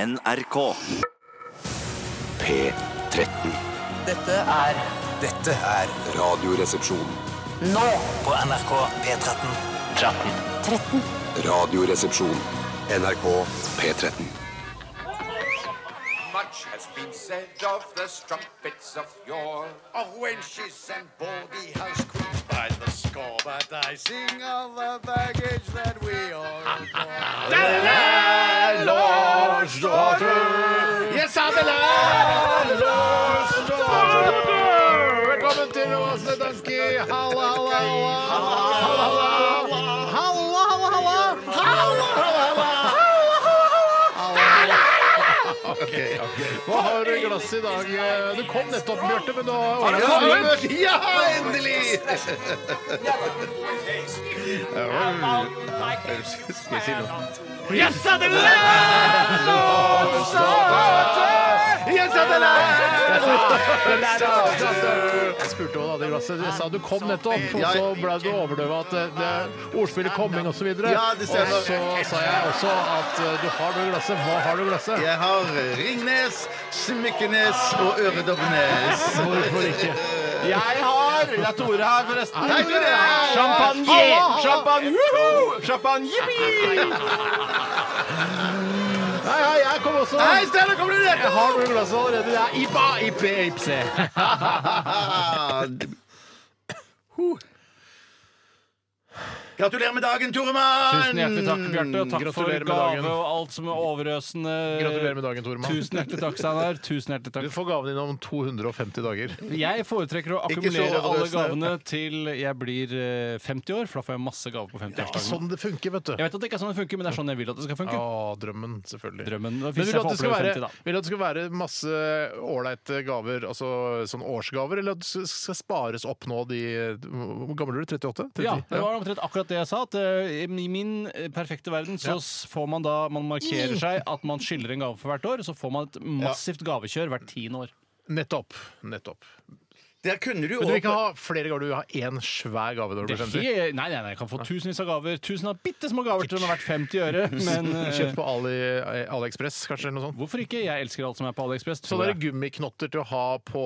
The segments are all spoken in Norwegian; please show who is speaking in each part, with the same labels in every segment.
Speaker 1: NRK.
Speaker 2: P13.
Speaker 3: Dette er
Speaker 4: Dette er
Speaker 2: Radioresepsjon.
Speaker 3: nå på NRK P13.
Speaker 2: Radioresepsjon. NRK P13.
Speaker 5: Much has been said of the strumpets of yore, of wenches and baldy house queens by the score. But I sing of the baggage that we all
Speaker 6: Jeg sa det Velkommen til Åsne Danski. Halla, halla, halla. Halla, halla, halla. Halla, halla, halla. Ok, ok. Hva har du i glasset i dag? eh, Du kom nettopp, Bjarte, men nå har du kommet. Ja, endelig! Skal jeg si noe? Jeg sa det Jeg sa det Jeg spurte hva du hadde i glasset. Jeg sa du kom nettopp, og så ble du overdøva at eh, det ordspillet 'komming' osv.
Speaker 4: Ja,
Speaker 6: Og
Speaker 4: det
Speaker 6: så
Speaker 4: stemmer.
Speaker 6: sa jeg også at eh, du har det i glasset. Hva har du i glasset?
Speaker 4: Jeg har Ringnes, Smykkenes og Øredobbenes.
Speaker 6: Hvorfor ikke?
Speaker 7: Jeg har Det er Tore her, forresten.
Speaker 4: Hei, Tore!
Speaker 7: Champagne! Champagne! Woohoo! Champagne! Yippee!
Speaker 6: Hei, hei, jeg kom også.
Speaker 4: Hei, Steinar, kommer du rett
Speaker 6: Jeg har noe i glasset allerede. Det er IPA, IP, IPC.
Speaker 4: opp? Gratulerer med dagen, Toremann!
Speaker 7: Tusen hjertelig takk, Bjarte. Og takk for
Speaker 6: Gratulerer med dagen.
Speaker 7: gave og alt som er overøsende.
Speaker 6: Gratulerer med dagen, Tormann.
Speaker 7: Tusen hjertelig takk, Steinar. Tusen hjertelig
Speaker 6: Du
Speaker 7: takk.
Speaker 6: får gaven din om 250 dager.
Speaker 7: Jeg foretrekker å
Speaker 4: Ikke så
Speaker 7: akkumulere alle gavene
Speaker 4: overøsende.
Speaker 7: til jeg blir eh, 50 år, for da får jeg masse gaver på
Speaker 6: Det er ikke
Speaker 7: 50-årsdagen.
Speaker 6: sånn det funker, vet du.
Speaker 7: Jeg vet at det ikke er sånn det funker, men det er sånn jeg vil at det skal funke.
Speaker 6: Å, drømmen, selvfølgelig.
Speaker 7: Drømmen, da,
Speaker 6: Men
Speaker 7: hvis
Speaker 6: vil
Speaker 7: jeg
Speaker 6: du at
Speaker 7: får
Speaker 6: det skal
Speaker 7: oppleve
Speaker 6: være,
Speaker 7: 50 da.
Speaker 6: vil du at det skal være masse ålreite gaver, altså sånn årsgaver, eller at det skal spares opp nå de Hvor gammel er du? 38? 30?
Speaker 7: Ja, det var omtrent akkurat det jeg sa. At eh, I min eh, perfekte verden så s- får man da Man markerer
Speaker 6: Mm.
Speaker 7: seg at man skylder en gave for hvert år, så får man et massivt gavekjør hvert tiende år.
Speaker 6: Nettopp. Nettopp.
Speaker 4: Der kunne du
Speaker 6: Men du vil ikke
Speaker 4: åpne
Speaker 6: ha flere gaver, du vil ha én svær gave når du
Speaker 7: Det
Speaker 6: blir
Speaker 7: er
Speaker 6: 50?
Speaker 7: helt, nei, nei, nei, jeg kan få tusenvis av gaver. Tusen av bitte små gaver til den har vært 50 øre. Men eh,
Speaker 6: Kjøpt på Ali, eh, AliExpress, kanskje, eller noe sånt?
Speaker 7: hvorfor ikke? Jeg elsker alt som er på AliExpress.
Speaker 6: Så det
Speaker 7: Tror
Speaker 6: er
Speaker 7: jeg.
Speaker 6: gummiknotter til å ha på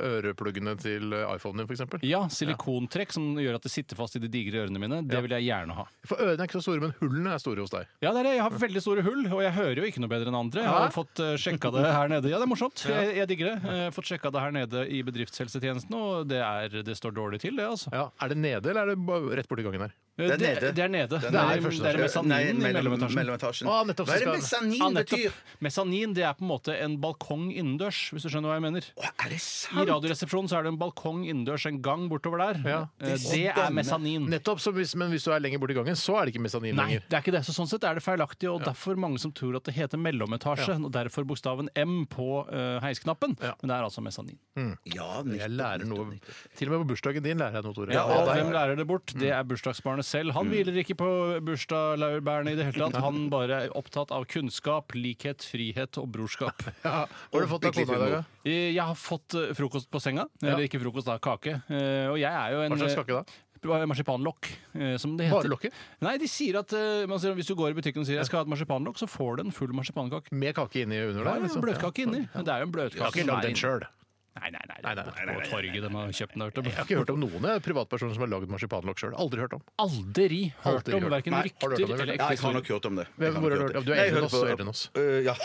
Speaker 6: ørepluggene til iPhonen din, f.eks.?
Speaker 7: Ja, silikontrekk som gjør at det sitter fast i de digre ørene mine. Det vil jeg gjerne ha.
Speaker 6: For ørene er ikke så store, men hullene er store hos deg.
Speaker 7: Ja, det er det. Jeg har veldig store hull, og jeg hører jo ikke noe bedre enn andre. Jeg har jo fått uh, sjekka det her nede. Ja, det er morsomt. Jeg, jeg digger det. Jeg har fått sjekka det her nede i bedriftshelsetjenesten, og det, er, det står dårlig til, det, altså.
Speaker 6: Ja. Er det nede, eller er det bare rett borti gangen her?
Speaker 7: Det
Speaker 4: er nede.
Speaker 7: Det er nede. Det
Speaker 6: nede i
Speaker 7: er,
Speaker 6: første
Speaker 7: det er
Speaker 6: etasje.
Speaker 7: mesanin i Ah, mellometasjen.
Speaker 4: mellometasjen.
Speaker 6: Å, nettopp, så
Speaker 4: Hva er det
Speaker 6: skal-
Speaker 7: Ja,
Speaker 4: mesanin betyr?
Speaker 7: Ah, nettopp. Mesanin det er på en måte en balkong innendørs, hvis du skjønner hva jeg mener.
Speaker 4: Å, er det
Speaker 7: I
Speaker 4: sant?
Speaker 7: Radioresepsjonen så er det en balkong innendørs, en gang bortover der.
Speaker 6: Ja.
Speaker 7: Eh, Det er mesanin.
Speaker 6: Nettopp, så hvis, Men hvis du er lenger borti gangen, så er det ikke mesanin
Speaker 7: Mm. Nei,
Speaker 6: lenger.
Speaker 7: det er ikke det. Så sånn sett er det feilaktig, og derfor mange som tror at det heter mellometasje, og derfor bokstaven M på eh, heisknappen. Men det er altså mesanin.
Speaker 4: Ja,
Speaker 6: Jeg
Speaker 4: nettopp.
Speaker 6: lærer noe Til og med på bursdagen din lærer jeg noe, Tore.
Speaker 7: Ja,
Speaker 6: Av
Speaker 7: og
Speaker 6: deg.
Speaker 7: hvem lærer det bort? Det
Speaker 6: Mm.
Speaker 7: er bursdagsbarnet selv. Han hviler ikke på bursdagslaurbærene i det hele tatt. Han bare er opptatt av kunnskap, likhet, frihet og brorskap.
Speaker 6: ja. Har du fått deg kona i dag, da?
Speaker 7: Eh, Jeg har fått eh, frokost på senga. Eller ikke frokost, da. Kake. Eh, Og jeg er jo en
Speaker 6: Hva slags kake da?
Speaker 7: eh, Marsipanlokk, eh, som det heter.
Speaker 6: Bare lokket?
Speaker 7: Nei, de sier at eh, man sier, hvis du går i butikken og sier jeg skal ha et marsipanlokk, så får du en full marsipankake.
Speaker 6: Med kake inni under
Speaker 7: Det
Speaker 6: der?
Speaker 7: er jo en
Speaker 6: liksom.
Speaker 7: bløtkake inni. Men det er jo
Speaker 6: Jeg
Speaker 7: en
Speaker 6: har
Speaker 7: bløtkake.
Speaker 6: ikke
Speaker 7: som
Speaker 6: lagd
Speaker 7: er
Speaker 6: den
Speaker 7: inni-
Speaker 6: sjøl.
Speaker 7: Nei, nei, nei.
Speaker 6: Nei, nei, nei, nei,
Speaker 7: På torget de har kjøpt den. har
Speaker 6: Jeg har
Speaker 7: hørt om.
Speaker 6: ikke hørt om noen eh, privatpersoner som har lagd marsipanlokk sjøl. Aldri hørt om.
Speaker 7: Aldri hørt
Speaker 6: Aldri
Speaker 7: om
Speaker 6: hørt.
Speaker 7: verken
Speaker 6: Nei, har du hørt
Speaker 7: rykter
Speaker 6: om det?
Speaker 4: Ja, jeg har nok hørt om det.
Speaker 7: eller ekte historier.
Speaker 6: Hvem-
Speaker 4: Jeg har
Speaker 6: hvor
Speaker 4: nok
Speaker 6: har du
Speaker 4: hørt
Speaker 6: hørt-
Speaker 4: om det.
Speaker 6: Ja, du er eldre enn
Speaker 4: Jeg
Speaker 6: oss, så
Speaker 4: hørte
Speaker 6: eldre enn oss.
Speaker 4: Øh, ja.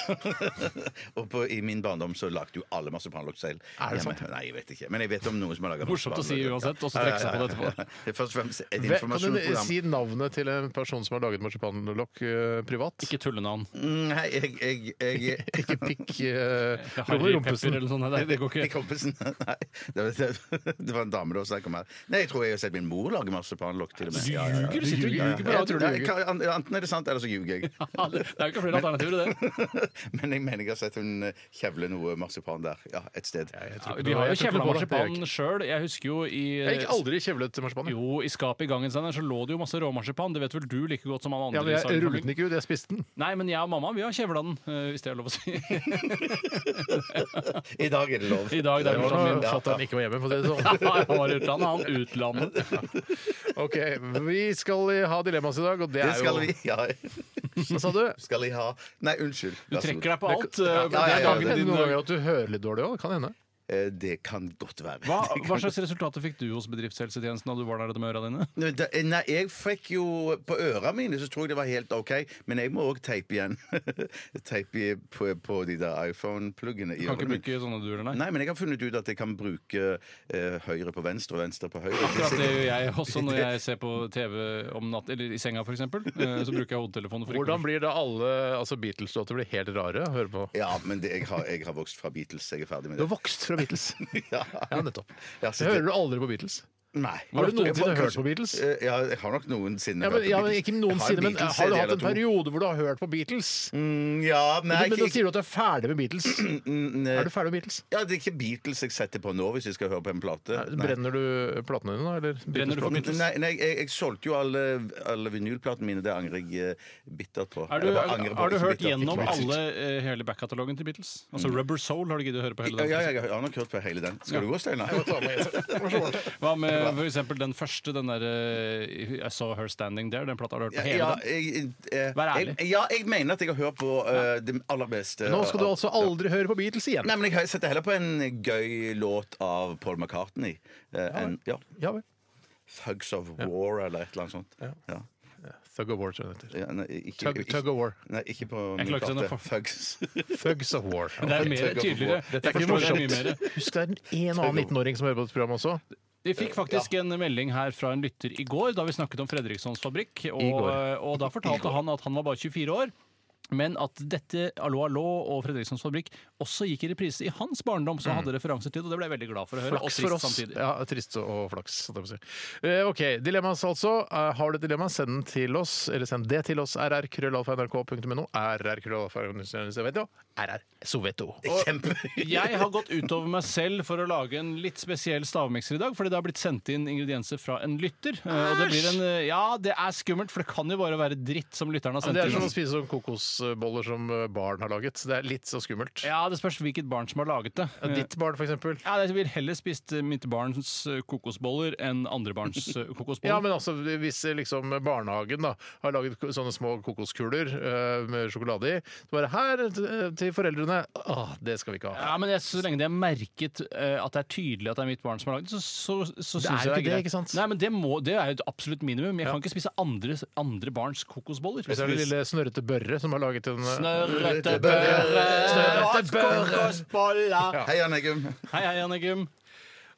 Speaker 4: og på, i min barndom så lagde jo alle marsipanlokk selv.
Speaker 6: Er det
Speaker 4: hjemme.
Speaker 6: sant?
Speaker 4: Nei, jeg vet ikke. Men jeg vet om noen som har laga
Speaker 7: Morsomt å si uansett, og så trekke seg på det etterpå.
Speaker 4: Det er først og fremst et
Speaker 6: Hvem- Kan du
Speaker 4: informasjonsprogram.
Speaker 6: si navnet til en person som har laget marsipanlokk eh, privat?
Speaker 7: Ikke tullenavn.
Speaker 4: Mm, Nei, jeg, jeg, jeg,
Speaker 6: Ikke pikk eh,
Speaker 7: Harry Pepper
Speaker 6: rumpesen.
Speaker 7: eller sånn. Nei, det går
Speaker 4: Nei,
Speaker 7: ikke.
Speaker 4: kompisen. Nei, det var, det var en dame da som kom her. Nei, jeg tror jeg har sett min mor lage marsipanlokk til og med.
Speaker 7: Du ljuger, du sitter og
Speaker 4: Ja, ja.
Speaker 7: ljuger på
Speaker 4: Jeg tror
Speaker 7: radioen.
Speaker 4: det- jeg kan- Enten er det sant, eller så ljuger jeg.
Speaker 7: Det er jo ikke flere alternativer, det.
Speaker 4: Men jeg mener jeg har sett hun eh, kjevle noe marsipan der. Ja, et sted.
Speaker 6: tror ikke det var- jeg
Speaker 7: Vi har jo
Speaker 6: tror ikke det var det.
Speaker 7: kjevla
Speaker 6: Det gjør jeg
Speaker 7: marsipan sjøl. Jeg husker jo
Speaker 6: Jeg gikk
Speaker 7: i
Speaker 6: aldri kjevlet til marsipan. jeg.
Speaker 7: jo, i skapet i gangen Steinar, så lå det jo masse råmarsipan. Det vet vel du like godt som alle
Speaker 6: Ja,
Speaker 7: andre.
Speaker 6: men
Speaker 7: i
Speaker 6: jeg
Speaker 7: Sargen
Speaker 6: rullet den
Speaker 7: familie.
Speaker 6: ikke ut, jeg spiste den.
Speaker 7: Nei, men jeg og mamma vi har kjevla den, eh, hvis det er lov å si.
Speaker 4: I dag er det lov.
Speaker 7: I dag det er bursdagen min.
Speaker 4: Ja,
Speaker 6: Fatter'n ikke var hjemme, for å si det sånn.
Speaker 7: Ja, jeg var i utlandet, han utlandet.
Speaker 6: Ok, Vi skal ha dilemmaet i dag, og det
Speaker 4: Det
Speaker 6: er jo
Speaker 4: skal vi. Ja.
Speaker 6: Hva sa du?
Speaker 4: Skal jeg ha Nei, unnskyld.
Speaker 7: Du
Speaker 4: Vær så
Speaker 7: trekker
Speaker 4: god.
Speaker 7: deg på alt.
Speaker 6: Ja,
Speaker 7: eh,
Speaker 6: ja, ja,
Speaker 7: for det er
Speaker 6: ja,
Speaker 7: dagene
Speaker 6: det
Speaker 7: dine.
Speaker 6: hender noen ganger at du hører litt dårlig òg. Kan hende.
Speaker 4: Eh, Det kan godt være.
Speaker 7: Hva, hva slags resultater fikk du hos bedriftshelsetjenesten da du var der med øra dine?
Speaker 4: Nei, da- Nei, jeg fikk jo På øra mine så tror jeg det var helt OK, men jeg må òg teipe igjen. teipe i- på, på de der iPhone-pluggene. i
Speaker 7: Kan ikke
Speaker 4: ørene mine.
Speaker 7: bruke sånne duer, nei.
Speaker 4: Nei, men jeg har funnet ut at jeg kan bruke eh, høyre på venstre og venstre på høyre.
Speaker 7: Akkurat det gjør jeg også når jeg ser på TV om natt, eller i senga f.eks. Så bruker jeg hodetelefonen for
Speaker 6: Hvordan
Speaker 7: ikke
Speaker 6: blir da alle altså Beatles-låter blir helt rare å høre på?
Speaker 4: Ja, men det, jeg, har, jeg har vokst fra Beatles. Jeg er ferdig med
Speaker 6: Du
Speaker 4: det.
Speaker 6: har vokst fra Beatles.
Speaker 4: Ja.
Speaker 6: Ja, nettopp.
Speaker 4: Ja,
Speaker 6: Så
Speaker 4: så
Speaker 6: hører du aldri på Beatles.
Speaker 4: Nei.
Speaker 6: Har du
Speaker 4: Jeg-
Speaker 6: noensinne
Speaker 4: kanskje-
Speaker 6: hørt på Beatles?
Speaker 4: Eh, Ja, jeg har nok noensinne
Speaker 6: Ja, men,
Speaker 4: hørt på
Speaker 6: ja, men
Speaker 4: Beatles.
Speaker 6: ikke
Speaker 4: Jeg
Speaker 6: noensinne, men
Speaker 4: Beatles-CD
Speaker 6: har du hatt
Speaker 4: eller
Speaker 6: en
Speaker 4: to.
Speaker 6: periode hvor du har hørt på Beatles?
Speaker 4: Mm, Ja, nei,
Speaker 6: men
Speaker 4: ikke, mm, eh,
Speaker 6: da sier du at du er ferdig med Beatles. Er du ferdig med Beatles?
Speaker 4: ja, det er ikke Beatles jeg setter på nå hvis jeg skal høre på en plate. Nei. Mm,
Speaker 6: Brenner du platene dine, da? Eller
Speaker 7: Brenner du for
Speaker 6: Beatles-platene?
Speaker 7: Beatles?
Speaker 4: Nei, nei jeg, jeg solgte jo alle, alle vinylplatene mine. Det angrer jeg eh, bittert på.
Speaker 7: er du,
Speaker 4: Eller angrer på,
Speaker 7: har du
Speaker 4: ikke
Speaker 7: hørt
Speaker 4: bittert,
Speaker 7: gjennom
Speaker 4: ikke bittert.
Speaker 7: alle eh, hele backkatalogen til Beatles? Altså Rubber Soul har du giddet å høre på hele
Speaker 4: Mm. Ja, ja, jeg
Speaker 7: den?
Speaker 4: har nok hørt på hele den. Skal du gå, Steinar?
Speaker 7: Hva med for eksempel den første, den der eh, I Saw Her Standing There? Den plata har du hørt på hele
Speaker 4: Ja,
Speaker 7: den?
Speaker 4: jeg, eh,
Speaker 7: Vær ærlig.
Speaker 4: Jeg, ja, jeg mener at jeg har hørt på eh, det aller beste.
Speaker 6: Nå skal du
Speaker 4: av-
Speaker 6: altså aldri høre på Beatles igjen.
Speaker 4: Nei, men jeg setter heller på en gøy låt av Paul McCartney. eh, enn ja,
Speaker 6: Ja vel.
Speaker 4: 'Thugs of War' eller et eller annet sånt.
Speaker 6: Ja.
Speaker 4: Ja.
Speaker 6: Thug of War, tror jeg det heter.
Speaker 4: Ja, nei, ikke,
Speaker 6: Tug-
Speaker 4: ikke-
Speaker 6: tug of war.
Speaker 4: Nei, ikke på
Speaker 7: Jeg
Speaker 4: min
Speaker 7: klarer ikke å sende
Speaker 4: plate.
Speaker 7: for-
Speaker 4: Thugs.
Speaker 6: Thugs of War.
Speaker 7: Det er mer
Speaker 4: Tugger på
Speaker 7: tydeligere.
Speaker 4: bordet.
Speaker 7: Jeg forstår det mye mer.
Speaker 6: Husk det er en og annen 19-åring som hører på dette programmet også.
Speaker 7: Vi
Speaker 6: Eh,
Speaker 7: fikk faktisk en melding her fra en lytter i går, da vi snakket om Fredrikssons fabrikk.
Speaker 6: I
Speaker 7: Og, eh,
Speaker 6: går.
Speaker 7: og da fortalte han at han var bare 24 år. Men at dette Allo Allo og Fredrikssons fabrikk også gikk i reprise i hans barndom, så han hadde referanser til det, og det ble jeg veldig glad for å høre.
Speaker 6: Mm. Flaks
Speaker 7: og
Speaker 6: for
Speaker 7: trist
Speaker 6: oss.
Speaker 7: samtidig.
Speaker 6: Ja, trist og flaks. holdt jeg på å si. Eh, OK. Dilemmas, altså. Eh, har du et dilemma, send den til oss. Eller send det til oss. rrkrøllalfa.nrk.no. rrkrøllalfa.nrk.no. RR Soveto.
Speaker 4: Kjempe...
Speaker 7: Jeg har gått utover meg selv for å lage en litt spesiell stavmikser i dag, fordi det har blitt sendt inn ingredienser fra en lytter. Eh, Og det blir en eh, Ja, det er skummelt, for det kan jo bare være dritt som lytteren har sendt
Speaker 6: Det er som å
Speaker 7: inn.
Speaker 6: spise sånn kokosboller som eh, barn har laget. Det er litt så skummelt.
Speaker 7: Ja, det spørs hvilket barn som har laget det.
Speaker 6: Ja, Ditt barn, for eksempel.
Speaker 7: Ja, Jeg ville heller spist eh, mitt barns eh, kokosboller enn andre barns eh, kokosboller.
Speaker 6: Ja, men altså, Hvis eh, liksom barnehagen da, har laget ko- sånne små kokoskuler eh, med sjokolade i, så bare her eh, til foreldrene Åh, det skal vi ikke ha.
Speaker 7: Ja, men jeg, Så lenge det er merket eh, at det er tydelig at det er mitt barn som har lagd det, så, så, så syns
Speaker 6: er
Speaker 7: jeg
Speaker 6: ikke
Speaker 7: det er
Speaker 6: det,
Speaker 7: greit.
Speaker 6: ikke sant?
Speaker 7: Nei, men det, må, det er jo et absolutt minimum. Jeg
Speaker 6: Ja.
Speaker 7: kan ikke spise andre, andre barns kokosboller.
Speaker 6: Og så er det lille snørrete Børre som har laget en eh,
Speaker 7: Snørrete
Speaker 4: Børre,
Speaker 6: Snørrete Børre.
Speaker 7: Kokosboller!
Speaker 4: Hei, Anne-Gum.
Speaker 7: Hei, hei, Anne-Gym.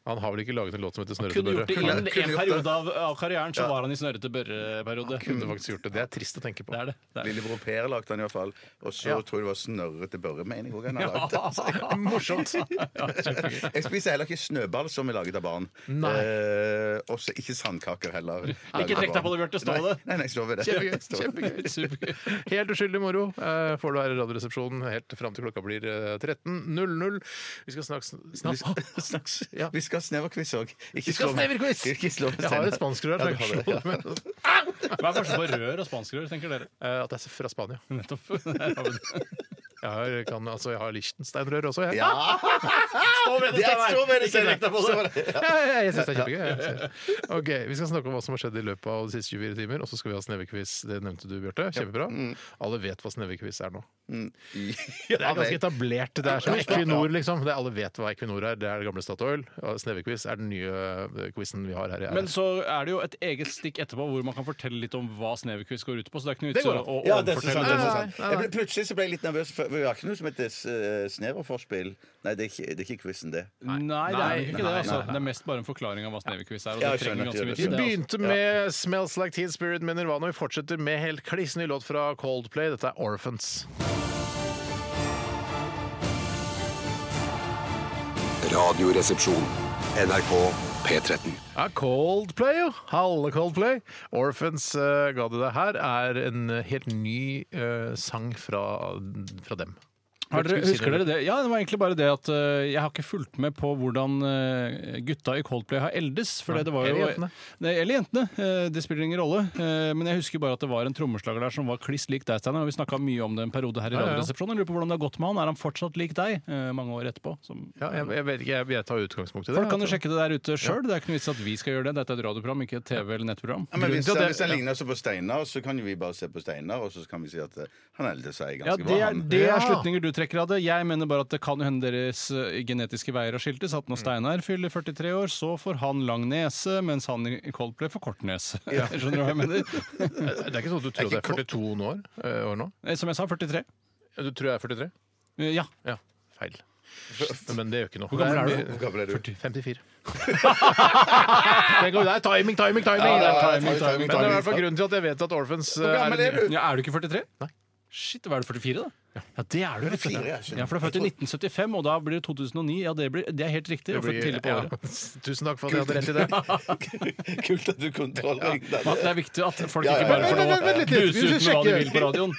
Speaker 6: Han har vel ikke laget en låt som heter Snørrete
Speaker 7: Kunne gjort det i
Speaker 6: Børre?
Speaker 4: Kunne
Speaker 7: en, en
Speaker 4: gjort det.
Speaker 7: periode av, av karrieren, så var han i snørrete børre-periode.
Speaker 6: Kunne faktisk gjort det. Det er trist å tenke på.
Speaker 7: Det er det. det, er det.
Speaker 4: Lillebror Per lagde den i hvert fall. Og så tror jeg det var Snørrete Børre, mener jeg òg han har lagd den.
Speaker 6: altså. Morsomt!
Speaker 4: Jeg spiser heller ikke snøball som er laget av barn.
Speaker 6: Nei.
Speaker 4: Eh, også ikke sandkaker heller.
Speaker 7: Ikke trekk deg på det, Bjarte. Stå
Speaker 4: Nei,
Speaker 7: ved det.
Speaker 4: nei, nei, stå ved det.
Speaker 6: Kjempegøy.
Speaker 4: Stå ved det.
Speaker 6: Kjempegøy.
Speaker 7: Supergøy.
Speaker 6: Helt uskyldig moro eh, får du her i Radioresepsjonen helt fram til klokka blir eh, 13.00. Vi skal snakks... snakks.
Speaker 4: Snakks.
Speaker 6: Ja.
Speaker 4: Vi skal ha sneverquiz òg.
Speaker 6: Vi skal ha sneverquiz! Jeg har et spanskrør
Speaker 4: Ja,
Speaker 6: som
Speaker 4: du
Speaker 6: jeg
Speaker 4: har det,
Speaker 6: kan slå det med.
Speaker 7: Hva er forskjellen på rør og spanskrør, tenker dere?
Speaker 6: Eh, At det er fra Spania.
Speaker 7: Nettopp. Der har vi det.
Speaker 6: Jeg har, kan, altså, jeg har Liechtenstein-rør også, jeg.
Speaker 7: Stå ved det,
Speaker 4: Det er-
Speaker 7: Steinar.
Speaker 4: stå ved det,
Speaker 7: Ikke
Speaker 4: Steinar.
Speaker 7: trekk deg på det.
Speaker 6: Ja, ja, jeg syns det er kjempegøy. jeg synes det. Ok, Vi skal snakke om hva som har skjedd i løpet av de siste 24 timer, og så skal vi ha snevekviss. Det nevnte du, Bjarte. Kjempebra. Alle vet hva snevekviss er nå.
Speaker 4: Ja,
Speaker 6: Det er ganske
Speaker 4: vel.
Speaker 6: etablert. Det er som Equinor, liksom. Det, alle vet hva Equinor er. Det er det gamle Statoil. Og Snevekviss er den nye eh, quizen vi har her i RR.
Speaker 7: Men så er det jo et eget stikk etterpå hvor man kan fortelle litt om hva Snevequiz går ut på. Så det er ikke noe
Speaker 6: Det
Speaker 7: vits
Speaker 6: går
Speaker 7: å
Speaker 6: an.
Speaker 7: å
Speaker 4: Ja, det er så sant. Det er så sant.
Speaker 6: Nei, nei,
Speaker 7: overfortelle det. nå.
Speaker 6: nei.
Speaker 4: Jeg ble, plutselig så ble jeg litt nervøs, for vi har ikke noe som heter eh, sneverforspill. Nei, det er ikke, det er ikke quizen, det.
Speaker 7: Nei, det er ikke
Speaker 6: Nei,
Speaker 7: det.
Speaker 6: nei,
Speaker 7: altså.
Speaker 6: nei.
Speaker 7: Det er mest bare en forklaring av hva Snevequiz er. Og
Speaker 4: Ja,
Speaker 7: det
Speaker 4: jeg skjønner
Speaker 7: trenger ganske
Speaker 4: ikke
Speaker 7: mye
Speaker 4: det.
Speaker 6: Vi
Speaker 7: tid. det, altså.
Speaker 6: begynte med 'Smells Like Teen Spirit' med Nirvana. og Vi fortsetter med helt kliss ny låt fra Coldplay. Dette er 'Orphans'.
Speaker 2: Radioresepsjon. NRK P13.
Speaker 6: Ja, Coldplay, jo. Halve Coldplay. Orphans eh, ga du deg her, er en helt ny eh, sang fra, fra dem.
Speaker 7: Har dere,
Speaker 6: Skulle si
Speaker 7: husker dere det? Ja, det var egentlig bare det at eh, jeg har ikke fulgt med på hvordan eh, gutta i Coldplay har eldes. For det var jo,
Speaker 6: eller jentene.
Speaker 7: Nei, eller jentene. eh, det spiller ingen rolle. Eh, men jeg husker bare at det var en trommeslager der som var kliss lik deg, Steinar. og Vi snakka mye om det en periode her
Speaker 6: Ja,
Speaker 7: i
Speaker 6: ja, ja.
Speaker 7: Radioresepsjonen. Jeg Lurer på hvordan det har gått med han. Er han fortsatt lik deg eh, mange år etterpå? Som,
Speaker 6: Ja, jeg, jeg vet ikke, jeg, jeg tar utgangspunkt i det.
Speaker 7: Folk kan jo
Speaker 6: jeg tror.
Speaker 7: sjekke det der ute sjøl. Det er ikke noe vits at vi skal gjøre det. Dette er et radioprogram, ikke et TV- eller nettprogram.
Speaker 4: Ja, men hvis,
Speaker 6: Grunnen
Speaker 4: han-
Speaker 6: til at det-
Speaker 4: hvis han ligner så på Steinar, så kan jo vi bare se på Steinar, og så kan vi si at eh, han eldre seg
Speaker 7: Ja,
Speaker 4: ganske
Speaker 7: det
Speaker 4: bra.
Speaker 7: er,
Speaker 4: Han.
Speaker 7: det
Speaker 6: Ja.
Speaker 7: er slutninger du trekker av det. Jeg mener bare at det kan jo hende deres eh, genetiske veier har skiltes.
Speaker 4: Mm.
Speaker 7: At når Steinar fyller 43 år, så får han lang nese, mens han i Coldplay får kort nese. Skjønner du hva jeg mener?
Speaker 6: Det er ikke sånn at du tror det er 42 nå år, eh, år nå?
Speaker 7: Eh, Som jeg sa, 43.
Speaker 6: Du tror jeg er 43?
Speaker 7: Eh, Ja.
Speaker 6: Ja. Feil. Men det gjør ikke noe.
Speaker 7: Hvor gammel er
Speaker 4: Hvor gammel er du?
Speaker 6: 54. det går, det er timing, timing, timing!
Speaker 4: Ja,
Speaker 6: det
Speaker 4: ja,
Speaker 6: er
Speaker 4: ja,
Speaker 6: timing.
Speaker 4: timing, timing,
Speaker 6: Men det er i hvert fall
Speaker 4: timing.
Speaker 6: grunnen til at jeg vet at Orphans eh,
Speaker 4: Hvor gammel er du?
Speaker 7: ja. Er du ikke 43?
Speaker 6: Nei.
Speaker 7: Shit, hva er du 44, da? Ja, det er du. rett og
Speaker 4: 44,
Speaker 7: slett.
Speaker 4: jeg skjønner.
Speaker 7: Ja, for du er født i 1975, og da blir det 2009. Ja, det, blir, det er helt riktig. Du er
Speaker 6: Det blir-
Speaker 7: født tidlig på året.
Speaker 6: ja. Tusen takk for at jeg hadde rett i det.
Speaker 4: Kult at du kontrollringte
Speaker 7: Men Det er viktig at folk
Speaker 4: Ja, ja,
Speaker 7: ikke
Speaker 4: ja.
Speaker 7: bare får lov
Speaker 6: Vent, vent,
Speaker 7: å
Speaker 6: vent litt.
Speaker 7: duse
Speaker 6: Vi
Speaker 7: ut med hva
Speaker 6: skal
Speaker 7: de
Speaker 6: sjekke.
Speaker 7: vil på radioen.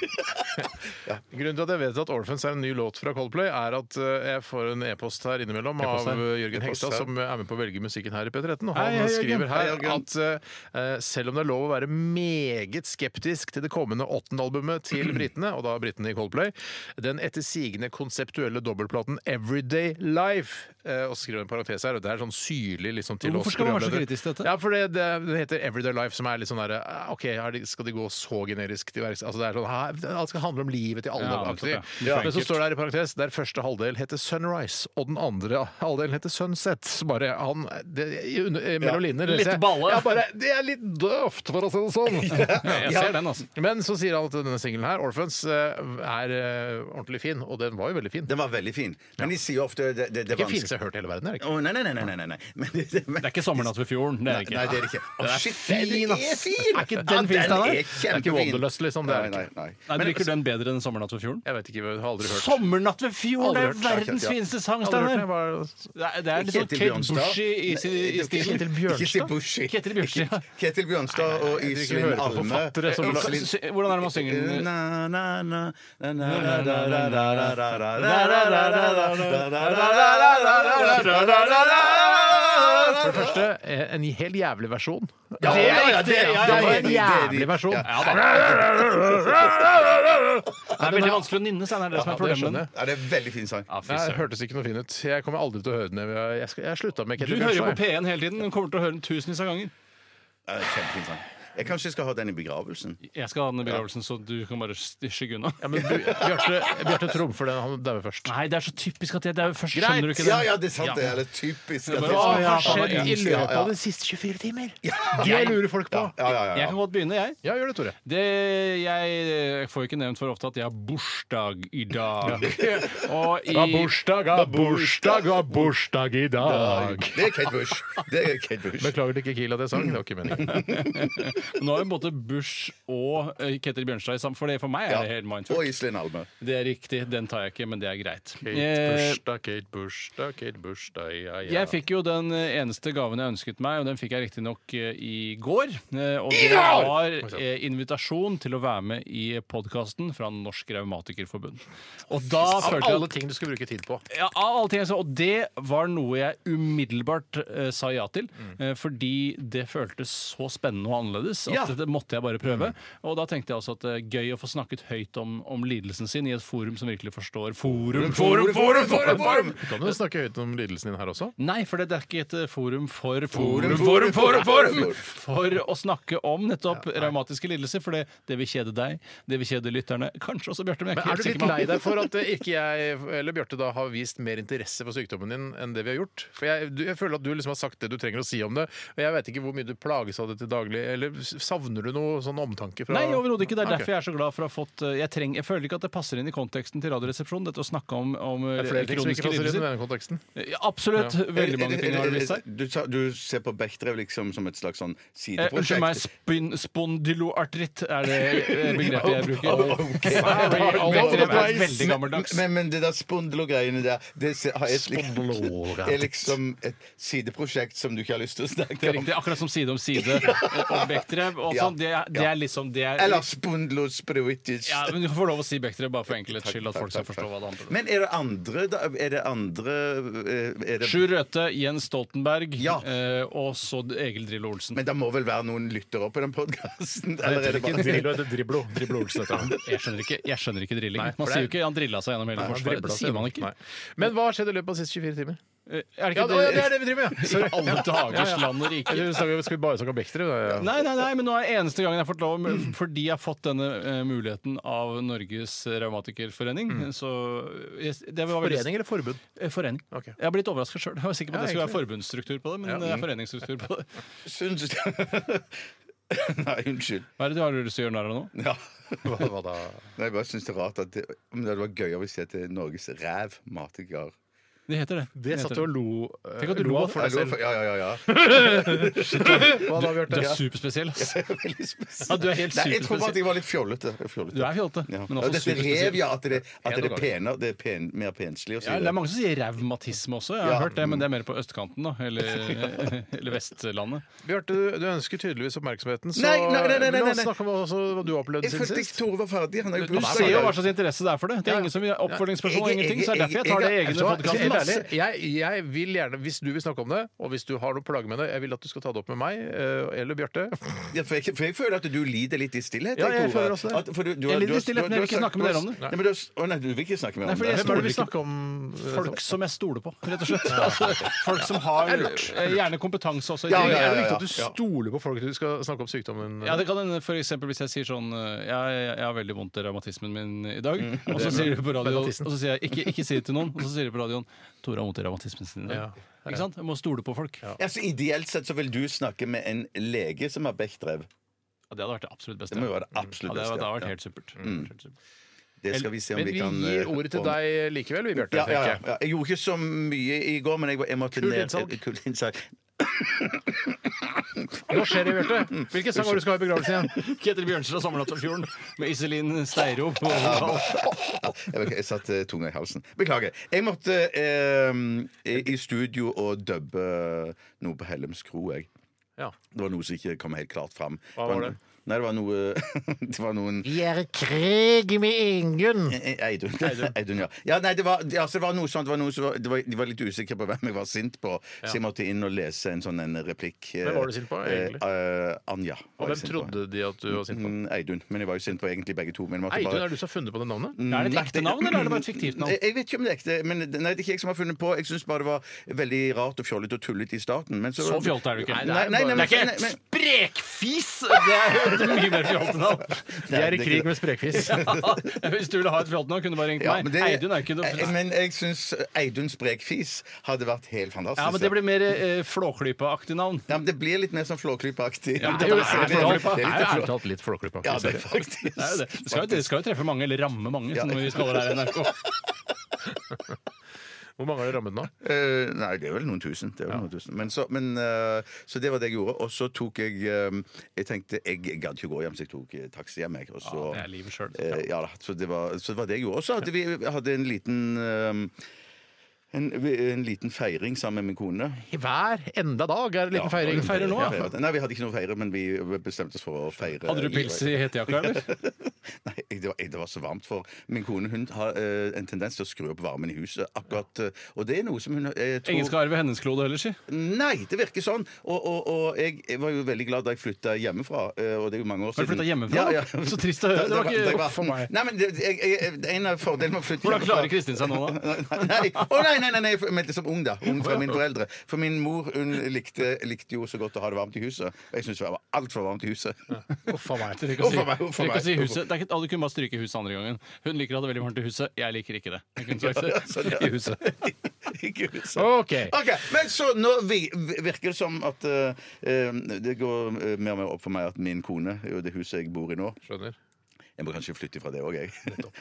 Speaker 6: Grunnen til at jeg vet at Orphans er en ny låt fra Coldplay, er at eh, jeg får en e-post her innimellom
Speaker 7: E-post
Speaker 6: av
Speaker 7: her.
Speaker 6: eh, Jørgen
Speaker 4: E-post
Speaker 6: Hegstad,
Speaker 4: her.
Speaker 6: som er med på å velge musikken her i P13. Og
Speaker 7: Hei,
Speaker 6: han
Speaker 7: hei, Jørgen.
Speaker 6: skriver
Speaker 4: Hei,
Speaker 6: her
Speaker 4: Jørgen.
Speaker 6: at eh, selv om det er lov å være meget skeptisk til det kommende åttende albumet til britene, og da britene i Coldplay, den etter sigende konseptuelle dobbeltplaten Everyday Life eh, Og så skriver han en parentes her, og det er sånn syrlig liksom til
Speaker 7: Hvorfor
Speaker 6: oss
Speaker 7: skal man være så
Speaker 6: programledere.
Speaker 7: kritisk til dette?
Speaker 6: Ja, for det, det, det heter Everyday Life, som er litt sånn derre eh, OK, er de, skal de gå så generisk til verks? Altså, det er sånn, hæ, alt skal handle om livet til alle.
Speaker 7: Ja,
Speaker 6: aktig.
Speaker 7: nettopp,
Speaker 4: ja.
Speaker 6: Men så står det her i parentes der første halvdel heter Sunrise, og den andre halvdelen heter Sunset. Så bare han det, i under- eh, Mellom linjer
Speaker 7: litt
Speaker 6: leser jeg-
Speaker 7: balle.
Speaker 6: Ja, bare, det er litt døvt, for å si det sånn.
Speaker 7: Jeg ser den, altså.
Speaker 6: Men så sier han at denne singelen her, Orphans, eh, er eh, ordentlig fin. Og den var jo veldig fin.
Speaker 4: Den var veldig fin. Men de sier jo ofte det, det, det er
Speaker 6: Ikke
Speaker 4: vanskelig
Speaker 6: fineste jeg har hørt i hele verden. Er det ikke?
Speaker 4: Å, nei, nei, nei, nei, nei, nei, nei. Men det, det, men,
Speaker 7: Det er ikke 'Sommernatt ved fjorden'. Det er det ikke.
Speaker 4: Nei, det er det ikke. Å,
Speaker 6: Den er
Speaker 4: shit,
Speaker 6: fin,
Speaker 4: den er
Speaker 6: ass.
Speaker 4: fin!
Speaker 6: Er ikke den fin, Steinar?
Speaker 4: er
Speaker 6: Det er ikke
Speaker 4: kjempefin.
Speaker 6: Wanderlust, liksom, det er det
Speaker 4: Nei,
Speaker 6: ikke.
Speaker 4: nei, nei.
Speaker 7: Nei, Drikker du den bedre enn 'Sommernatt ved fjorden'?
Speaker 6: Jeg vet ikke, jeg har aldri hørt.
Speaker 7: Sommernatt ved fjorden!
Speaker 6: Aldri hørt,
Speaker 7: Det er
Speaker 4: takk,
Speaker 7: verdens
Speaker 4: ja.
Speaker 7: fineste sang,
Speaker 6: Aldri hørt den, jeg
Speaker 7: Steinar!
Speaker 6: bare-
Speaker 7: Det er- det er litt sånn
Speaker 4: Kjetil
Speaker 7: Kate
Speaker 4: Bjørnstad.
Speaker 7: Bushi i, i, i stilen.
Speaker 6: Kjetil
Speaker 4: Ikke si
Speaker 6: Bjørnstad?
Speaker 4: Bushi.
Speaker 7: Kjetil Bjørnstad, ja.
Speaker 4: Kjetil Bjørnstad og
Speaker 6: jeg vil ikke
Speaker 4: Iselin
Speaker 6: høre på
Speaker 4: Alme.
Speaker 6: forfattere som-
Speaker 4: Iselin-
Speaker 7: Sy- Hvordan er det man synger den?
Speaker 4: Na, na, na, na, na, na, na, na, na, na, na, na, na,
Speaker 6: For det
Speaker 4: na, na, na.
Speaker 6: første, eh, en helt jævlig versjon.
Speaker 4: Ja, ja,
Speaker 6: Det er
Speaker 4: ja,
Speaker 6: riktig,
Speaker 4: det er- ja,
Speaker 6: det
Speaker 4: ja,
Speaker 6: var
Speaker 4: det er de-
Speaker 6: en
Speaker 4: det er de.
Speaker 6: jævlig versjon.
Speaker 7: Det er veldig vanskelig å nynne, Steinar. Det er det som
Speaker 6: Ja,
Speaker 7: er
Speaker 6: det
Speaker 7: problemet. med
Speaker 6: skjønner
Speaker 7: den.
Speaker 6: jeg.
Speaker 4: Ja, det er en veldig fin sang.
Speaker 7: Ja, fy
Speaker 6: Nei, Det
Speaker 7: søren.
Speaker 6: hørtes ikke noe fin ut. Jeg kommer aldri til å høre den. Jeg, jeg, skal- jeg slutta med
Speaker 7: Du
Speaker 6: Ketil
Speaker 7: hører jo på
Speaker 6: Bjørnstad. jeg.
Speaker 7: P1 hele tiden. Du kommer til å høre den tusenvis av ganger.
Speaker 4: Ja, det er en Kjempefin sang. Jeg kanskje skal ha den i begravelsen.
Speaker 7: Jeg skal ha den i begravelsen, så du kan bare skygge unna.
Speaker 6: Ja, men du- Bjarte Bjarte trumfer den. Han dauer først.
Speaker 7: Nei, det er så typisk at jeg dauer først.
Speaker 6: Greit.
Speaker 7: Skjønner du ikke det?
Speaker 4: Ja, ja, det er sant. Det er litt typisk. at det er sånn.
Speaker 7: Hva har
Speaker 4: Ja,
Speaker 7: skjedd
Speaker 4: ja,
Speaker 7: i
Speaker 4: ja, ja.
Speaker 6: de siste 24 timer? Det lurer folk på.
Speaker 4: Ja, ja, ja,
Speaker 7: Jeg
Speaker 4: ja.
Speaker 7: kan godt begynne, jeg.
Speaker 6: Ja, gjør det, Tore.
Speaker 7: Det, jeg får jo ikke nevnt for ofte at jeg har bursdag i dag. Og i
Speaker 6: bursdag, har bursdag, har bursdag i dag.
Speaker 4: Det er Kate Bush. Det er Kate Bush.
Speaker 6: Beklager til Kikil at jeg sang. Det var ikke meningen.
Speaker 7: Nå har jo både Bush og eh, Ketil Bjørnstad sammen, for det for meg er det helt mindfuck.
Speaker 4: Og Iselin Alme.
Speaker 7: Det er riktig, den tar jeg ikke, men det er greit.
Speaker 6: Kate
Speaker 7: Eh,
Speaker 6: bursdag, Kate bursdag, Kate bursdag, ja, ja.
Speaker 7: Jeg fikk jo den eh, eneste gaven jeg ønsket meg, og den fikk jeg riktignok i går. eh, Og det
Speaker 6: går!
Speaker 7: var eh, invitasjon til å være med i podkasten fra Norsk Revmatikerforbund. Og da
Speaker 6: Av
Speaker 7: følte jeg
Speaker 6: alle ting du skal bruke tid på.
Speaker 7: ja, av alle ting jeg sa, og det var noe jeg umiddelbart eh, sa ja til. eh, fordi det føltes så spennende og annerledes at
Speaker 6: Ja.
Speaker 7: det måtte jeg bare prøve. Og da tenkte jeg også at det er gøy å få snakket høyt om, om lidelsen sin i et forum som virkelig forstår forum.
Speaker 6: Forum, forum, forum, forum! Kan du snakke høyt om lidelsen din her også?
Speaker 7: Nei, for det er ikke et eh, forum for
Speaker 4: Forum, forum,
Speaker 7: forum,
Speaker 4: forum, forum!
Speaker 7: for å snakke om nettopp raumatiske lidelser. For det, det vil kjede deg, det vil kjede lytterne, kanskje også Bjarte. Men jeg
Speaker 6: Men
Speaker 7: er ikke
Speaker 6: er du
Speaker 7: helt
Speaker 6: litt
Speaker 7: sikker
Speaker 6: lei
Speaker 7: på
Speaker 6: deg for at eh, ikke jeg eller Bjarte da har vist mer interesse for sykdommen din enn det vi har gjort? For jeg, du- jeg føler at du liksom har sagt det du trenger å si om det, og jeg vet ikke hvor mye du plages av det til daglig. Eller s- savner du noe sånn omtanke fra Ah,
Speaker 7: Nei, overhodet ikke. Det er
Speaker 6: Ok.
Speaker 7: derfor jeg er så glad for å ha fått eh, jeg, treng, jeg føler ikke at det passer inn i konteksten til Radioresepsjonen, dette å snakke om, om
Speaker 6: Det
Speaker 7: eh,
Speaker 6: er flere ting som ikke
Speaker 7: kroniske
Speaker 6: passer inn i
Speaker 7: lidelser.
Speaker 6: denne konteksten.
Speaker 7: Ja, absolutt. Veldig mange ting har det vist seg.
Speaker 4: Du, tar- du ser på Bechdrev liksom som et slags sånn
Speaker 7: Eh, Unnskyld meg,
Speaker 4: sideprosjekt.
Speaker 7: spin, spondyloartritt er det eh, begrepet jeg bruker.
Speaker 4: Okay.
Speaker 7: Sorry, all over the
Speaker 6: Bechdrev er
Speaker 7: place. veldig gammeldags.
Speaker 4: Men, men det der spondylogreiene der Det ser- har jeg litt-
Speaker 6: Spondylogreit.
Speaker 4: er liksom et sideprosjekt som du ikke har lyst til å
Speaker 7: Det
Speaker 4: snakke
Speaker 7: er
Speaker 4: om.
Speaker 7: riktig, Akkurat som Side om side. eh, Objekt Bechdrev og
Speaker 4: Ja.
Speaker 7: sånn, det, er- det er liksom det er,
Speaker 4: Eller Spundlo Spruitis.
Speaker 7: ja, men Du får lov å si Bechdrev bare for enkelhets skyld, at
Speaker 4: Takk,
Speaker 7: folk skal
Speaker 4: takk,
Speaker 7: forstå
Speaker 4: takk.
Speaker 7: hva det handler om.
Speaker 4: Men er det andre da- Er det andre eh, er det,
Speaker 7: Sjur Røthe, Jens Stoltenberg
Speaker 4: Ja.
Speaker 7: eh, og så Egil Drillo Olsen.
Speaker 4: Men det må vel være noen lyttere på den podkasten?
Speaker 6: Det er ikke Drillo, det er Driblo. Driblo Olsen heter han.
Speaker 7: Jeg skjønner ikke, jeg skjønner ikke drilling.
Speaker 6: Nei, for
Speaker 7: man
Speaker 6: det
Speaker 7: sier
Speaker 6: er-
Speaker 7: jo ikke 'han drilla seg gjennom hele
Speaker 6: Han
Speaker 7: forsvaret'.
Speaker 6: driblet
Speaker 7: Det
Speaker 6: seg
Speaker 7: sier man
Speaker 6: gjennom.
Speaker 7: ikke.
Speaker 6: Nei. Men hva har skjedd i løpet av de siste 24 timer?
Speaker 7: Eh, Er det
Speaker 6: Ja, det,
Speaker 7: ikke det,
Speaker 6: ja, det er det vi driver med, ja!
Speaker 7: I alle dagers land og rike.
Speaker 6: Eller snakker vi- Skal vi bare snakke om Bechdrev? da? Ja.
Speaker 7: Nei, nei, nei, men nå er det eneste gangen jeg har fått lov Fordi jeg har fått denne eh, muligheten av Norges Revmatikerforening. Så jeg, det var veldig-
Speaker 6: Mm. Forening eller forbud?
Speaker 7: Eh, Forening.
Speaker 6: Ok.
Speaker 7: Jeg har blitt overraska sjøl. Jeg var sikker på
Speaker 6: Ja,
Speaker 7: at det skulle være
Speaker 6: egentlig.
Speaker 7: forbundsstruktur på det, men
Speaker 6: Ja.
Speaker 7: det er foreningsstruktur på det.
Speaker 4: Syns Nei, unnskyld.
Speaker 7: Hva er det du har lyst til å gjøre narr av nå?
Speaker 4: Ja.
Speaker 6: Hva, hva da?
Speaker 4: Nei, jeg bare syns det er rart at det, om det hadde vært gøyere hvis det het Norges rævmatiker.
Speaker 7: Det heter det.
Speaker 6: Det satt du og lo
Speaker 7: Tenk at du lo av
Speaker 6: for deg
Speaker 4: Hallo,
Speaker 6: selv.
Speaker 4: for- Ja, ja, ja. ja.
Speaker 6: Hva da,
Speaker 7: Du
Speaker 6: Bjarte?
Speaker 7: er superspesiell, ass.
Speaker 4: Veldig spesielt.
Speaker 7: Ja, du er helt
Speaker 4: Nei, jeg tror bare at
Speaker 7: superspesiell.
Speaker 4: jeg var litt fjollete. Jeg er fjollete.
Speaker 7: Du er fjollete,
Speaker 4: Ja. Ja,
Speaker 7: men også
Speaker 4: dette er rev,
Speaker 7: superspesiell.
Speaker 4: ja. At det, at det
Speaker 6: Pen og
Speaker 4: er penere. Det er pen, mer penslig å si
Speaker 7: Ja, det
Speaker 4: det.
Speaker 7: er mange som sier revmatisme også, jeg har
Speaker 4: Ja.
Speaker 7: hørt det, men det er mer på østkanten, da. Eller, eller Vestlandet.
Speaker 6: Bjarte, du, du ønsker tydeligvis oppmerksomheten, så
Speaker 4: Nei, nei, nei, nei, nei,
Speaker 6: la oss
Speaker 4: nei.
Speaker 6: snakke om hva, også, hva du har opplevd
Speaker 4: Jeg
Speaker 6: siden
Speaker 4: følte ikke
Speaker 6: sist.
Speaker 4: Tore var ferdig. Han er jo
Speaker 7: Du ser jo hva
Speaker 4: bursdag.
Speaker 7: slags interesse det er for det. Det er ingen som vil ha oppfølgingsspørsmål og
Speaker 4: Jeg- jeg-
Speaker 7: ingenting, så det er derfor jeg tar det
Speaker 4: jeg-
Speaker 7: i
Speaker 4: jeg-
Speaker 7: egne
Speaker 4: jeg-
Speaker 6: Skal jeg
Speaker 7: podkasten.
Speaker 6: være
Speaker 7: ass.
Speaker 6: helt ærlig, jeg, jeg vil gjerne, Hvis du vil snakke om det, og hvis du har noe plage med det, jeg vil at du skal ta det opp med meg eh, eller Bjarte.
Speaker 4: Ja, for, jeg, for jeg føler at du lider litt i stillhet.
Speaker 6: Ja, jeg
Speaker 4: Tore.
Speaker 6: føler også det.
Speaker 4: At- for du- du
Speaker 7: Jeg
Speaker 4: har-
Speaker 7: lider
Speaker 4: du har-
Speaker 7: i stillhet,
Speaker 4: du
Speaker 7: men jeg
Speaker 4: har
Speaker 7: vil ikke
Speaker 4: sagt-
Speaker 7: snakke med
Speaker 4: du har-
Speaker 7: dere om det.
Speaker 4: Nei, men du har- Å nei, du vil ikke snakke med
Speaker 7: Nei,
Speaker 4: om
Speaker 7: fordi
Speaker 4: det.
Speaker 7: jeg
Speaker 6: Hvem er det vi
Speaker 7: stoler ikke-
Speaker 6: snakker om? eh,
Speaker 7: Folk som jeg stoler på, rett og slett. Altså, folk som har
Speaker 6: Det er lurt.
Speaker 7: eh, gjerne kompetanse også. i
Speaker 4: Ja,
Speaker 6: Er
Speaker 7: tillegg.
Speaker 6: det
Speaker 4: ja, ja,
Speaker 6: viktig at du
Speaker 4: ja.
Speaker 6: stoler på folk når du skal snakke om sykdommen?
Speaker 7: Ja, det kan hende for eksempel hvis jeg sier sånn eh, Jeg, jeg har veldig vondt i revmatismen min i dag. Og så sier du på radioen
Speaker 6: Revmatisen.
Speaker 7: Og så sier jeg ikke, ikke si det til noen. Og så sier du på radioen Tore har vondt i revmatismen sin i
Speaker 6: Ja.
Speaker 7: dag. Ikke sant? Jeg må stole på folk. Ja,
Speaker 4: Altså, Ideelt sett så vil du snakke med en lege som har Bechdrev.
Speaker 7: Det hadde vært det absolutt beste.
Speaker 4: Det må jo
Speaker 7: Ja,
Speaker 4: være det absolutt
Speaker 7: det hadde
Speaker 4: beste.
Speaker 7: det hadde vært
Speaker 4: ja. Mm.
Speaker 7: helt supert. Helt supert.
Speaker 4: Det skal vi se om
Speaker 6: Men
Speaker 4: vi
Speaker 6: vi
Speaker 4: kan
Speaker 6: gir
Speaker 4: eh,
Speaker 6: ordet til
Speaker 4: ordne.
Speaker 6: deg likevel, vi, Bjarte.
Speaker 4: Ja, ja, ja,
Speaker 6: tenker jeg.
Speaker 4: ja. Jeg gjorde ikke så mye i går, men jeg, var- jeg måtte
Speaker 6: Kult
Speaker 4: ned
Speaker 6: innsalg.
Speaker 4: Kult innsalg.
Speaker 6: Hva skjer det, Bjarte? Hvilken sang var det du skal ha i begravelsen igjen?
Speaker 7: Ketil Bjørnstad 'Sommernattafjorden' med Iselin Steiro på
Speaker 4: Jeg, vet ikke, jeg satte eh, tunga i halsen. Beklager. Jeg måtte eh, i i studio og dubbe noe på Hellems kro, jeg.
Speaker 6: Ja.
Speaker 4: Det var noe som ikke kom helt klart fram.
Speaker 6: Hva var det?
Speaker 4: Nei, det var noe Det var noen
Speaker 6: Vi er i krig med ingen.
Speaker 4: Eh, Eidun. Eidun, ja. ja nei, det var, det- altså, det var noe sånt, det var noe som var, det var, De var litt usikre på hvem jeg var sint på, så jeg måtte inn og lese en sånn en replikk. eh,
Speaker 6: Hvem var du sint på, egentlig?
Speaker 4: Eh, eh, Anja. var jeg
Speaker 6: Og hvem
Speaker 4: sint på.
Speaker 6: trodde de at du var sint på?
Speaker 4: Mm, Eidun. Men jeg var jo sint på egentlig begge to. Men jeg måtte
Speaker 6: Eidun,
Speaker 4: bare-
Speaker 6: er Mm, det du som har funnet på det navnet?
Speaker 7: Er det et ekte navn, eller er det bare et fiktivt navn?
Speaker 4: Jeg, jeg vet ikke om det er ekte, men det- nei, det er ikke jeg som har funnet på. Jeg syns bare det var veldig rart og fjollete og tullete i starten. Men så,
Speaker 7: Så fjolte er du ikke.
Speaker 4: Nei, nei, nei, nei,
Speaker 7: det er
Speaker 4: nei,
Speaker 7: ikke
Speaker 4: men-
Speaker 7: sprekfis! Det er jo et mye mer fjolte navn.
Speaker 6: Vi er i
Speaker 4: det er
Speaker 6: krig
Speaker 4: ikke
Speaker 6: med sprekfis.
Speaker 7: Ja, Hvis du ville ha et fjolte navn, kunne du bare ringt
Speaker 4: Ja,
Speaker 7: meg.
Speaker 4: men det-
Speaker 7: Eidun er ikke
Speaker 4: Eh,
Speaker 7: noe
Speaker 4: Men jeg syns Eidun Sprekfis hadde vært helt fantastisk.
Speaker 7: Ja, men det blir mer eh, Flåklypa-aktig navn.
Speaker 4: Ja, men det blir litt mer sånn Flåklypa-aktig.
Speaker 7: Ja, men
Speaker 6: Det er
Speaker 7: det
Speaker 6: jo
Speaker 7: er litt flåklypa.
Speaker 4: Det er litt
Speaker 6: ærlig
Speaker 4: flå-
Speaker 6: talt litt flåklypa.
Speaker 4: Ja, det er faktisk.
Speaker 7: Det er jo det. Det skal jo, det skal jo treffe mange, eller ramme mange, som vi kaller det her i NRK.
Speaker 6: Hvor mange har du rammet nå?
Speaker 4: Eh, nei, det er vel noen tusen. Det er vel noen tusen. Men så, men, eh, så det var det jeg gjorde. Og så tok jeg eh, Jeg tenkte jeg gadd ikke gå hjem, så jeg tok eh, taxi hjem. Jeg, og så,
Speaker 7: det er livet selv.
Speaker 4: Eh, ja da, så det, var, så det var det jeg gjorde. Og så hadde vi hadde en liten eh, en, en liten feiring sammen med min kone.
Speaker 6: Hver enda dag er det en liten feiring.
Speaker 4: og-
Speaker 7: Feirer nå, ja.
Speaker 4: Ja, Nei, vi hadde ikke noe feire, men vi bestemte oss for å feire.
Speaker 7: Hadde du pils i hetejakka, eller?
Speaker 4: Nei, jeg- det var, jeg- det var så varmt for Min kone hun har eh, en tendens til å skru opp varmen i huset. akkurat eh, Og det er noe som hun eh, tror
Speaker 7: Ingen skal arve hennes klode heller, si.
Speaker 4: Nei, det virker sånn. Og, og, og jeg, jeg var jo veldig glad da jeg flytta hjemmefra. eh, Og det er jo mange år
Speaker 7: Har
Speaker 4: siden.
Speaker 7: du flyttet hjemmefra?
Speaker 4: Ja, ja.
Speaker 7: Så trist å høre. Det var ikke-
Speaker 4: det var-
Speaker 7: for meg.
Speaker 4: Nei, men det, jeg, jeg, En av fordelene med å flytte
Speaker 7: Hvordan
Speaker 4: hjemmefra
Speaker 7: klarer Kristin seg nå, da?
Speaker 4: Nei, Å, nei, nei, nei, nei, jeg meldte som ung, da. Ung fra mine foreldre. For min mor hun likte, likte jo så godt å ha det varmt i huset. Og jeg syns det var altfor varmt i huset.
Speaker 6: Uff a meg.
Speaker 7: Trenger ikke å si-
Speaker 4: Uff a meg, uff a
Speaker 7: trenger ikke å si
Speaker 4: meg.
Speaker 7: huset. Det er ikke, ah, du kunne bare stryke huset andre gangen. Hun liker å ha det veldig varmt i huset, jeg liker ikke det. Jeg kunne sagt det.
Speaker 4: sånn, ja.
Speaker 7: I huset.
Speaker 4: Ikke huset.
Speaker 6: OK.
Speaker 4: Ok, Men så nå vi, virker det som at eh, eh, det går eh, mer og mer opp for meg at min kone eh, og det huset jeg bor i nå
Speaker 6: Skjønner.
Speaker 4: Jeg må kanskje flytte fra det òg, jeg.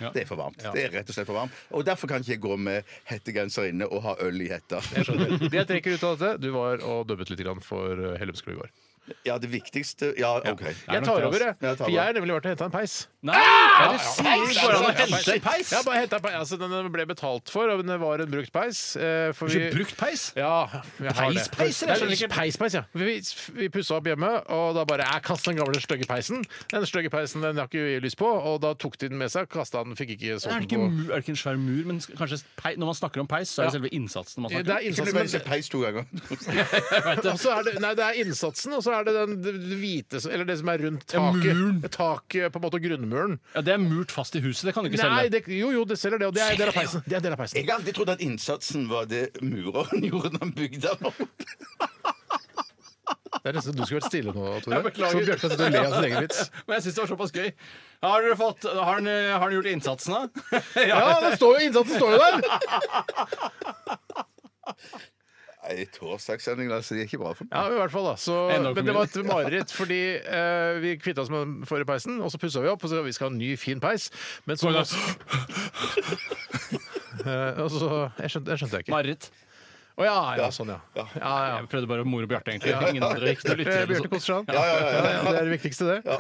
Speaker 7: Ja.
Speaker 4: Det er for varmt. Det er rett og slett for varmt. Og derfor kan ikke jeg gå med hettegenser inne og ha øl i hetta.
Speaker 6: Det jeg trekker ut av dette, du var og dubbet litt grann for Hellemskog eh, i går.
Speaker 4: Ja, det viktigste Ja, OK.
Speaker 6: Jeg
Speaker 7: nok
Speaker 6: tar
Speaker 7: det,
Speaker 6: over, jeg.
Speaker 4: Ja, jeg tar
Speaker 6: For jeg har nemlig vært og henta en peis.
Speaker 7: Nei!
Speaker 6: Ja, du
Speaker 7: Ah!
Speaker 6: sier det går an å hente en
Speaker 7: peis?
Speaker 6: Ja, bare henta peis. Altså, den ble betalt for, og den var en brukt peis. eh, For vi-
Speaker 7: Brukt peis?
Speaker 6: Ja, vi har det.
Speaker 7: Peispeis, rett og slett.
Speaker 6: Nei, ikke Peispeis, ja. Vi, vi pussa opp hjemme, og da bare Jeg kast den gamle stygge peisen. Den stygge peisen den har ikke vi lyst på, og da tok de den med seg. Kasta den, fikk ikke
Speaker 7: Er
Speaker 6: solgt
Speaker 7: det, ikke,
Speaker 6: den på
Speaker 7: mu- er det ikke en svær mur, men s- kanskje pei, når man snakker om peis, så er det
Speaker 6: Ja.
Speaker 7: selve innsatsen man
Speaker 6: Det
Speaker 7: snakker
Speaker 6: er
Speaker 7: om?
Speaker 4: Kunne du melde
Speaker 6: innsatsen,
Speaker 4: peis to ganger?
Speaker 6: men- og så er det, nei, det er innsatsen, og så er det den det hvite Eller det som er rundt
Speaker 7: Ja,
Speaker 6: taket.
Speaker 7: muren.
Speaker 6: taket på en måte grunnmuren.
Speaker 7: Ja, det er murt fast i huset, det kan du ikke
Speaker 6: Nei,
Speaker 7: selge.
Speaker 6: det, jo, jo, det selger det, og det er en del av peisen. Det er en del av peisen.
Speaker 4: Jeg har alltid trodd at innsatsen var det mureren gjorde når han bygde den opp.
Speaker 6: Det er nesten, du skulle vært stille nå, Tore.
Speaker 7: Jeg beklager.
Speaker 6: Så Bjarte sitter og ler av sin egen vits.
Speaker 7: Men jeg syns det var såpass gøy. Har dere fått Har han, eh, har han gjort innsatsen, da?
Speaker 6: Ja, det står jo, innsatsen står jo der!
Speaker 4: Nei, Torsdagssending, altså. Det er ikke bra for meg.
Speaker 6: Ja, i hvert fall da så,
Speaker 7: Enda for
Speaker 6: Men det
Speaker 7: mye.
Speaker 6: var et mareritt, fordi eh, vi kvitta oss med den forrige peisen, og så pussa vi opp, og så vi skal ha en ny, fin peis. Men så Eh, og så, jeg skjønte, jeg skjønte jeg ikke.
Speaker 7: Marit.
Speaker 6: Å ja, ja, sånn, ja. ja, ja.
Speaker 7: Jeg prøvde bare å more Bjarte, egentlig. Ingen andre ekte
Speaker 6: Eh,
Speaker 7: lyttere. eller
Speaker 6: Bjarte
Speaker 7: sånt.
Speaker 6: koser seg. Ja, ja, ja, Det er det viktigste, det. Hva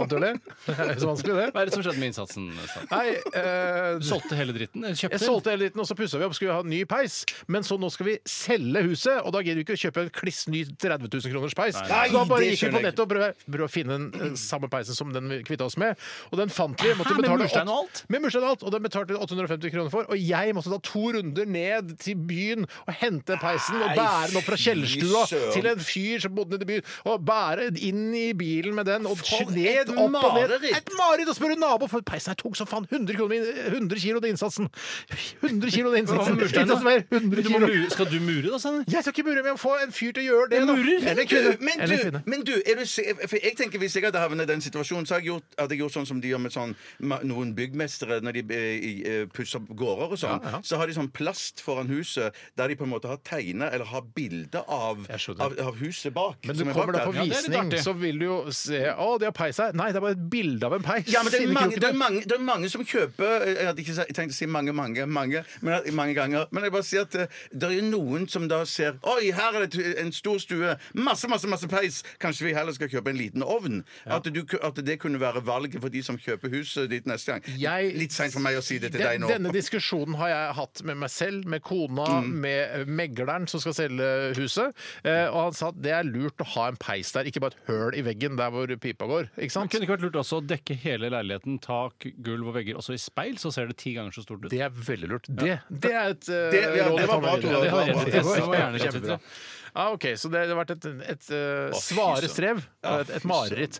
Speaker 6: annet gjør det? Det er ikke så vanskelig, det.
Speaker 7: Hva er det som skjedde med innsatsen? Sam?
Speaker 6: Nei, eh,
Speaker 7: Du solgte hele dritten? eller Kjøpte?
Speaker 6: Jeg solgte hele dritten, og så pussa vi opp. Skulle vi ha en ny peis. Men så nå skal vi selge huset, og da gidder vi ikke å kjøpe en kliss ny 30 000 kroners peis.
Speaker 4: nei.
Speaker 6: så da bare
Speaker 4: Nei, det
Speaker 6: gikk vi på
Speaker 4: skjønner jeg
Speaker 6: nettet og prøvde, prøvde å finne den eh, samme peisen som den vi kvitta oss med. Og den fant vi. Måtte
Speaker 7: Hæ, med
Speaker 6: betale
Speaker 7: murstein og
Speaker 6: åt-
Speaker 7: alt?
Speaker 6: Med murstein og alt. Og den betalte vi 850 kroner for. Og jeg måtte ta to runder ned til byen og hente peisen og bære den opp fra kjellerstua
Speaker 4: søren.
Speaker 6: til en fyr som bodde nede i byen, og bære inn i bilen med den og
Speaker 4: For et
Speaker 6: ned, opp og ned.
Speaker 4: mareritt!
Speaker 6: Et mareritt å spørre nabo, for peisen her tok som faen 100, kroner, i- 100 kilo til innsatsen. 100 kilo til
Speaker 7: Hva
Speaker 6: innsatsen.
Speaker 7: med murstein, da?
Speaker 6: Innsatsen mer, 100
Speaker 7: Du må
Speaker 6: kilo.
Speaker 7: mure, skal du mure, da, Sander?
Speaker 6: Jeg skal ikke mure, men jeg må få en fyr til å gjøre det.
Speaker 7: En
Speaker 6: da.
Speaker 7: murer?
Speaker 6: Eller
Speaker 4: Du,
Speaker 6: kvinne.
Speaker 4: men
Speaker 6: Eller
Speaker 4: du,
Speaker 6: kvinne.
Speaker 4: men du er du se, for jeg tenker Hvis jeg hadde havnet i den situasjonen, så hadde jeg gjort, hadde jeg gjort sånn som de gjør med sånn, ma- noen byggmestere når de eh, i, eh, pusser opp gårder og sånn. Så har de sånn plast foran huset der de på en måte har tegna eller har bilde av,
Speaker 6: Jeg skjønner.
Speaker 4: av, av huset bak.
Speaker 6: Men du
Speaker 4: som er
Speaker 6: kommer da
Speaker 4: bak
Speaker 6: på
Speaker 4: der.
Speaker 7: Ja, det er litt
Speaker 6: visning,
Speaker 7: artig.
Speaker 6: så vil du jo se Å, de har peis her. Nei, det er bare et bilde av en peis.
Speaker 4: Ja, men det er,
Speaker 6: Inni
Speaker 4: mange,
Speaker 6: kroken.
Speaker 4: det, er mange, det er mange som kjøper eh, Jeg hadde ikke sa- tenkt å si mange, mange, mange, men, at- mange ganger. Men jeg bare sier at eh, det er noen som da ser Oi, her er det et- en stor stue. Masse, masse masse peis. Kanskje vi heller skal kjøpe en liten ovn? At, du, ku- at det kunne være valget for de som kjøper huset ditt neste gang.
Speaker 6: Jeg-
Speaker 4: Litt seint for meg å si det til deg
Speaker 6: Den-
Speaker 4: nå.
Speaker 6: Denne diskusjonen har jeg hatt med meg selv, med kona,
Speaker 4: Mm.
Speaker 6: med eh, megleren som skal selge huset. Eh, og han sa at det er lurt å ha en peis der, ikke bare et høl i veggen der hvor pipa går. Ikke
Speaker 7: Det
Speaker 6: sant?
Speaker 7: kunne ikke vært lurt også å dekke hele leiligheten, tak, gulv og vegger, også i speil, så ser det ti ganger så stort ut.
Speaker 6: Det er veldig lurt. Det, det er et eh,
Speaker 4: Det- ja,
Speaker 6: råd
Speaker 4: det var
Speaker 6: jeg
Speaker 4: bra,
Speaker 6: tar med
Speaker 4: Tore.
Speaker 6: videre.
Speaker 4: Det var
Speaker 6: Ja,
Speaker 4: bra.
Speaker 6: det var-
Speaker 7: Det var gjerne
Speaker 6: det var
Speaker 7: kjempebra.
Speaker 6: kjempebra. Ja, Ah, OK. Så det, det har vært et, et, eh,
Speaker 4: fy
Speaker 6: svare
Speaker 4: søren.
Speaker 6: strev.
Speaker 4: Ja,
Speaker 6: et,
Speaker 4: fy
Speaker 6: et mareritt.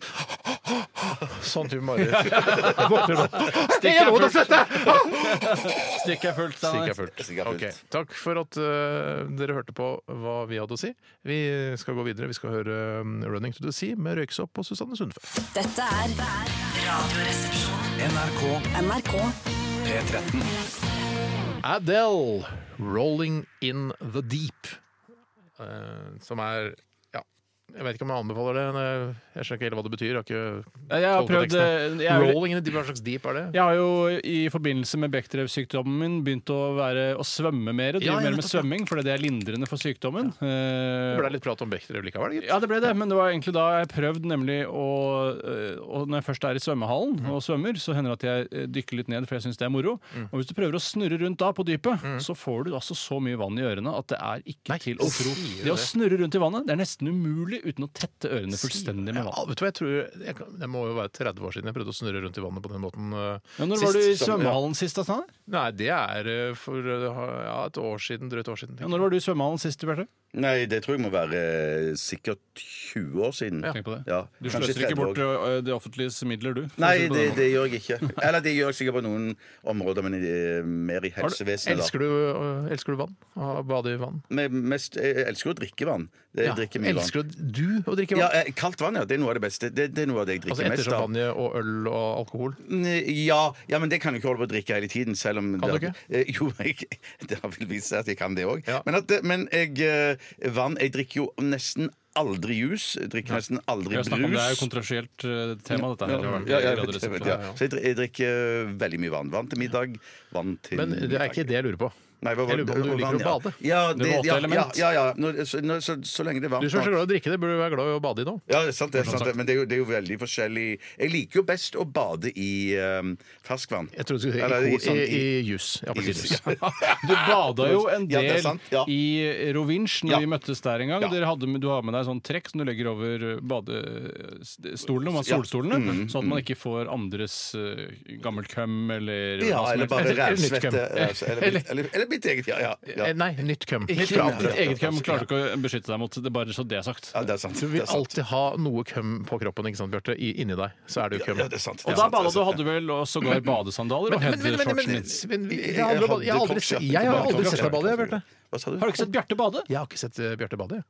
Speaker 6: Sånn type mareritt. Våkner opp.
Speaker 7: Stikk
Speaker 6: Jeg
Speaker 7: er
Speaker 6: må da
Speaker 7: fullt.
Speaker 6: svette!
Speaker 7: Stikk er fullt.
Speaker 6: Stikk
Speaker 7: Sander.
Speaker 6: er fullt.
Speaker 4: Stikk er fullt.
Speaker 6: Ok, Takk for at eh, dere hørte på hva vi hadde å si. Vi skal gå videre. Vi skal høre eh, 'Running to the Sea' med Røyksopp og Susanne Sundfø.
Speaker 1: Dette er Radioresepsjonen.
Speaker 3: NRK
Speaker 1: NRK
Speaker 3: P13.
Speaker 6: Adele, 'Rolling in the Deep', eh, som er ja, jeg vet ikke om jeg anbefaler det. men Jeg jeg skjønner ikke helt hva det betyr. Jeg har ikke
Speaker 7: Jeg har
Speaker 6: tolket
Speaker 7: prøvd
Speaker 6: teksten.
Speaker 7: eh, jeg er,
Speaker 6: Rolling in the deep, Hva slags deep er det?
Speaker 7: jeg har jo i forbindelse med Bechdrev-sykdommen min begynt å, være, å svømme mer. Drive
Speaker 6: Ja, ja,
Speaker 7: mer
Speaker 6: nettopp,
Speaker 7: med
Speaker 6: ja.
Speaker 7: svømming, fordi det er lindrende for sykdommen. Eh,
Speaker 6: Det ble litt prat om Bechdrev likevel, gitt.
Speaker 7: Ja, det ble det, men det var egentlig da jeg prøvde nemlig å øh, og Når jeg først er i svømmehallen
Speaker 4: Mm.
Speaker 7: og svømmer, så hender det at jeg øh, dykker litt ned, for jeg syns det er moro. Og hvis du prøver å snurre rundt da, på dypet,
Speaker 4: Mm.
Speaker 7: så får du altså så mye vann i ørene at det er ikke til å tro.
Speaker 6: sier du
Speaker 7: Det å
Speaker 6: det?
Speaker 7: snurre rundt i vannet, det er nesten umulig uten å tette ørene fullstendig med
Speaker 6: Ja,
Speaker 7: vann.
Speaker 6: vet du hva, jeg tror jeg, kan- Det må jo være 30 år siden jeg prøvde å snurre rundt i vannet på den måten. eh,
Speaker 7: Ja, når
Speaker 6: sist,
Speaker 7: var du i
Speaker 6: som- ja.
Speaker 7: svømmehallen sist, da? Sanne?
Speaker 6: Nei, det er eh, for eh, ja, et år siden, drøyt år siden.
Speaker 7: Ja, når var du i svømmehallen sist, Bjarte?
Speaker 4: Nei, det tror jeg må være eh, sikkert 20 år siden.
Speaker 7: Tenk på det.
Speaker 4: Ja,
Speaker 7: Du
Speaker 4: kanskje
Speaker 7: sløser ikke
Speaker 4: 30 år.
Speaker 7: bort øh, det offentliges midler, du. for å si
Speaker 4: Nei,
Speaker 7: det på
Speaker 4: det,
Speaker 7: den måten.
Speaker 4: det gjør jeg ikke. Eller det gjør jeg sikkert på noen områder, men i, eh, mer i helsevesenet. da.
Speaker 6: Elsker du, eh, elsker du vann? Å bade i vann?
Speaker 4: Men mest, jeg elsker jo å drikke vann. Det, jeg drikker mye vann.
Speaker 6: elsker du å drikke
Speaker 4: Ja,
Speaker 6: vann?
Speaker 4: eh, kaldt vann, ja. Det er noe av det beste. Det, det er noe av det jeg
Speaker 6: altså
Speaker 4: drikker
Speaker 6: etter
Speaker 4: mest av.
Speaker 6: champagne og øl og alkohol?
Speaker 4: Mm, Ja, ja, men det kan jeg ikke holde på å drikke hele tiden. Selv om
Speaker 6: Kan du
Speaker 4: det- Eh, Jo, jeg, det har vel vist seg at jeg kan det òg.
Speaker 6: Ja.
Speaker 4: Men, at det- men jeg, eh, vann Jeg drikker jo nesten aldri jus, drikker nesten aldri
Speaker 7: Vi har
Speaker 4: brus.
Speaker 7: snakket om det er jo kontroversielt eh, tema, dette her.
Speaker 4: Ja,
Speaker 7: Det
Speaker 4: ja,
Speaker 7: har vært
Speaker 4: jeg vet,
Speaker 7: i
Speaker 4: jeg
Speaker 7: Radioresepsjonen.
Speaker 4: vet, ja. Så jeg, dri- jeg drikker eh, veldig mye vann. Vann til middag, vann til
Speaker 6: Men det er ikke det jeg lurer
Speaker 4: Mm,
Speaker 6: på.
Speaker 4: Nei, hva var
Speaker 6: jeg lurer på om du
Speaker 4: det-
Speaker 6: liker å
Speaker 4: vann,
Speaker 6: bade.
Speaker 4: Ja, ja, det, ja,
Speaker 7: våte
Speaker 4: ja,
Speaker 7: element.
Speaker 4: ja, ja. Når, så, når, så, så lenge det er varmt.
Speaker 6: Du er så glad i å drikke det, burde du være glad i å bade i nå.
Speaker 4: Ja, det er sant, det er sant. Men det er, jo, det er jo veldig forskjellig Jeg liker jo best å bade i um, ferskvann.
Speaker 6: Jeg trodde du skulle
Speaker 4: Eller
Speaker 6: si i, ko-
Speaker 4: sånn-
Speaker 6: i, i, jus. I appelsinjus.
Speaker 4: jus, ja.
Speaker 7: Du bada jo en
Speaker 4: Ja, det er
Speaker 7: del
Speaker 4: sant, ja.
Speaker 7: i Rovinj når
Speaker 4: Ja.
Speaker 7: vi møttes der en gang.
Speaker 4: Ja.
Speaker 7: Dere hadde, med- du har med deg sånn trekk som du legger over eh, badestolene, om man-
Speaker 4: Ja. Mm.
Speaker 7: solstolene, sånn at man ikke får andres uh, gammelt køm eller
Speaker 4: Ja,
Speaker 7: hva som
Speaker 4: eller
Speaker 7: helst.
Speaker 4: bare
Speaker 6: Eller- eller
Speaker 4: rævsvette.
Speaker 6: nytt
Speaker 4: ja, så- Eller, mitt- eller, eller mitt eget, ja. ja,
Speaker 6: Eh,
Speaker 4: ja.
Speaker 6: Nei, nytt køm. Nytt
Speaker 7: Ikke
Speaker 6: køm.
Speaker 7: ditt eget køm klarer du ikke å beskytte deg mot. Det er bare så det er sagt.
Speaker 4: ja det er sant.
Speaker 6: Du
Speaker 4: det
Speaker 6: vil
Speaker 4: er sant.
Speaker 6: alltid ha noe køm på kroppen, ikke sant, Bjarte? I- Inni deg. Så er det jo køm.
Speaker 4: Ja, det er sant.
Speaker 7: Og
Speaker 4: det er
Speaker 7: da
Speaker 4: sant,
Speaker 7: bada
Speaker 4: det
Speaker 7: du,
Speaker 4: er sant,
Speaker 7: hadde vel og sågar badesandaler og
Speaker 6: Men- men- men- men-
Speaker 7: headshortsen din.
Speaker 6: men- men- det handler om- Jeg har aldri sett- jeg har aldri sett deg bade, jeg, Bjarte.
Speaker 4: Hva sa du?
Speaker 7: Har du ikke sett Bjarte bade?
Speaker 6: Jeg har ikke sett eh, Bjarte bade. jeg.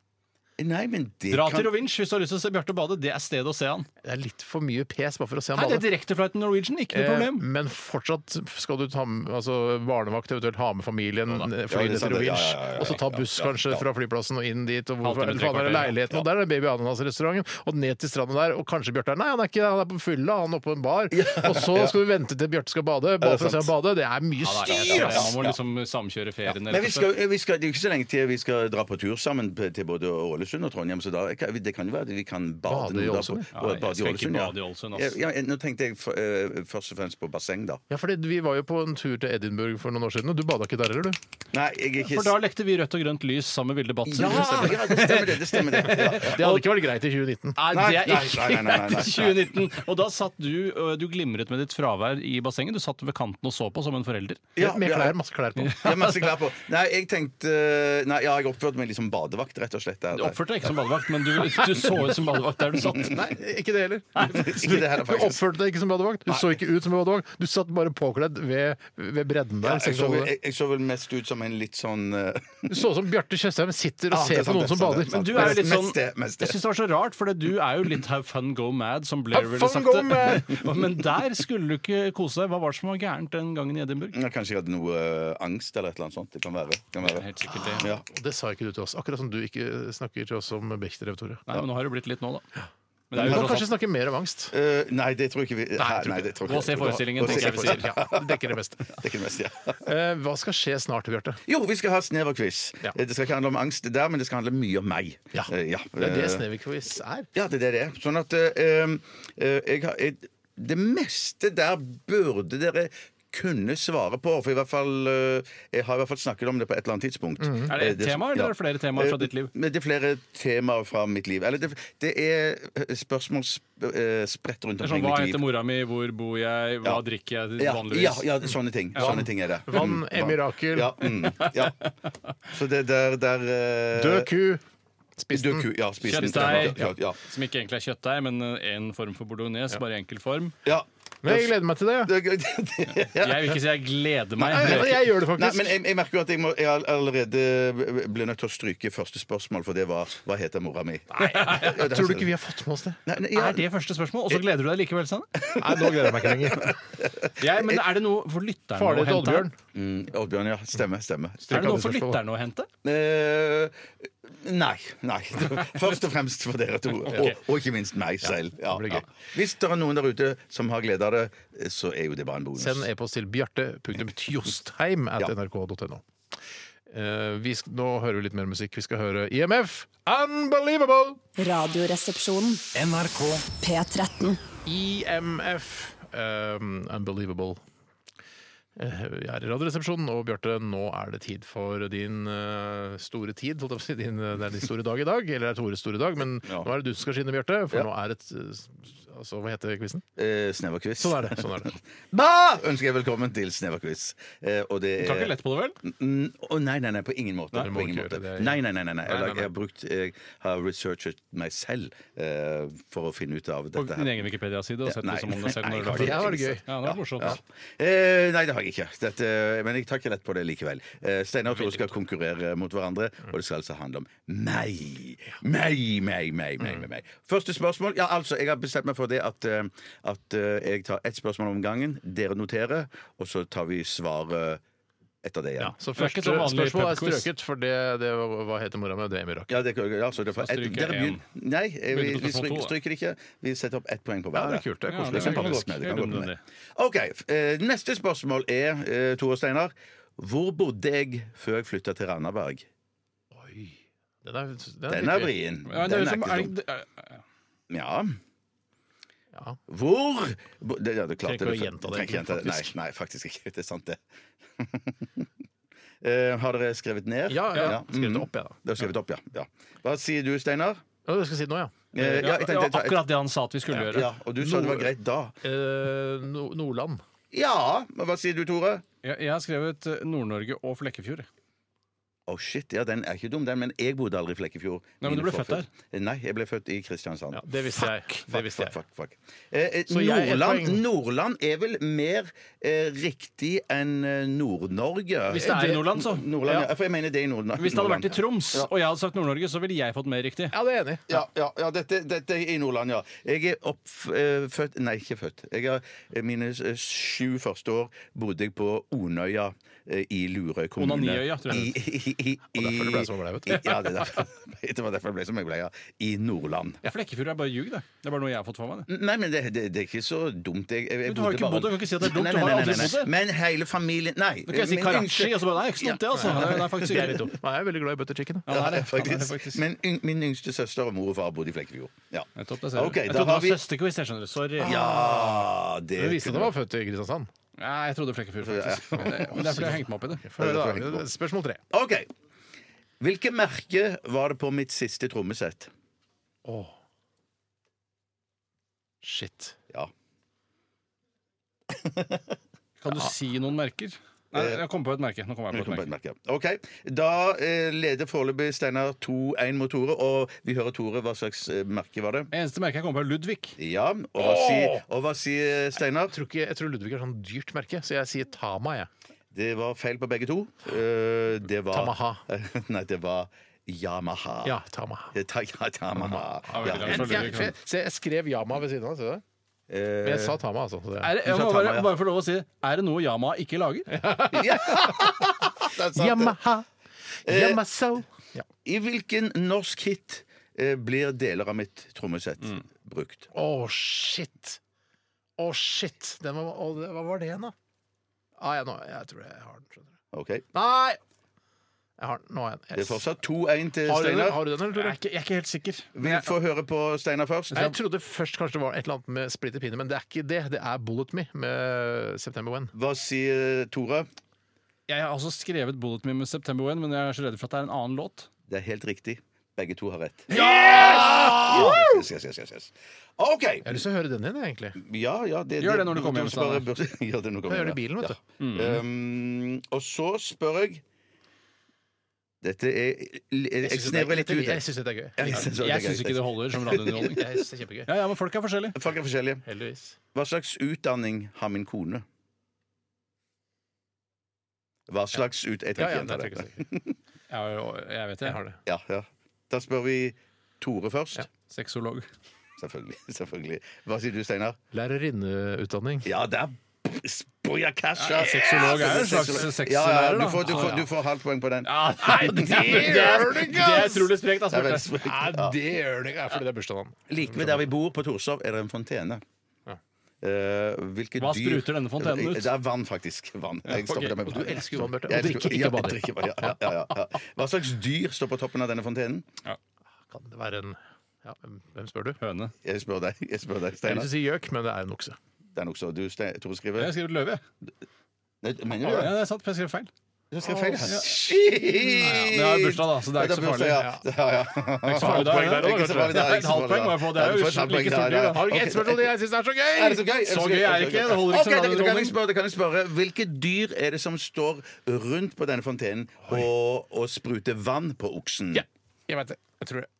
Speaker 4: Nei, men det
Speaker 7: Dra
Speaker 4: kan
Speaker 7: til Rovinj hvis du har lyst til å se Bjarte bade. Det er stedet å se han.
Speaker 6: Det er litt for mye pes bare for å se han
Speaker 7: Nei, det er
Speaker 6: bade.
Speaker 7: direkteflight til Norwegian. Ikke noe
Speaker 6: Eh,
Speaker 7: problem.
Speaker 6: Men fortsatt skal du ta med altså barnevakt, eventuelt ha med familien, eh,
Speaker 4: Sånn, Ja, det er
Speaker 6: fly ned til
Speaker 4: sant, det. Ja, ja, ja,
Speaker 6: Rovinj,
Speaker 4: ja,
Speaker 6: og så ta
Speaker 4: ja,
Speaker 6: buss
Speaker 4: ja, ja.
Speaker 6: kanskje fra flyplassen og inn dit, og hvorfor
Speaker 7: Halvtime,
Speaker 6: er det
Speaker 7: tre
Speaker 6: faen er det
Speaker 7: kvarter, ja.
Speaker 6: leiligheten, og der er Baby Ananas-restauranten, og ned til stranda der, og kanskje Bjarte er Nei, han er ikke det, han er på fylla, han er oppe på en bar, og så skal du vente til Bjarte skal bade, bare for å se han bade. Det er mye styr,
Speaker 7: Ja,
Speaker 6: ass!
Speaker 7: Man må liksom samkjøre ferien.
Speaker 4: Men vi skal, vi skal, det er jo ikke så lenge til vi skal dra på tur sammen p- til både Ålesund og Trondheim. Så da, kan- det kan jo være at vi kan bade,
Speaker 6: Bade i
Speaker 4: noen da på-
Speaker 6: Ålesund, ja.
Speaker 4: og-
Speaker 7: Nei, jeg
Speaker 4: bade
Speaker 7: skal ikke
Speaker 4: ja.
Speaker 7: bade i Ålesund,
Speaker 4: ja,
Speaker 7: ass.
Speaker 4: ja, Nå tenkte jeg f- eh, først og fremst på basseng, da.
Speaker 6: Ja, fordi vi var jo på en tur til Edinburgh for noen år siden, og du bada ikke der heller, du?
Speaker 4: Nei, jeg er ikke
Speaker 7: For da lekte vi rødt og grønt lys sammen med Vilde Batzer.
Speaker 4: ja, ja, det stemmer det. det, stemmer det. Ja, ja.
Speaker 6: Det hadde ikke vært greit i 2019.
Speaker 7: Nei,
Speaker 4: Nei,
Speaker 7: det er
Speaker 4: nei,
Speaker 7: ikke
Speaker 4: nei, nei, nei, nei, nei.
Speaker 7: 2019. Og da satt du ø, Du glimret med ditt fravær i bassenget. Du satt ved kanten og så på som en forelder.
Speaker 4: Ja,
Speaker 6: Med
Speaker 4: ja.
Speaker 6: klær, masse klær på.
Speaker 4: Jeg er masse klær på. Nei, jeg tenkte eh, Nei, ja, jeg oppførte meg litt som badevakt, rett og slett. Der,
Speaker 7: Du
Speaker 4: der.
Speaker 7: oppførte deg ikke som badevakt, men du, du så ut som badevakt der du satt.
Speaker 6: Nei, ikke det heller.
Speaker 4: Ikke det heller,
Speaker 6: Du
Speaker 4: faktisk.
Speaker 6: oppførte deg ikke som badevakt. Du så ikke ut som badevakt. Du satt bare påkledd ved, ved bredden
Speaker 4: Ja,
Speaker 6: der.
Speaker 4: jeg,
Speaker 6: så
Speaker 4: så vel,
Speaker 6: du det.
Speaker 4: jeg, jeg så vel mest ut som en litt sånn eh,
Speaker 6: Du så ut som Bjarte Tjøstheim sitter
Speaker 4: Ja, det
Speaker 6: og ser
Speaker 4: er
Speaker 6: på
Speaker 4: sant,
Speaker 6: noen
Speaker 4: det er
Speaker 6: som
Speaker 4: sant, det
Speaker 6: bader.
Speaker 4: er
Speaker 7: Men
Speaker 4: sant.
Speaker 7: du er jo litt
Speaker 4: Mest
Speaker 7: sånn
Speaker 4: det, mest det.
Speaker 7: Jeg syns det var så rart, for du er jo litt have fun, go mad, som Blair
Speaker 6: Have
Speaker 7: ville
Speaker 6: fun,
Speaker 7: sagt
Speaker 6: go
Speaker 7: det. Men der skulle du ikke kose deg. Hva var det som var gærent den gangen i Edinburgh?
Speaker 4: ja, Kanskje jeg hadde noe eh, angst eller et eller annet sånt. Det kan være. Det kan være.
Speaker 7: Helt sikkert det.
Speaker 4: Ja.
Speaker 6: Og Det sa ikke du til oss. Akkurat som du ikke snakker til oss om Bechdrev, Tore.
Speaker 7: Nei, men nå har det blitt litt nå, da. Men
Speaker 6: Du
Speaker 7: det er
Speaker 6: kan
Speaker 7: jo tross
Speaker 6: kanskje snakke mer om angst.
Speaker 4: Eh, nei, det tror jeg ikke vi
Speaker 6: Nei, jeg tror
Speaker 4: nei,
Speaker 6: ikke
Speaker 4: det tror
Speaker 7: Gå og se
Speaker 4: jeg ikke.
Speaker 7: forestillingen,
Speaker 4: Gå og se
Speaker 7: tenker jeg vi sier.
Speaker 6: Ja, det dekker det meste.
Speaker 4: Det er ikke det meste, ja.
Speaker 6: Eh, Hva skal skje snart, Bjarte?
Speaker 4: Jo, vi skal ha sneverquiz. Eh,
Speaker 6: Ja.
Speaker 4: Det skal ikke handle om angst der, men det skal handle mye om meg.
Speaker 6: Ja.
Speaker 4: Eh, ja.
Speaker 6: Det er det Snevik-quiz er.
Speaker 4: Ja, det er det det er. Sånn at eh, eh, jeg har jeg, Det meste der burde dere kunne svare på, for i hvert fall eh, Jeg har i hvert fall snakket om det på et eller annet
Speaker 6: Mm.
Speaker 4: tidspunkt.
Speaker 7: Er det ett
Speaker 4: Eh,
Speaker 7: tema, eller er det flere temaer fra
Speaker 4: Eh,
Speaker 7: ditt liv?
Speaker 4: men Det er flere temaer fra mitt liv. Eller det, det er eh, spørsmål sp eh, spredt rundt
Speaker 7: Det er sånn,
Speaker 4: omkring
Speaker 7: Hva
Speaker 4: mitt
Speaker 7: heter
Speaker 4: liv.
Speaker 7: mora mi, hvor bor jeg, hva
Speaker 4: Ja.
Speaker 7: drikker jeg
Speaker 4: Ja,
Speaker 7: vanligvis?
Speaker 4: ja, ja, sånne ting. Sånne ting er det.
Speaker 6: Vann
Speaker 4: Mm,
Speaker 6: er mirakel.
Speaker 4: Ja, mm, ja. Så det der, der eh,
Speaker 6: Død ku. Spis
Speaker 4: Død
Speaker 6: den.
Speaker 4: ku. Ja, spis den.
Speaker 7: Kjøttdeig.
Speaker 4: Ja, ja.
Speaker 7: Som ikke egentlig er kjøttdeig, men én form for bolognese, bare i enkel form.
Speaker 4: ja.
Speaker 6: Men jeg gleder meg til det. ja.
Speaker 4: Det- det- ja.
Speaker 7: Jeg vil ikke si jeg gleder meg.
Speaker 6: Nei, men Jeg gjør det
Speaker 4: Nei,
Speaker 6: faktisk.
Speaker 4: men jeg, jeg merker jo at jeg, må, jeg all- allerede ble nødt til å stryke første spørsmål, for det var 'Hva heter mora mi?' eh,
Speaker 6: Tror du ikke vi har fått med oss det?
Speaker 4: Nei, nei, ja,
Speaker 7: Er det første spørsmål? Og så gleder du deg likevel, Sanne?
Speaker 6: Nei, nå gleder jeg meg ikke lenger.
Speaker 7: Jeg, men er det noe for lytterne å
Speaker 6: Farlig til
Speaker 7: hente? her?
Speaker 6: Oddbjørn.
Speaker 4: mm, Oddbjørn, ja. Stemmer. stemmer.
Speaker 7: Er det noe for
Speaker 6: Spørsmål.
Speaker 7: lytterne å hente?
Speaker 4: Eh, nei. nei. Først og fremst for dere to. Og, og ikke minst meg selv. Ja,
Speaker 6: blir
Speaker 4: ja.
Speaker 6: gøy.
Speaker 4: Hvis det er noen der ute som har glede av det, så er jo det bare en bonus.
Speaker 6: Send e-post til bjarte.tjostheim at nrk.no. Eh, vi sk- nå hører vi litt mer musikk. Vi skal høre IMF. Unbelievable!
Speaker 1: Radioresepsjonen. NRK P13.
Speaker 6: E IMF. Um, unbelievable. Eh, Vi er i Radioresepsjonen, og Bjarte, nå er det tid for din eh, store tid. Holdt jeg på å si. Din, eh, det er din store dag i dag, eller det er Tores store dag, men
Speaker 4: Ja.
Speaker 6: nå er det du som skal skinne, Bjarte. For
Speaker 4: Ja.
Speaker 6: nå er det et eh, altså, Hva heter quizen?
Speaker 4: Eh, Sneverquiz.
Speaker 6: Sånn er det. Sånn er det.
Speaker 4: Ba! Ønsker jeg velkommen til Sneverquiz. Eh, og det
Speaker 7: Du kan ikke lette på det, vel?
Speaker 4: Mm, å, nei, nei, nei, på ingen måte.
Speaker 6: du
Speaker 4: på
Speaker 6: må
Speaker 4: ingen
Speaker 6: ikke
Speaker 4: måte.
Speaker 6: gjøre det.
Speaker 4: Nei, nei, nei, nei, nei. Jeg,
Speaker 6: Nei, nei, nei.
Speaker 4: jeg har brukt Jeg har researchet meg selv eh, for å finne ut av
Speaker 7: På
Speaker 4: dette
Speaker 7: din
Speaker 4: her.
Speaker 7: egen Wikipedia-side? og sett
Speaker 4: Nei,
Speaker 7: det som om deg selv
Speaker 4: nei,
Speaker 7: når
Speaker 4: jeg har
Speaker 7: du
Speaker 6: Ja, var det gøy.
Speaker 7: Ja, det var morsomt.
Speaker 4: Ja. Eh, nei, det har jeg ikke. Dette, men jeg tar ikke lett på det likevel. Eh, Steinar og Tore skal konkurrere mot hverandre, og det skal altså handle om meg. Meg, meg, meg, meg. meg, meg. Første spørsmål. Ja, altså, jeg har bestemt meg for det at, eh, at eh, jeg tar ett spørsmål om gangen. Dere noterer, og så tar vi svaret etter det
Speaker 7: Ja,
Speaker 4: igjen.
Speaker 6: Så
Speaker 7: Det er ikke
Speaker 6: første
Speaker 7: så vanlig
Speaker 6: spørsmål er
Speaker 7: pubquiz.
Speaker 6: strøket, for det, det var- hva heter mora mi? Det er Emirak.
Speaker 4: Ja, det, ja, så det er fra
Speaker 7: Så
Speaker 4: et,
Speaker 7: stryker
Speaker 4: dere
Speaker 7: jeg
Speaker 4: begynner- Nei, eh, vi,
Speaker 7: Begynner
Speaker 4: vi
Speaker 7: på spørsmål to,
Speaker 4: stryker,
Speaker 7: da.
Speaker 4: stryker ikke. Vi setter opp ett poeng på hver.
Speaker 6: Ja, det er
Speaker 4: der.
Speaker 6: kult. Det er
Speaker 7: Ja,
Speaker 4: Det
Speaker 6: koselig.
Speaker 7: det
Speaker 4: kan
Speaker 7: er
Speaker 4: man
Speaker 7: faktisk
Speaker 4: godt med, det kan
Speaker 7: helt
Speaker 4: man godt med.
Speaker 7: unødvendig.
Speaker 4: OK. f- eh, Neste spørsmål er, eh, Tore Steinar, hvor bodde jeg før jeg flytta til Randaberg?
Speaker 6: Oi. Den er, den
Speaker 4: Den er
Speaker 6: virkelig-
Speaker 4: vrien.
Speaker 7: Ja, det
Speaker 4: Den
Speaker 7: er
Speaker 4: er
Speaker 7: liksom,
Speaker 4: ikke
Speaker 7: er,
Speaker 4: dum.
Speaker 7: det- er, er-
Speaker 4: Ja.
Speaker 6: Ja.
Speaker 4: Hvor bo- det, ja, du klarte
Speaker 6: Trenger ikke
Speaker 4: det.
Speaker 6: å gjenta det,
Speaker 4: Trenger ikke gjenta det.
Speaker 6: faktisk.
Speaker 4: Nei, nei, faktisk ikke. Det er sant, det. Eh, har dere skrevet ned?
Speaker 6: Ja, ja.
Speaker 4: mm.
Speaker 6: Skrev det opp, jeg, da.
Speaker 4: Det har skrevet opp, ja. ja. Hva sier du, Steinar?
Speaker 6: Ja, det skal jeg si nå, ja.
Speaker 4: Eh,
Speaker 7: ja,
Speaker 4: jeg
Speaker 7: det
Speaker 4: tenkte-
Speaker 7: var akkurat det han sa at vi skulle gjøre.
Speaker 4: Ja, og du sa det var
Speaker 6: Noe-
Speaker 4: greit da.
Speaker 6: Eh, no Nordland.
Speaker 4: Ja, men hva sier du, Tore?
Speaker 7: Jeg, jeg har skrevet eh, Nord-Norge og Flekkefjord.
Speaker 4: Å Oh, shit, ja, den er ikke dum, den, men jeg bodde aldri i Flekkefjord.
Speaker 7: Nei, men
Speaker 4: Mine
Speaker 7: du ble født
Speaker 4: forfødre- Nei, jeg ble født i Kristiansand.
Speaker 6: Ja, det visste jeg. Det visste jeg.
Speaker 4: Fuck, fuck, fuck. Eh, eh,
Speaker 6: Så jeg er ett
Speaker 4: Nordland,
Speaker 6: poeng.
Speaker 4: Nordland er vel mer eh, riktig enn eh, Nord-Norge. Eh,
Speaker 7: Hvis det er i Nordland, så.
Speaker 4: Nordland,
Speaker 7: Ja.
Speaker 4: ja. for jeg mener det i Nordland.
Speaker 7: Hvis det hadde vært i
Speaker 4: Nordland.
Speaker 7: Troms, og jeg hadde sagt Nord-Norge, så ville jeg fått mer riktig.
Speaker 6: Ja, det er jeg enig. i.
Speaker 4: Ja, ja, ja dette, dette er i Nordland, ja. Jeg er oppfødt Nei, ikke født. Jeg har, mine eh, sju første år bodde jeg på Onøya eh, i Lurøy kommune.
Speaker 7: Onaniøya, tror jeg
Speaker 4: I, i, i, i,
Speaker 6: Og derfor du ble som du ble, vet du.
Speaker 4: i- Ja, det, er derfor, det var derfor jeg ble som jeg ble, ja. I Nordland.
Speaker 7: Flekkefjord er bare ljug, det. Det er bare noe jeg har fått for meg. det.
Speaker 4: Nei, men det, det, det er ikke så dumt. Jeg, jeg, jeg
Speaker 7: Men du har
Speaker 4: bodde
Speaker 7: ikke bodd
Speaker 4: bare-
Speaker 7: der, du kan ikke si at det er dumt,
Speaker 4: Nei,
Speaker 7: du
Speaker 4: nei,
Speaker 7: har
Speaker 4: nei,
Speaker 7: aldri
Speaker 4: nei, nei.
Speaker 7: bodd der.
Speaker 4: Men hele familien Nei.
Speaker 7: Nå kan jeg si
Speaker 4: men
Speaker 7: Karachi,
Speaker 4: yngste-
Speaker 7: og så bare Nei, ikke sant, det, altså. Nei, det er faktisk
Speaker 6: Det er
Speaker 7: ikke
Speaker 6: litt dumt. Men jeg er veldig glad i butter chicken. da.
Speaker 7: Ja, han er det. Han er det
Speaker 4: Faktisk.
Speaker 7: faktisk.
Speaker 4: Men yng, min yngste søster og mor og far bodde i Flekkefjord. Ja.
Speaker 7: Nettopp, det ser du.
Speaker 4: Ok,
Speaker 7: jeg
Speaker 4: da
Speaker 7: trodde det
Speaker 4: har
Speaker 7: var
Speaker 4: vi-
Speaker 7: søsterquiz, jeg skjønner. Sorry.
Speaker 4: Ja, det
Speaker 6: Det viste at
Speaker 4: kunne
Speaker 6: Ah. jeg var født i Kristiansand.
Speaker 7: Nei, jeg trodde Flekkefjord, faktisk. Men det men det er fordi jeg har hengt meg opp i det.
Speaker 6: Få høre,
Speaker 4: det tror jeg
Speaker 6: da. Spørsmål tre.
Speaker 4: OK. Hvilket merke var det på mitt siste trommesett?
Speaker 6: Åh. Shit.
Speaker 4: Ja.
Speaker 7: Kan du si noen merker? Nei, jeg kom på et merke. Nå kom jeg
Speaker 4: vi
Speaker 7: på et
Speaker 4: kom på
Speaker 7: merke.
Speaker 4: et merke. OK. Da eh, leder foreløpig Steinar 2-1 mot Tore, og vi hører Tore. Hva slags eh, merke var det?
Speaker 7: Eneste merke jeg kom på, er Ludvig.
Speaker 4: Ja. Og hva,
Speaker 6: Åh!
Speaker 4: sier, og hva sier Steinar?
Speaker 6: Jeg tror, ikke, jeg tror Ludvig er sånn dyrt merke, så jeg sier Tama, jeg.
Speaker 4: Det var feil på begge to. Eh, det var
Speaker 6: Tamaha.
Speaker 4: Nei, det var Yamaha.
Speaker 6: Ja, Tama.
Speaker 4: Det tar- Ja, Tamaha.
Speaker 7: Ja, veldig
Speaker 4: Ja.
Speaker 7: bra.
Speaker 6: Men
Speaker 7: Ludvig,
Speaker 6: jeg,
Speaker 7: ja.
Speaker 6: se, jeg skrev Yama ved siden av, ser du det?
Speaker 4: Eh,
Speaker 6: Men jeg sa Tama, altså. så det-
Speaker 7: Er det, jeg
Speaker 4: sa
Speaker 7: må
Speaker 4: Tama,
Speaker 7: bare,
Speaker 4: ja.
Speaker 7: bare få lov å si Er det noe Yama ikke lager?
Speaker 4: Ja. Det er sant, det.
Speaker 6: Yamaha.
Speaker 4: Eh.
Speaker 6: Yamaso. Ja.
Speaker 4: I hvilken norsk hit eh, blir deler av mitt trommesett brukt?
Speaker 6: Å, shit. Å, shit. Den var, å, det- hva var det igjen, da? Ah, ja, nå, jeg tror jeg har den. skjønner du.
Speaker 4: Ok,
Speaker 6: Nei! Jeg har den. Nå har jeg den.
Speaker 4: Det er fortsatt 2-1 til
Speaker 6: Har du den,
Speaker 4: Steinar.
Speaker 6: har du den eller,
Speaker 7: Jeg er
Speaker 6: Tore?
Speaker 7: ikke, jeg er ikke helt sikker.
Speaker 4: Vi får høre på Steinar først.
Speaker 6: Jeg trodde først kanskje det var et eller annet med Splitter Pine, men det er ikke det. Det er Bullet Me med September When.
Speaker 4: Hva sier Tore?
Speaker 7: Jeg har også skrevet Bullet Me med September One, men jeg er så redd for at det er en annen låt.
Speaker 4: Det er helt riktig. Begge to har rett. Ja! Yes, yes, yes, yes, yes. OK.
Speaker 6: Jeg har lyst til å høre den igjen, jeg, egentlig.
Speaker 4: Ja, ja,
Speaker 7: Gjør det når du kommer hjem,
Speaker 4: spør- Gjør det når du
Speaker 6: Jeg
Speaker 4: kommer
Speaker 6: gjør det
Speaker 4: hjem.
Speaker 6: i bilen, vet du.
Speaker 4: ja. Um, og så spør jeg Dette er Jeg
Speaker 6: synes det er-
Speaker 4: snevrer litt ut.
Speaker 6: Jeg syns det er gøy.
Speaker 4: Jeg synes det er
Speaker 7: Jeg
Speaker 4: gøy.
Speaker 7: syns ikke det holder som radiounderholdning.
Speaker 6: Jeg synes det er kjempegøy.
Speaker 7: Ja, ja, men folk er forskjellige.
Speaker 4: Folk er forskjellige.
Speaker 6: Heldigvis.
Speaker 4: Hva slags utdanning har min kone? Hva slags ut... Jeg
Speaker 6: Ja,
Speaker 4: trenger ikke
Speaker 6: ja, nei,
Speaker 4: gjenta
Speaker 6: jeg,
Speaker 4: det.
Speaker 6: tenker ikke.
Speaker 7: Jeg, har jo- jeg vet
Speaker 6: jeg
Speaker 7: jeg
Speaker 6: har det.
Speaker 4: Ja, ja. Da spør vi Tore først.
Speaker 6: Ja.
Speaker 7: Sexolog.
Speaker 4: Selvfølgelig. selvfølgelig. Hva sier du, Steinar?
Speaker 6: Lærerinneutdanning.
Speaker 4: Ja, der spoja casha!
Speaker 7: Ja, sexolog er jo en slags sexlærer,
Speaker 4: Ja, ja, du
Speaker 7: da.
Speaker 4: får, du,
Speaker 7: Ja,
Speaker 4: får,
Speaker 7: ja.
Speaker 4: du får halvt poeng på den.
Speaker 7: Ja, nei, det,
Speaker 6: gjør du ikke,
Speaker 7: det er
Speaker 6: ass!
Speaker 7: utrolig sprekt, ass,
Speaker 4: Det er
Speaker 7: Bjarte.
Speaker 4: veldig sprekt.
Speaker 6: Nei, altså. det gjør det ikke. Fordi det er bursdagen hans.
Speaker 4: Like ved der vi bor, på Torshov, er det en fontene.
Speaker 6: Ja.
Speaker 4: Eh, hvilke
Speaker 7: Hva
Speaker 4: dyr- Eh,
Speaker 7: spruter denne fontenen ut?
Speaker 4: Det er vann, faktisk. Vann. Jeg stopper
Speaker 6: ok.
Speaker 4: det med
Speaker 6: Og
Speaker 4: vann.
Speaker 6: du elsker jo vann, Bjarte. Og
Speaker 4: Jeg
Speaker 6: drikker
Speaker 4: elsker- ja,
Speaker 6: ikke
Speaker 4: jeg
Speaker 6: vann.
Speaker 4: drikker vann, ja, ja, ja, ja. Hva slags dyr står på toppen av denne fontenen?
Speaker 6: Kan det være en ja, hvem- Hvem spør du?
Speaker 7: Høne.
Speaker 4: Jeg spør deg, jeg spør deg
Speaker 6: Jeg har
Speaker 4: Steinar.
Speaker 6: lyst til å si gjøk, men det er en okse.
Speaker 4: Det er nokså du, Ste- Tore,
Speaker 7: Jeg
Speaker 4: skriver.
Speaker 7: har skrevet løve. jeg.
Speaker 4: Nei, Mener du
Speaker 7: Ja,
Speaker 4: det?
Speaker 7: det er sant, for jeg skrev feil.
Speaker 4: Du skrev feil. ja. Shit!
Speaker 7: det er jo bursdag, da, så det er ikke så farlig.
Speaker 4: Ja, det er- ja.
Speaker 7: Ikke så farlig der,
Speaker 4: Det er ikke så farlig, det er
Speaker 7: Et
Speaker 4: ikke så
Speaker 7: halvt
Speaker 4: farlig,
Speaker 7: poeng må jeg få.
Speaker 4: Ja,
Speaker 7: Det er
Speaker 4: du
Speaker 7: jo
Speaker 4: får et halvt
Speaker 7: like
Speaker 4: poeng
Speaker 7: stort
Speaker 4: der,
Speaker 7: dyr,
Speaker 4: ja.
Speaker 7: da. Har du ikke
Speaker 4: Ok.
Speaker 7: ett spørsmål til jeg syns er så gøy?
Speaker 4: Er det så gøy? Er det
Speaker 7: Så gøy er det ikke. Det
Speaker 4: Ok, da-
Speaker 7: holder ikke
Speaker 4: da kan
Speaker 7: som
Speaker 4: jeg
Speaker 7: radiounderholdning.
Speaker 4: spørre, da kan jeg spørre. Hvilke dyr er det som står rundt på denne fontenen og, og spruter vann på oksen?
Speaker 6: Ja, jeg vet det. Jeg tror det.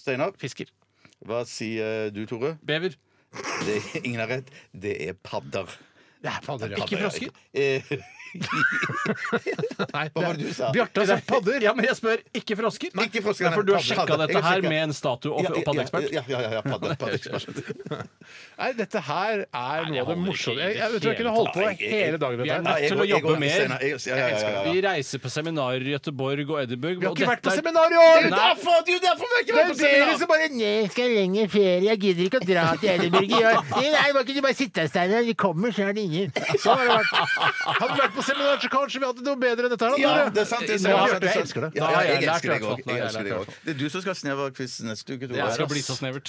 Speaker 4: Steinar,
Speaker 6: Fisker.
Speaker 4: hva sier du, Tore?
Speaker 7: Bever.
Speaker 4: Det, ingen har rett. Det er padder.
Speaker 6: Det er padder.
Speaker 7: Ikke frosker.
Speaker 4: Eh,
Speaker 6: Nei,
Speaker 4: Hva var det du sa?
Speaker 6: Bjarte har sagt padder.
Speaker 7: Ja, men jeg spør ikke frosker.
Speaker 4: Ikke frosker, Altså, nei,
Speaker 7: For du har
Speaker 4: padder,
Speaker 7: sjekka
Speaker 4: padder.
Speaker 7: dette
Speaker 4: Jeg har
Speaker 7: her
Speaker 4: sjekket.
Speaker 7: med en statue og, og paddeekspert?
Speaker 4: Ja, ja, ja, ja, padde, paddeekspert.
Speaker 6: Nei, dette her er noe av det
Speaker 7: holder ikke
Speaker 6: morsomme
Speaker 7: i
Speaker 6: Jeg,
Speaker 7: det
Speaker 6: jeg tror jeg kunne
Speaker 7: hele
Speaker 6: holdt på
Speaker 4: tatt. Nei, jeg-
Speaker 6: hele dagen med
Speaker 7: Vi er
Speaker 6: dette.
Speaker 7: nødt
Speaker 6: her.
Speaker 7: til
Speaker 4: Jeg
Speaker 7: å
Speaker 4: går-
Speaker 7: jobbe
Speaker 4: jeg går-
Speaker 7: mer.
Speaker 4: Steinar, jeg- Ja, ja, ja, ja, ja.
Speaker 7: Vi reiser på seminarer i Gøteborg og Edinburgh.
Speaker 6: Vi har
Speaker 7: og
Speaker 6: ikke vært på
Speaker 7: dette er-
Speaker 6: seminar i år!
Speaker 7: Nei.
Speaker 4: Derfor, det er jo derfor vi ikke
Speaker 6: Det
Speaker 4: har vært
Speaker 6: er
Speaker 4: på
Speaker 6: dere
Speaker 4: seminar!
Speaker 6: som bare Nei, skal jeg lenger ferie, jeg gidder ikke å dra til Edinburgh i år. Nei, må ikke du bare sitte her, Steinar? Vi kommer snart inne. Sånn har det vært. Hadde vi vært på seminar, så kanskje vi hadde noe bedre enn dette her. da,
Speaker 4: Ja,
Speaker 6: dere.
Speaker 4: det er sant. Det er
Speaker 6: Nå
Speaker 4: sant, det
Speaker 6: har jeg hørt
Speaker 4: er
Speaker 6: det,
Speaker 4: sant.
Speaker 6: jeg elsker det.
Speaker 4: Ja,
Speaker 7: Da har
Speaker 4: jeg,
Speaker 7: jeg lært
Speaker 4: elsker deg
Speaker 7: i hvert
Speaker 4: også.
Speaker 7: fall.
Speaker 4: Jeg
Speaker 7: Da har
Speaker 4: elsker
Speaker 7: jeg lært i
Speaker 4: deg
Speaker 7: hvert
Speaker 4: også. Det er du som skal ha sneverquiz neste uke, Tore.
Speaker 7: Det skal bli så snevert.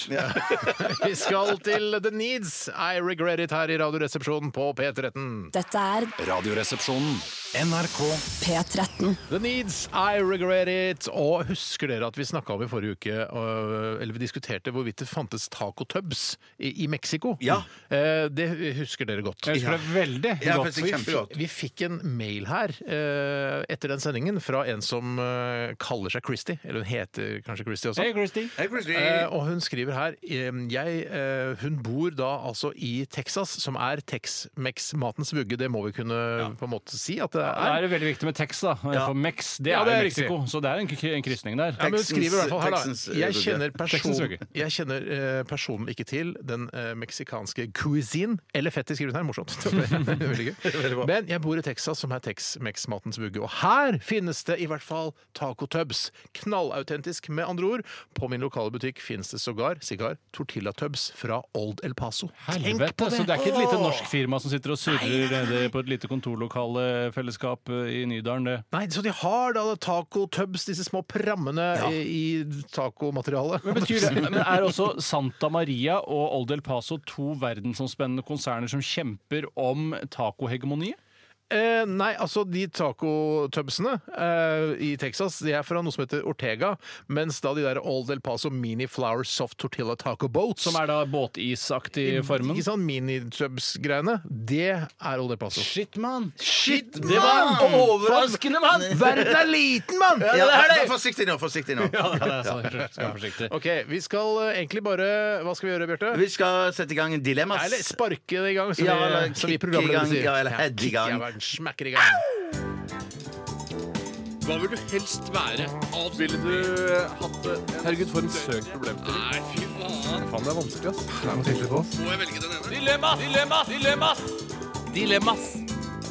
Speaker 6: Vi skal til The Needs. I regret it her i Radioresepsjonen på P13.
Speaker 1: Dette er
Speaker 2: Radioresepsjonen. NRK.
Speaker 1: P13.
Speaker 6: The Needs, I regret it. Og husker dere at vi snakka om i forrige uke, øh, eller vi diskuterte hvorvidt det fantes tacotubs i, i Mexico?
Speaker 4: Ja.
Speaker 6: Eh, Det husker dere godt.
Speaker 7: Jeg husker det veldig
Speaker 4: Ja,
Speaker 7: godt.
Speaker 4: faktisk kjempegodt.
Speaker 6: Vi fikk en mail her eh, etter den sendingen fra en som eh, kaller seg Christy. Eller hun heter kanskje Christy også.
Speaker 7: Hey, Christy.
Speaker 4: Hei, Christy.
Speaker 6: Eh, og hun skriver her ehm, jeg, eh, Hun bor da altså i Texas, som er Tex-Mex-matens vugge. Det må vi kunne på en måte si at det
Speaker 7: Da er
Speaker 6: er.
Speaker 7: det veldig viktig med Tex, da. For Mex, det
Speaker 6: Ja,
Speaker 7: er,
Speaker 6: det er
Speaker 7: jo Mexico. Så det er en, k- en krysning der.
Speaker 6: Ja, men hun skriver i hvert fall her,
Speaker 4: Texans,
Speaker 6: da.
Speaker 4: eh,
Speaker 6: Jeg
Speaker 4: vugge.
Speaker 6: kjenner, person,
Speaker 7: Texans vugge.
Speaker 6: jeg kjenner eh, personen ikke til den eh, meksikanske cuisine. Eller fettet, skriver hun her. Morsomt. Veldig gøy. Men jeg bor i Texas, som er Tex-Mex-matens vugge. Og her finnes det i hvert fall tacotubs. Knallautentisk, med andre ord. På min lokale butikk finnes det sågar sigar tortillatubs fra Old El Paso.
Speaker 7: Helvete, Så det er ikke et lite norsk firma som sitter og surrer nede på et lite kontorlokalefellesskap eh, i Nydalen, det.
Speaker 6: Nei, Så de har da tacotubs, disse små prammene i, i tacomaterialet.
Speaker 7: Betyr det, men er også Santa Maria og Old El Paso to verdensomspennende konserner som kjemper om tacohegemoniet?
Speaker 6: Eh, nei, altså de tacotubsene eh, i Texas De er fra noe som heter Ortega, mens da de der Old El Paso Mini Flour Soft Tortilla Taco Boats
Speaker 7: Som er da båtisaktig formen?
Speaker 6: Ikke sånn minitubs-greiene. Det er Old El Paso.
Speaker 7: Shit, mann!
Speaker 6: Shit,
Speaker 7: Det var overraskende, mann!
Speaker 6: Verden er liten, mann!
Speaker 4: Ja, vær Forsiktig nå, forsiktig nå.
Speaker 7: Ja, det er så, skal være forsiktig.
Speaker 6: OK, vi skal eh, egentlig bare Hva skal vi gjøre, Bjarte?
Speaker 4: Vi skal sette i gang en dilemmas.
Speaker 6: Eller sparke det i gang, som
Speaker 4: Ja,
Speaker 6: vi,
Speaker 4: eller
Speaker 6: som
Speaker 4: kicke
Speaker 6: vi
Speaker 4: i
Speaker 6: programledere
Speaker 4: gang,
Speaker 6: sier.
Speaker 4: ja, eller head i gang.
Speaker 6: Ja, verden smekker i gang.
Speaker 3: Dilemmas! Dilemmas! Dilemmas! Dilemmas!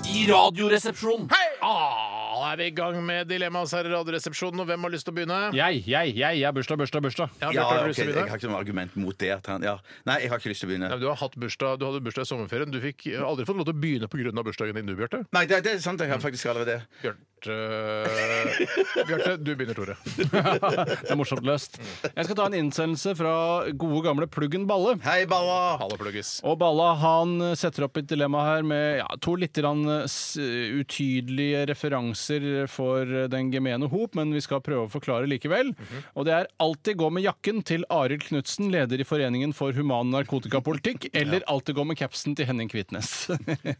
Speaker 3: I radioresepsjonen.
Speaker 6: Ah, da er vi i gang med Dilemmas her i Radioresepsjonen, og hvem har lyst til å begynne?
Speaker 7: Jeg, jeg, jeg. Jeg har bursdag, bursdag, bursdag.
Speaker 6: Ja,
Speaker 4: Ja,
Speaker 6: Bjarte, har du
Speaker 4: ok,
Speaker 6: lyst til å
Speaker 4: Jeg
Speaker 6: begynne?
Speaker 4: har ikke noe argument mot det. At han, ja. Nei, jeg har ikke lyst til å
Speaker 6: Nei,
Speaker 4: begynne.
Speaker 6: men du, har hatt bursdag, du hadde bursdag i sommerferien. Du fikk eh, aldri fått lov til å begynne pga. bursdagen din, du, Bjarte.
Speaker 4: Nei, det, det er sant. Jeg har faktisk allerede det.
Speaker 6: Bjarte, eh, Bjarte du begynner, Tore.
Speaker 7: Det er morsomt løst. Jeg skal ta en innsendelse fra gode gamle Pluggen Balle.
Speaker 4: Hei, Balla!
Speaker 6: Ha det, pluggis.
Speaker 7: Og Balla han setter opp et dilemma her med ja, to litt grann s- utydelige referanser for den gemene hop, men vi skal prøve å forklare likevel. Og det er 'Alltid gå med jakken' til Arild Knutsen, leder i Foreningen for human narkotikapolitikk, eller 'Alltid gå med capsen' til Henning Kvitnes.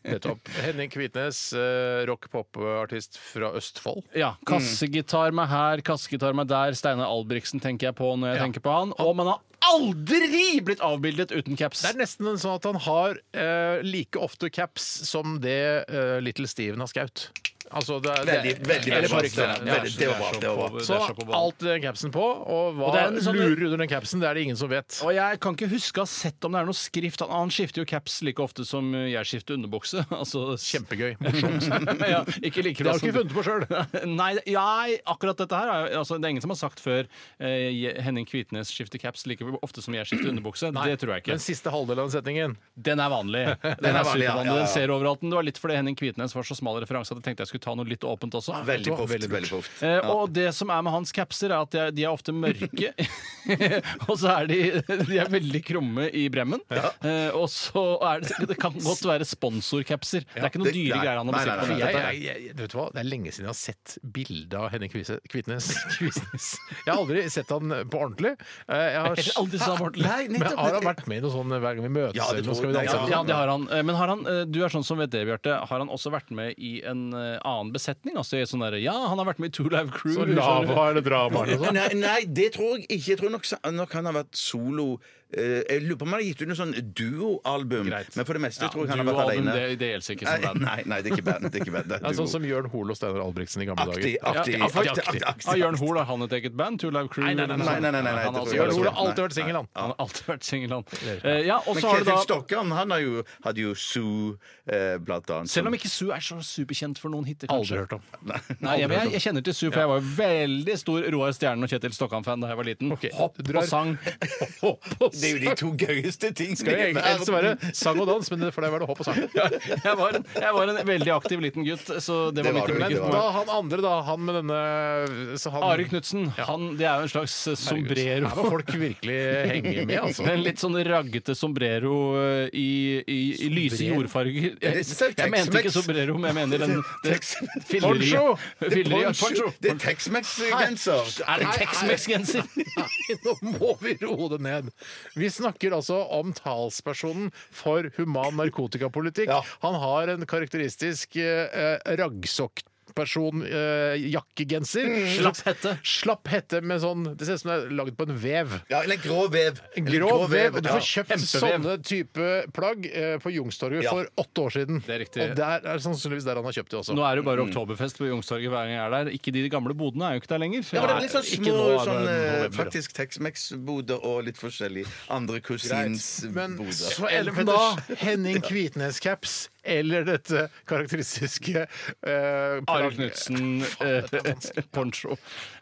Speaker 6: Nettopp. Henning Kvitnes, eh, rock-pop-artist fra Østfold.
Speaker 7: ja. Kassegitar meg her, kassegitar meg der. Steinar Albrigtsen tenker jeg på når jeg
Speaker 6: Ja.
Speaker 7: tenker på han. Og man har aldri blitt avbildet uten caps!
Speaker 6: Det er nesten sånn at han har eh, like ofte caps som det eh, Little Steven har skaut. Altså, det, er- det,
Speaker 4: Veldig, veldig, veldig
Speaker 6: eller
Speaker 4: bra.
Speaker 6: parykk, da.
Speaker 4: Steinar. Veldig, Det var bra. det var bra.
Speaker 6: Så alt den capsen på, og hva
Speaker 7: Og det er en sånn-
Speaker 6: lurer under den capsen, det er det ingen som vet.
Speaker 7: Og jeg kan ikke huske å ha sett om det er noe skrift. Han, han skifter jo caps like ofte som jeg skifter underbukse. Altså,
Speaker 6: Kjempegøy. Morsomt.
Speaker 7: ja, ikke like
Speaker 6: Det
Speaker 7: bra
Speaker 6: har du ikke
Speaker 7: som-
Speaker 6: funnet på sjøl.
Speaker 7: Nei, nei, akkurat dette her er jo- altså, Det er ingen som har sagt før eh, Je- Henning Kvitnes skifter caps like ofte som jeg skifter underbukse. Det tror jeg ikke.
Speaker 6: Den siste halvdelen av den setningen.
Speaker 7: Den er vanlig. Den, er
Speaker 4: vanlig, ja, ja,
Speaker 7: supervanlig.
Speaker 4: ja.
Speaker 7: Den ser overalt. Men det var litt fordi Henning Kvitnes var så smal referanse at jeg tenkte jeg skulle ta noe litt åpent også.
Speaker 4: Veldig
Speaker 6: Vet du hva?
Speaker 4: proft.
Speaker 6: Veldig
Speaker 4: Veldig proft.
Speaker 7: Eh, Og det som er med hans capser, er at de er, de er ofte mørke. og så er de, de er veldig krumme i bremmen. Eh, og så er det Det kan godt være sponsorcapser. Det er ikke noen
Speaker 4: det-
Speaker 7: dyre
Speaker 4: nei,
Speaker 7: greier han har
Speaker 4: nei, nei,
Speaker 7: bestilt.
Speaker 4: nei,
Speaker 7: på
Speaker 6: Jeg,
Speaker 7: nettet.
Speaker 6: jeg, jeg, vet du hva? Det er lenge siden jeg har sett bilde av Henning Kvise- Kvitnes. Kvisnes. Jeg har aldri sett han på ordentlig. Eh, Jeg har,
Speaker 7: Jeg har aldri sett han på ordentlig. Nei,
Speaker 6: Men har han vært med i noe sånn hver gang vi møtes?
Speaker 4: Ja, det
Speaker 6: eller noe,
Speaker 4: tror
Speaker 6: skal vi
Speaker 4: jeg.
Speaker 6: danse?
Speaker 7: Ja, ja, det har han. Eh, Men har han, eh, du er sånn som vet det, Bjarte. Har han også vært med i en eh, annen besetning? Altså i sånn derre Ja, han har vært med i Two Live Crew. liksom,
Speaker 6: Så lava eller drama eller noe sånt?
Speaker 4: Nei, nei, det tror jeg ikke. Jeg tror nok, nok han har vært solo eh, Jeg lurer på om han har gitt ut noe sånn duoalbum,
Speaker 6: Greit.
Speaker 4: men for det meste
Speaker 7: Ja,
Speaker 4: tror jeg han har vært
Speaker 7: duoalbum,
Speaker 4: alene.
Speaker 7: det- det gjelder ikke som
Speaker 4: Nei,
Speaker 7: band.
Speaker 4: Nei, nei, det er ikke band. Det er ikke band. Det
Speaker 6: Ja,
Speaker 4: er
Speaker 6: sånn
Speaker 4: duo.
Speaker 6: som Jørn Hole og Steinar Albrigtsen i gamle
Speaker 4: Aktig,
Speaker 6: dager.
Speaker 4: aktig,
Speaker 7: Ja,
Speaker 4: aktig,
Speaker 7: faktisk.
Speaker 4: aktig, aktig.
Speaker 7: Ja, Ah, Jørn Hoel, har han et eget band? Two Live Crew?
Speaker 6: Nei, nei, nei,
Speaker 7: eller noe
Speaker 4: nei, nei, nei, nei,
Speaker 7: sånt?
Speaker 4: det
Speaker 7: han, har
Speaker 4: tror
Speaker 7: også
Speaker 4: jeg
Speaker 6: Jørn
Speaker 7: vært
Speaker 4: ikke. Ole
Speaker 6: Hole
Speaker 7: singel.
Speaker 6: har alltid vært singel, han.
Speaker 7: han har alltid vært singel, han. Eh, Ja, og
Speaker 4: Men
Speaker 7: så har du
Speaker 4: Ketil
Speaker 7: da
Speaker 4: Stokkan han har jo, hadde jo Zoo, eh, blant annet.
Speaker 7: selv om ikke Sue er så superkjent for noen hiter,
Speaker 6: Aldri hørt om.
Speaker 7: Nei, jeg, jeg, jeg kjenner til Sue, for jeg var jo veldig stor Roar Stjernen og Kjetil Stokkan-fan da jeg var liten.
Speaker 6: Ok,
Speaker 7: Hopp
Speaker 6: du drar-
Speaker 7: og sang.
Speaker 4: Det er jo de to gøyeste tingene
Speaker 6: Det er jo
Speaker 4: i
Speaker 6: egentlig helst
Speaker 4: verden.
Speaker 6: være sang og dans, men for deg var det hopp og sang.
Speaker 7: Jeg var, en, jeg var en veldig aktiv liten gutt, så det
Speaker 4: var
Speaker 7: var mitt
Speaker 4: du,
Speaker 7: øyeblikk.
Speaker 4: det
Speaker 6: Men
Speaker 4: var
Speaker 6: da han andre, da, han med denne så han,
Speaker 7: Are Knutsen, han, det er jo en slags eh,
Speaker 6: Her må
Speaker 7: sombrero.
Speaker 6: folk virkelig henge med, altså.
Speaker 7: En litt sånn raggete sombrero eh, i, i, i lyse
Speaker 6: Sombrero?
Speaker 7: jordfarger. Jeg,
Speaker 4: det er
Speaker 7: jeg mente ikke
Speaker 4: Tex-Mex.
Speaker 7: sombrero, men jeg mener den det-
Speaker 4: Tex-
Speaker 7: filleriet.
Speaker 6: Poncho!
Speaker 4: Det er
Speaker 7: Filleriet,
Speaker 4: poncho.
Speaker 7: poncho.
Speaker 4: Det er Tex-Mex-genser.
Speaker 7: Er det Tex-Mex-genser?
Speaker 6: Nei, nå må vi roe det ned. Vi snakker altså om talspersonen for human narkotikapolitikk.
Speaker 4: Ja.
Speaker 6: Han har en karakteristisk eh, raggsokkperson eh, jakkegenser.
Speaker 7: Mm. Slapp hette.
Speaker 6: Slapp hette med sånn Det ser ut som det er lagd på en vev.
Speaker 4: Ja, eller grå vev.
Speaker 6: En
Speaker 4: Eller
Speaker 6: grå vev. Og du får
Speaker 4: ja.
Speaker 6: kjøpt
Speaker 7: Kjempevev.
Speaker 6: sånne type plagg eh, på Youngstorget
Speaker 4: Ja.
Speaker 6: for åtte år siden.
Speaker 7: Det er riktig.
Speaker 6: Og der er det sannsynligvis der han har kjøpt det også.
Speaker 7: Nå er det jo bare oktoberfest på Youngstorget hver gang jeg er der. Ikke de gamle bodene er jo ikke der lenger.
Speaker 4: Ja, men det er litt sånn
Speaker 7: Ikke
Speaker 4: små
Speaker 7: nå, er det
Speaker 4: sånn, eh,
Speaker 7: november.
Speaker 4: faktisk Tex-Mex-boder og litt forskjellig andre kusins
Speaker 6: Men
Speaker 4: boder.
Speaker 6: så
Speaker 7: Eller
Speaker 6: enten
Speaker 7: da-
Speaker 6: da Henning Kvitnes-caps eller dette karakteristiske eh,
Speaker 7: Are
Speaker 6: plagg-
Speaker 7: Knutsen, eh, poncho.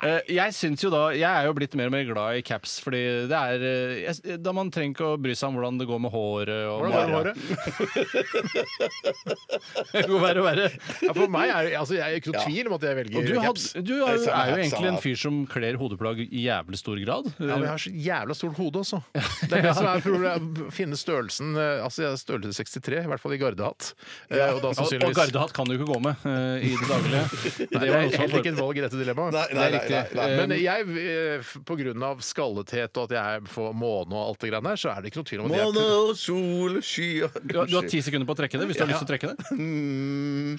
Speaker 7: Eh, jeg syns jo da Jeg er jo blitt mer og mer glad i caps, fordi det er eh, jeg, Da man trenger ikke å bry seg om hvordan det går med håret og
Speaker 6: Hvordan går det med
Speaker 7: Ja.
Speaker 6: håret?
Speaker 7: Det går verre og verre.
Speaker 6: Ja, for meg er det altså, jeg er ikke noe tvil om at jeg velger
Speaker 7: Og du,
Speaker 6: caps.
Speaker 7: had, du er, jo-
Speaker 4: samme
Speaker 7: er jo
Speaker 4: caps han
Speaker 7: egentlig en
Speaker 4: har.
Speaker 7: fyr som kler hodeplagg i jævlig stor grad.
Speaker 6: Ja, men jeg har så jævla stort hode også. Det er det som er problemet. å Finne størrelsen eh, Altså, jeg er størrelse 63, i hvert fall i gardehatt. Eh, Og da
Speaker 7: og og
Speaker 6: sannsynligvis
Speaker 7: gardehatt kan du ikke gå med eh, i det daglige.
Speaker 6: Nei,
Speaker 7: Det
Speaker 6: Det
Speaker 7: var
Speaker 6: er
Speaker 7: noe som
Speaker 6: heller
Speaker 7: var-
Speaker 6: ikke et valg i dette dilemmaet.
Speaker 4: Nei, nei, nei,
Speaker 7: Det er riktig.
Speaker 4: nei, nei.
Speaker 6: Men jeg, eh, f- på grunn av skallethet og at jeg er for måne og alt det greiene der, så er det ikke noe tvil om at jeg
Speaker 4: Måne
Speaker 6: er
Speaker 4: og sol, skyer
Speaker 7: Du har, du har ti sekunder på å trekke det, hvis du har lyst til å trekke det.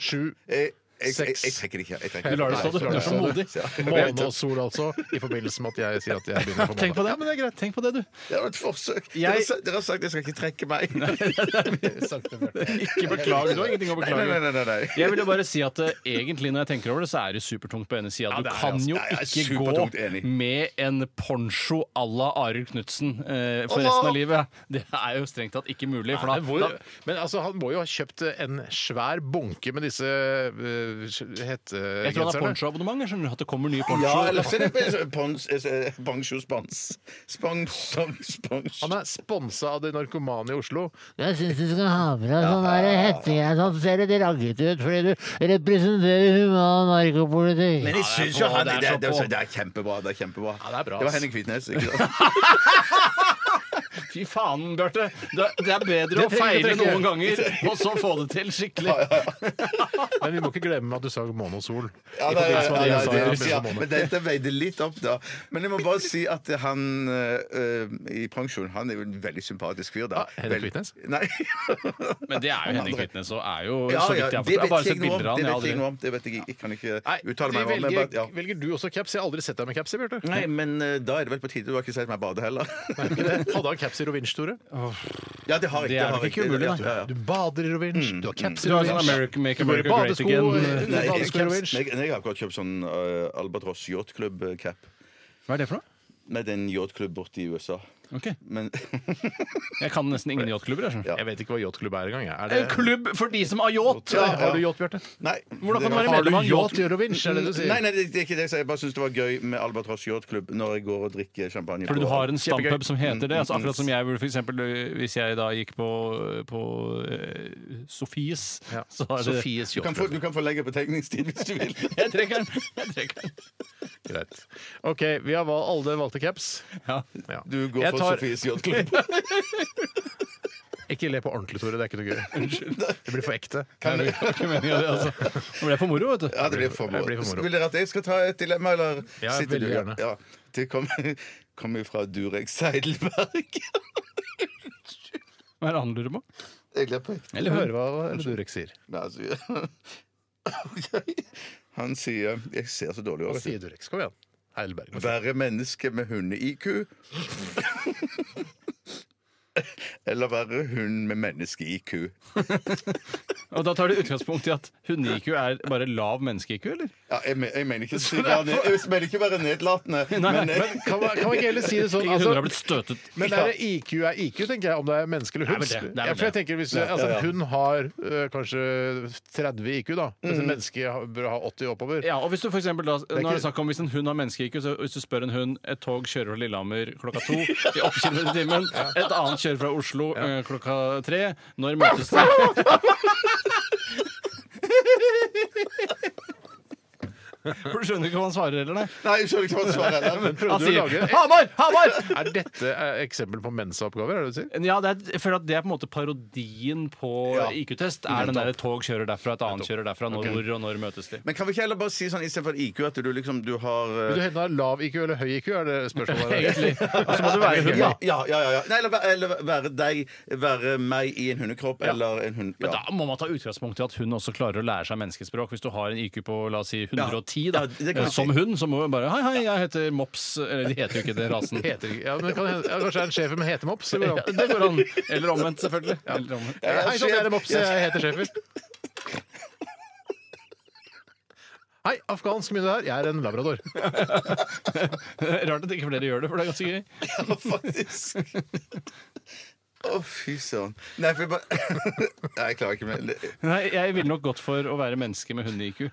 Speaker 6: sju
Speaker 4: Jeg, jeg, jeg,
Speaker 6: Seks.
Speaker 4: jeg trekker det ikke. Jeg
Speaker 7: Du
Speaker 4: trekker
Speaker 7: lar
Speaker 4: det
Speaker 7: det stå,
Speaker 4: ikke.
Speaker 7: du. Du er så modig.
Speaker 6: Måne og sol, altså, i forbindelse med at jeg sier at jeg begynner på måne.
Speaker 7: Tenk på det, men det er greit. Tenk på det, du.
Speaker 4: Det var et forsøk.
Speaker 7: Jeg-
Speaker 4: Dere, sa- dere har sagt jeg skal ikke trekke meg. Nei,
Speaker 7: Ikke beklag. Du har ingenting å
Speaker 4: nei,
Speaker 7: beklage.
Speaker 4: nei. nei, nei.
Speaker 7: Jeg vil jo bare si at eh, egentlig når jeg tenker over det, så er det supertungt på ene sida.
Speaker 6: Ja,
Speaker 7: Du
Speaker 6: det er
Speaker 7: kan
Speaker 6: det,
Speaker 7: jo
Speaker 4: altså. Jeg er
Speaker 7: ikke
Speaker 4: supertungt enig.
Speaker 7: gå med en poncho à la Arild Knutsen eh, for
Speaker 4: Åh!
Speaker 7: resten av livet. Det er jo strengt tatt ikke mulig. For
Speaker 6: Men, hvor,
Speaker 7: da, da
Speaker 6: men altså, han må jo ha kjøpt en svær bunke med disse uh,
Speaker 7: jeg tror han har
Speaker 6: hettegenserne.
Speaker 7: ponchoabonnement. jeg skjønner At det kommer nye poncho.
Speaker 4: Ja, eller så er det på- pons- eh, Bangsjo Spons. Spons, spons, spons.
Speaker 6: Han er sponsa av de narkomane i Oslo.
Speaker 8: Jeg syns du skal ha på deg sånn der hettegenser. Sånn ser litt raggete ut fordi du representerer human narkopolitikk.
Speaker 4: Men jeg syns jo
Speaker 7: på,
Speaker 4: han det
Speaker 7: det er
Speaker 4: er,
Speaker 7: så
Speaker 4: det, er,
Speaker 7: på.
Speaker 4: det er kjempebra. Det er kjempebra.
Speaker 6: Ja, det er bra,
Speaker 4: var
Speaker 6: ass.
Speaker 4: Henning Kvitnes. Ikke sant?
Speaker 7: Fy faen, Bjarte. Det, det er bedre å
Speaker 6: Det trenger
Speaker 7: feile
Speaker 6: jeg ikke.
Speaker 7: noen ganger og så få det til skikkelig.
Speaker 6: Men vi må ikke glemme at du sa måne og sol.
Speaker 4: Ja,
Speaker 6: I
Speaker 4: det,
Speaker 6: forbindelse med
Speaker 4: ja,
Speaker 6: at
Speaker 4: ja,
Speaker 6: jeg sa
Speaker 4: det,
Speaker 6: ja,
Speaker 4: du sier.
Speaker 6: men så måne.
Speaker 4: men dette veide litt opp, da. Men jeg må bare si at han eh, eh, i pensjon Han er jo en veldig sympatisk fyr, da.
Speaker 6: Ah, Henrik
Speaker 4: Vel-
Speaker 6: Kvitnes?
Speaker 4: Nei.
Speaker 7: Men det er jo Henning Kvitnes og er jo,
Speaker 4: Ja,
Speaker 7: så
Speaker 4: ja,
Speaker 7: vidt jeg har
Speaker 4: det vet
Speaker 7: forstått. Jeg har bare
Speaker 4: jeg
Speaker 7: sett
Speaker 4: ikke noe om.
Speaker 7: bilder av
Speaker 4: Det
Speaker 7: han.
Speaker 4: vet jeg ikke
Speaker 7: jeg
Speaker 4: noe om. Det vet jeg ikke. Jeg kan ikke
Speaker 6: Nei,
Speaker 4: uttale meg
Speaker 6: det
Speaker 4: om det.
Speaker 6: velger,
Speaker 4: men- ja.
Speaker 6: velger du også caps? Jeg har aldri sett deg med caps. jeg, Bjarte.
Speaker 4: Nei, men eh, da er det vel på tide. Du har ikke sett meg bade heller.
Speaker 6: Hadde han caps i Rovinj, Tore?
Speaker 4: Ja, det har jeg
Speaker 7: Det
Speaker 4: det
Speaker 7: er
Speaker 4: har
Speaker 7: nok
Speaker 4: jeg
Speaker 7: ikke umulig,
Speaker 4: Ja, ja. Mm.
Speaker 6: Du bader i Rovinj, du har caps
Speaker 7: Du
Speaker 6: i
Speaker 7: har sånn
Speaker 6: Rovinj.
Speaker 7: America,
Speaker 6: Du
Speaker 7: Make
Speaker 6: bør ikke
Speaker 7: America Great
Speaker 6: badesko,
Speaker 7: Again.
Speaker 6: eh,
Speaker 4: Nei,
Speaker 6: badesko i
Speaker 4: jeg, caps,
Speaker 6: Rovinj.
Speaker 4: nei, jeg har akkurat kjøpt sånn eh, Albatross Yacht eh, Club-cap.
Speaker 7: Hva er det for noe?
Speaker 4: Nei, det er en yachtklubb borte i USA.
Speaker 7: Ok.
Speaker 4: Men
Speaker 7: Jeg kan nesten ingen yachtklubber. jeg skjønner.
Speaker 6: Jeg vet ikke hva yachtklubb er engang. jeg. Er
Speaker 7: En
Speaker 6: det-
Speaker 7: klubb for de som har yacht!
Speaker 6: Ja, Har du yacht, Bjarte?
Speaker 4: Nei.
Speaker 7: Hvordan kan du være
Speaker 4: Har
Speaker 7: medlem av en yacht?
Speaker 6: Yacht i Rovinj, er det det du sier?
Speaker 4: Nei, nei, det, det er ikke det jeg sier. Jeg bare syns det var gøy med Albatross Yachtklubb når jeg går og drikker champagne.
Speaker 7: Fordi
Speaker 4: på-
Speaker 7: du har en stamphub
Speaker 6: Kjempegøy.
Speaker 7: som heter det. Altså akkurat som jeg burde, for eksempel, Hvis jeg da gikk på, på eh, Sofies,
Speaker 6: Ja.
Speaker 7: så har det
Speaker 6: Sofies
Speaker 4: du, kan
Speaker 6: yacht.
Speaker 4: få, du kan få legge på tegningstid hvis du vil.
Speaker 7: Jeg trekker den! Jeg trekker den.
Speaker 6: Greit. OK, vi har val alle valgte caps.
Speaker 7: Ja.
Speaker 6: Ja.
Speaker 4: Du går
Speaker 6: Jeg
Speaker 4: for
Speaker 6: tar-
Speaker 4: Sofies yachtklubb.
Speaker 6: Ikke le på ordentlig, Tore. Det er ikke noe gøy. Det blir for ekte.
Speaker 7: Det var ikke meningen, det, altså. Nå ble jeg for moro, vet du.
Speaker 4: Ja, det blir for
Speaker 6: Det blir for moro.
Speaker 4: moro. Vil dere at jeg skal ta et dilemma, eller?
Speaker 6: Ja,
Speaker 4: sitter du-
Speaker 6: veldig gjerne.
Speaker 4: Ja, det kommer kom fra Durek Seidelberg.
Speaker 7: Hva er det han lurer på?
Speaker 4: Jeg gleder meg.
Speaker 6: Eller hør hva eller Durek sier.
Speaker 4: Nei, altså, Ok. Han sier Jeg ser så dårlig
Speaker 6: Hva
Speaker 4: ut.
Speaker 6: sier Durek? Kom igjen. Heidelberg.
Speaker 4: Være menneske med hunde-IQ. Eller være hund med menneske-IQ.
Speaker 7: Og da tar de utgangspunkt i at hunde-IQ er bare lav menneske-IQ, eller?
Speaker 4: Ja, jeg, me- jeg mener ikke å være ned- jeg mener ikke å være nedlatende, men jeg,
Speaker 6: Kan man, kan man ikke heller si det sånn?
Speaker 7: Ingen
Speaker 6: altså-
Speaker 7: hunder har blitt støtet.
Speaker 6: Men er det IQ er IQ, tenker jeg, om det er menneske eller
Speaker 7: Det er
Speaker 6: hund.
Speaker 7: vel det, det er vel
Speaker 6: Ja, for jeg
Speaker 7: det.
Speaker 6: tenker hvis altså, En hund har ø, kanskje 30 IQ, da. Mens et menneske har- bør ha 80 oppover.
Speaker 7: Mm. Ja, og Hvis du for eksempel, da, nå er
Speaker 6: ikke-
Speaker 7: det snakk om hvis en hund har menneske-IQ, så hvis du spør en hund et tog kjører fra Lillehammer klokka to i 8 km i timen, et annet kjører fra Oslo eh, klokka tre, når møtes de? For du skjønner ikke hva han svarer heller, nei?
Speaker 4: Nei, jeg skjønner ikke hva svaret er. der.
Speaker 6: Prøvde
Speaker 7: Han
Speaker 6: du å lage
Speaker 7: sier 'Hamar! Hamar!'
Speaker 6: Er dette eh, eksempel på mensaoppgaver? Er det det du sier?
Speaker 7: Ja, det er, jeg føler at det er på en måte parodien på IQ-test. Er den der et tog kjører derfra, et annet kjører derfra, når hvor og når møtes de?
Speaker 4: Men kan vi ikke heller bare si sånn istedenfor IQ at du liksom du har eh,
Speaker 6: Vil du hende ha lav IQ eller høy IQ? Er det spørsmålet? der?
Speaker 7: Egentlig. Og så må du være hund, da.
Speaker 4: ja, ja, ja, ja, ja. Nei, eller, væ- eller være deg, være meg i en hundekropp eller en hund...
Speaker 7: Men
Speaker 4: Ja.
Speaker 7: da må man ta utgangspunkt i at hun også klarer å lære seg menneskespråk. Hvis du har en IQ på la oss si 110 da,
Speaker 4: Ja, det kan
Speaker 7: eh,
Speaker 4: jeg
Speaker 7: som
Speaker 4: si.
Speaker 7: hund, så må du bare Hei, hei, jeg heter Mops. Eller de heter jo ikke det, rasen.
Speaker 6: Heter ikke- ja, men kan det hende, ja, kanskje det er en schæfer med hetemops? eller
Speaker 7: Ja,
Speaker 6: noe?
Speaker 7: det går an. Eller omvendt, selvfølgelig. Eller omvendt.
Speaker 4: Jeg er
Speaker 6: Hei sann, jeg er
Speaker 4: sjef.
Speaker 6: en mops. Jeg heter schæfer. Hei, afghansk myndighet her. Jeg er en labrador.
Speaker 7: Rart at ikke flere gjør det, for det er ganske gøy.
Speaker 4: Ja, faktisk. Å, fy søren. Nei, for jeg bare Nei, jeg klarer ikke mer.
Speaker 7: Nei, jeg ville nok gått for å være menneske med hunde-IQ.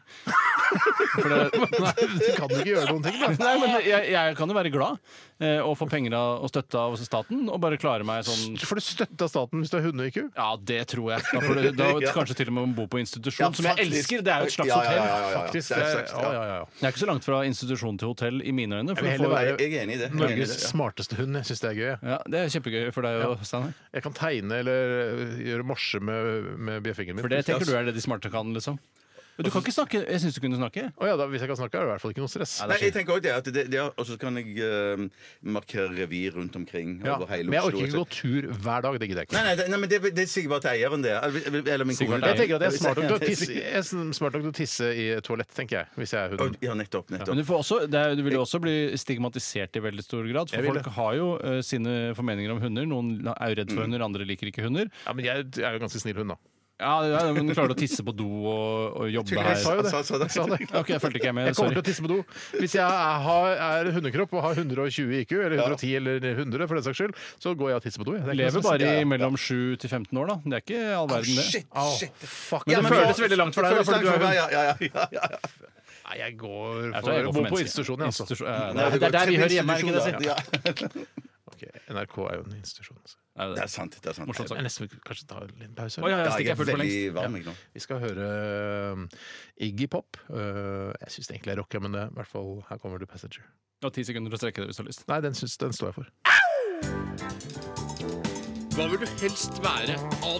Speaker 7: For det,
Speaker 6: Du kan jo ikke gjøre noen ting, da.
Speaker 7: nei, men jeg, jeg kan jo være glad eh, og få penger av, og støtte av staten, og bare klare meg sånn
Speaker 6: Du får du støtte av staten hvis du har hunde-IQ.
Speaker 7: Ja, det tror jeg. Da får du da, kanskje til og med bo på institusjon,
Speaker 4: Ja,
Speaker 7: som jeg
Speaker 4: faktisk.
Speaker 7: elsker. Det er jo et slags
Speaker 4: Ja, ja,
Speaker 7: hotell.
Speaker 4: ja, ja, ja.
Speaker 6: Faktisk,
Speaker 4: Det er
Speaker 6: det er-
Speaker 4: slags-
Speaker 6: ja, ja, ja, ja.
Speaker 7: Det er ikke så langt fra institusjon til hotell i mine øyne. For
Speaker 6: vil
Speaker 7: du
Speaker 6: heller
Speaker 7: får,
Speaker 6: være-
Speaker 4: Jeg jeg er enig i det. Jeg er enig i
Speaker 6: Norges
Speaker 4: det, ja.
Speaker 6: smarteste hund. Jeg syns det er gøy. jeg.
Speaker 7: ja, det er kjempegøy for deg òg, Steinar.
Speaker 6: Jeg kan tegne eller øh, gjøre morse med, med bjeffingen min.
Speaker 7: For det tenker du er det de smarte kan, liksom.
Speaker 6: Altså-
Speaker 7: Men du kan ikke snakke. Jeg syns du kunne snakke.
Speaker 6: Å ja, da, hvis jeg kan snakke, er det i hvert fall ikke noe stress.
Speaker 4: Nei, jeg tenker også det at det, det er- Og så kan jeg eh, markere revir rundt omkring.
Speaker 6: Ja,
Speaker 4: over hele
Speaker 6: men jeg
Speaker 4: Oslo,
Speaker 6: orker ikke
Speaker 4: altså.
Speaker 6: gå tur hver dag. Det gidder jeg ikke.
Speaker 4: Nei, nei, det, nei, men det, det sier jeg bare til eieren, det. Eller, eller min
Speaker 7: Sigvard
Speaker 4: kone.
Speaker 7: Eier.
Speaker 6: Jeg tenker at jeg er smart nok til å
Speaker 4: Jeg-
Speaker 6: tisse, jeg er smart nok til å tisse i et toalett, tenker jeg. Hvis jeg er hunden.
Speaker 4: Ja, nettopp. nettopp.
Speaker 7: Men du, får også, det er, du vil jo også bli stigmatisert i veldig stor grad.
Speaker 6: Jeg
Speaker 7: For
Speaker 6: vil
Speaker 7: folk har jo eh, sine formeninger om hunder. Noen er jo redd
Speaker 6: Mm.
Speaker 7: for hunder, andre liker ikke hunder.
Speaker 6: Ja, men jeg er jo en ganske snill hund, da.
Speaker 7: Ja, ja men du klarer å tisse på do og, og jobbe
Speaker 6: Jeg sa
Speaker 7: her.
Speaker 6: jo det.
Speaker 4: Han sa- sa det.
Speaker 6: Jeg sa det.
Speaker 7: OK, jeg fulgte ikke jeg med.
Speaker 6: Jeg kommer til å
Speaker 7: Sorry.
Speaker 6: tisse på do. Hvis jeg har, er hundekropp og har 120 IQ, eller 110 eller 100 for den saks skyld, så går jeg og tisser på do. jeg. Ah, Det er ikke noe
Speaker 7: Lever
Speaker 6: stress.
Speaker 7: bare i mellom 7 til 15 år, da. Det er ikke all verden, det.
Speaker 4: Shit,
Speaker 6: Au,
Speaker 4: shit.
Speaker 6: fuck.
Speaker 7: Men
Speaker 4: Ja,
Speaker 7: det
Speaker 4: nå-
Speaker 7: føles veldig langt for deg,
Speaker 4: det
Speaker 7: da,
Speaker 4: føles
Speaker 7: fordi du
Speaker 4: langt
Speaker 7: er
Speaker 4: for meg, Ja, ja, ja, ja, ja.
Speaker 6: Nei, jeg går
Speaker 7: Jeg
Speaker 6: for,
Speaker 7: tror jeg går for
Speaker 6: bor på
Speaker 7: menneske.
Speaker 6: institusjon, jeg, altså.
Speaker 7: Institusjon- ja,
Speaker 4: Nei,
Speaker 7: det
Speaker 4: går
Speaker 7: er der vi
Speaker 4: til
Speaker 7: hører hjemme, er det ikke det?
Speaker 4: institusjon,
Speaker 7: Siv?
Speaker 4: da. Ja.
Speaker 6: Ok, NRK er jo en institusjon. Altså.
Speaker 7: Nei, det
Speaker 4: Det
Speaker 7: er
Speaker 4: er sant. det er sant
Speaker 7: Morsomt sagt.
Speaker 6: Jeg nesten vil kanskje ta en liten pause.
Speaker 7: Å, ja, ja,
Speaker 4: Ja,
Speaker 7: stikk,
Speaker 4: jeg
Speaker 7: jeg
Speaker 4: er
Speaker 7: er full for lengst.
Speaker 4: veldig varm jeg nå.
Speaker 6: Vi skal høre um, Iggy Pop. Uh, jeg syns egentlig det er rock, ja, men det er i hvert fall her kommer The Passenger.
Speaker 7: Du har ti sekunder til å strekke det hvis du har lyst.
Speaker 6: Nei, den, syns- den står jeg for.
Speaker 3: Hva vil du helst være?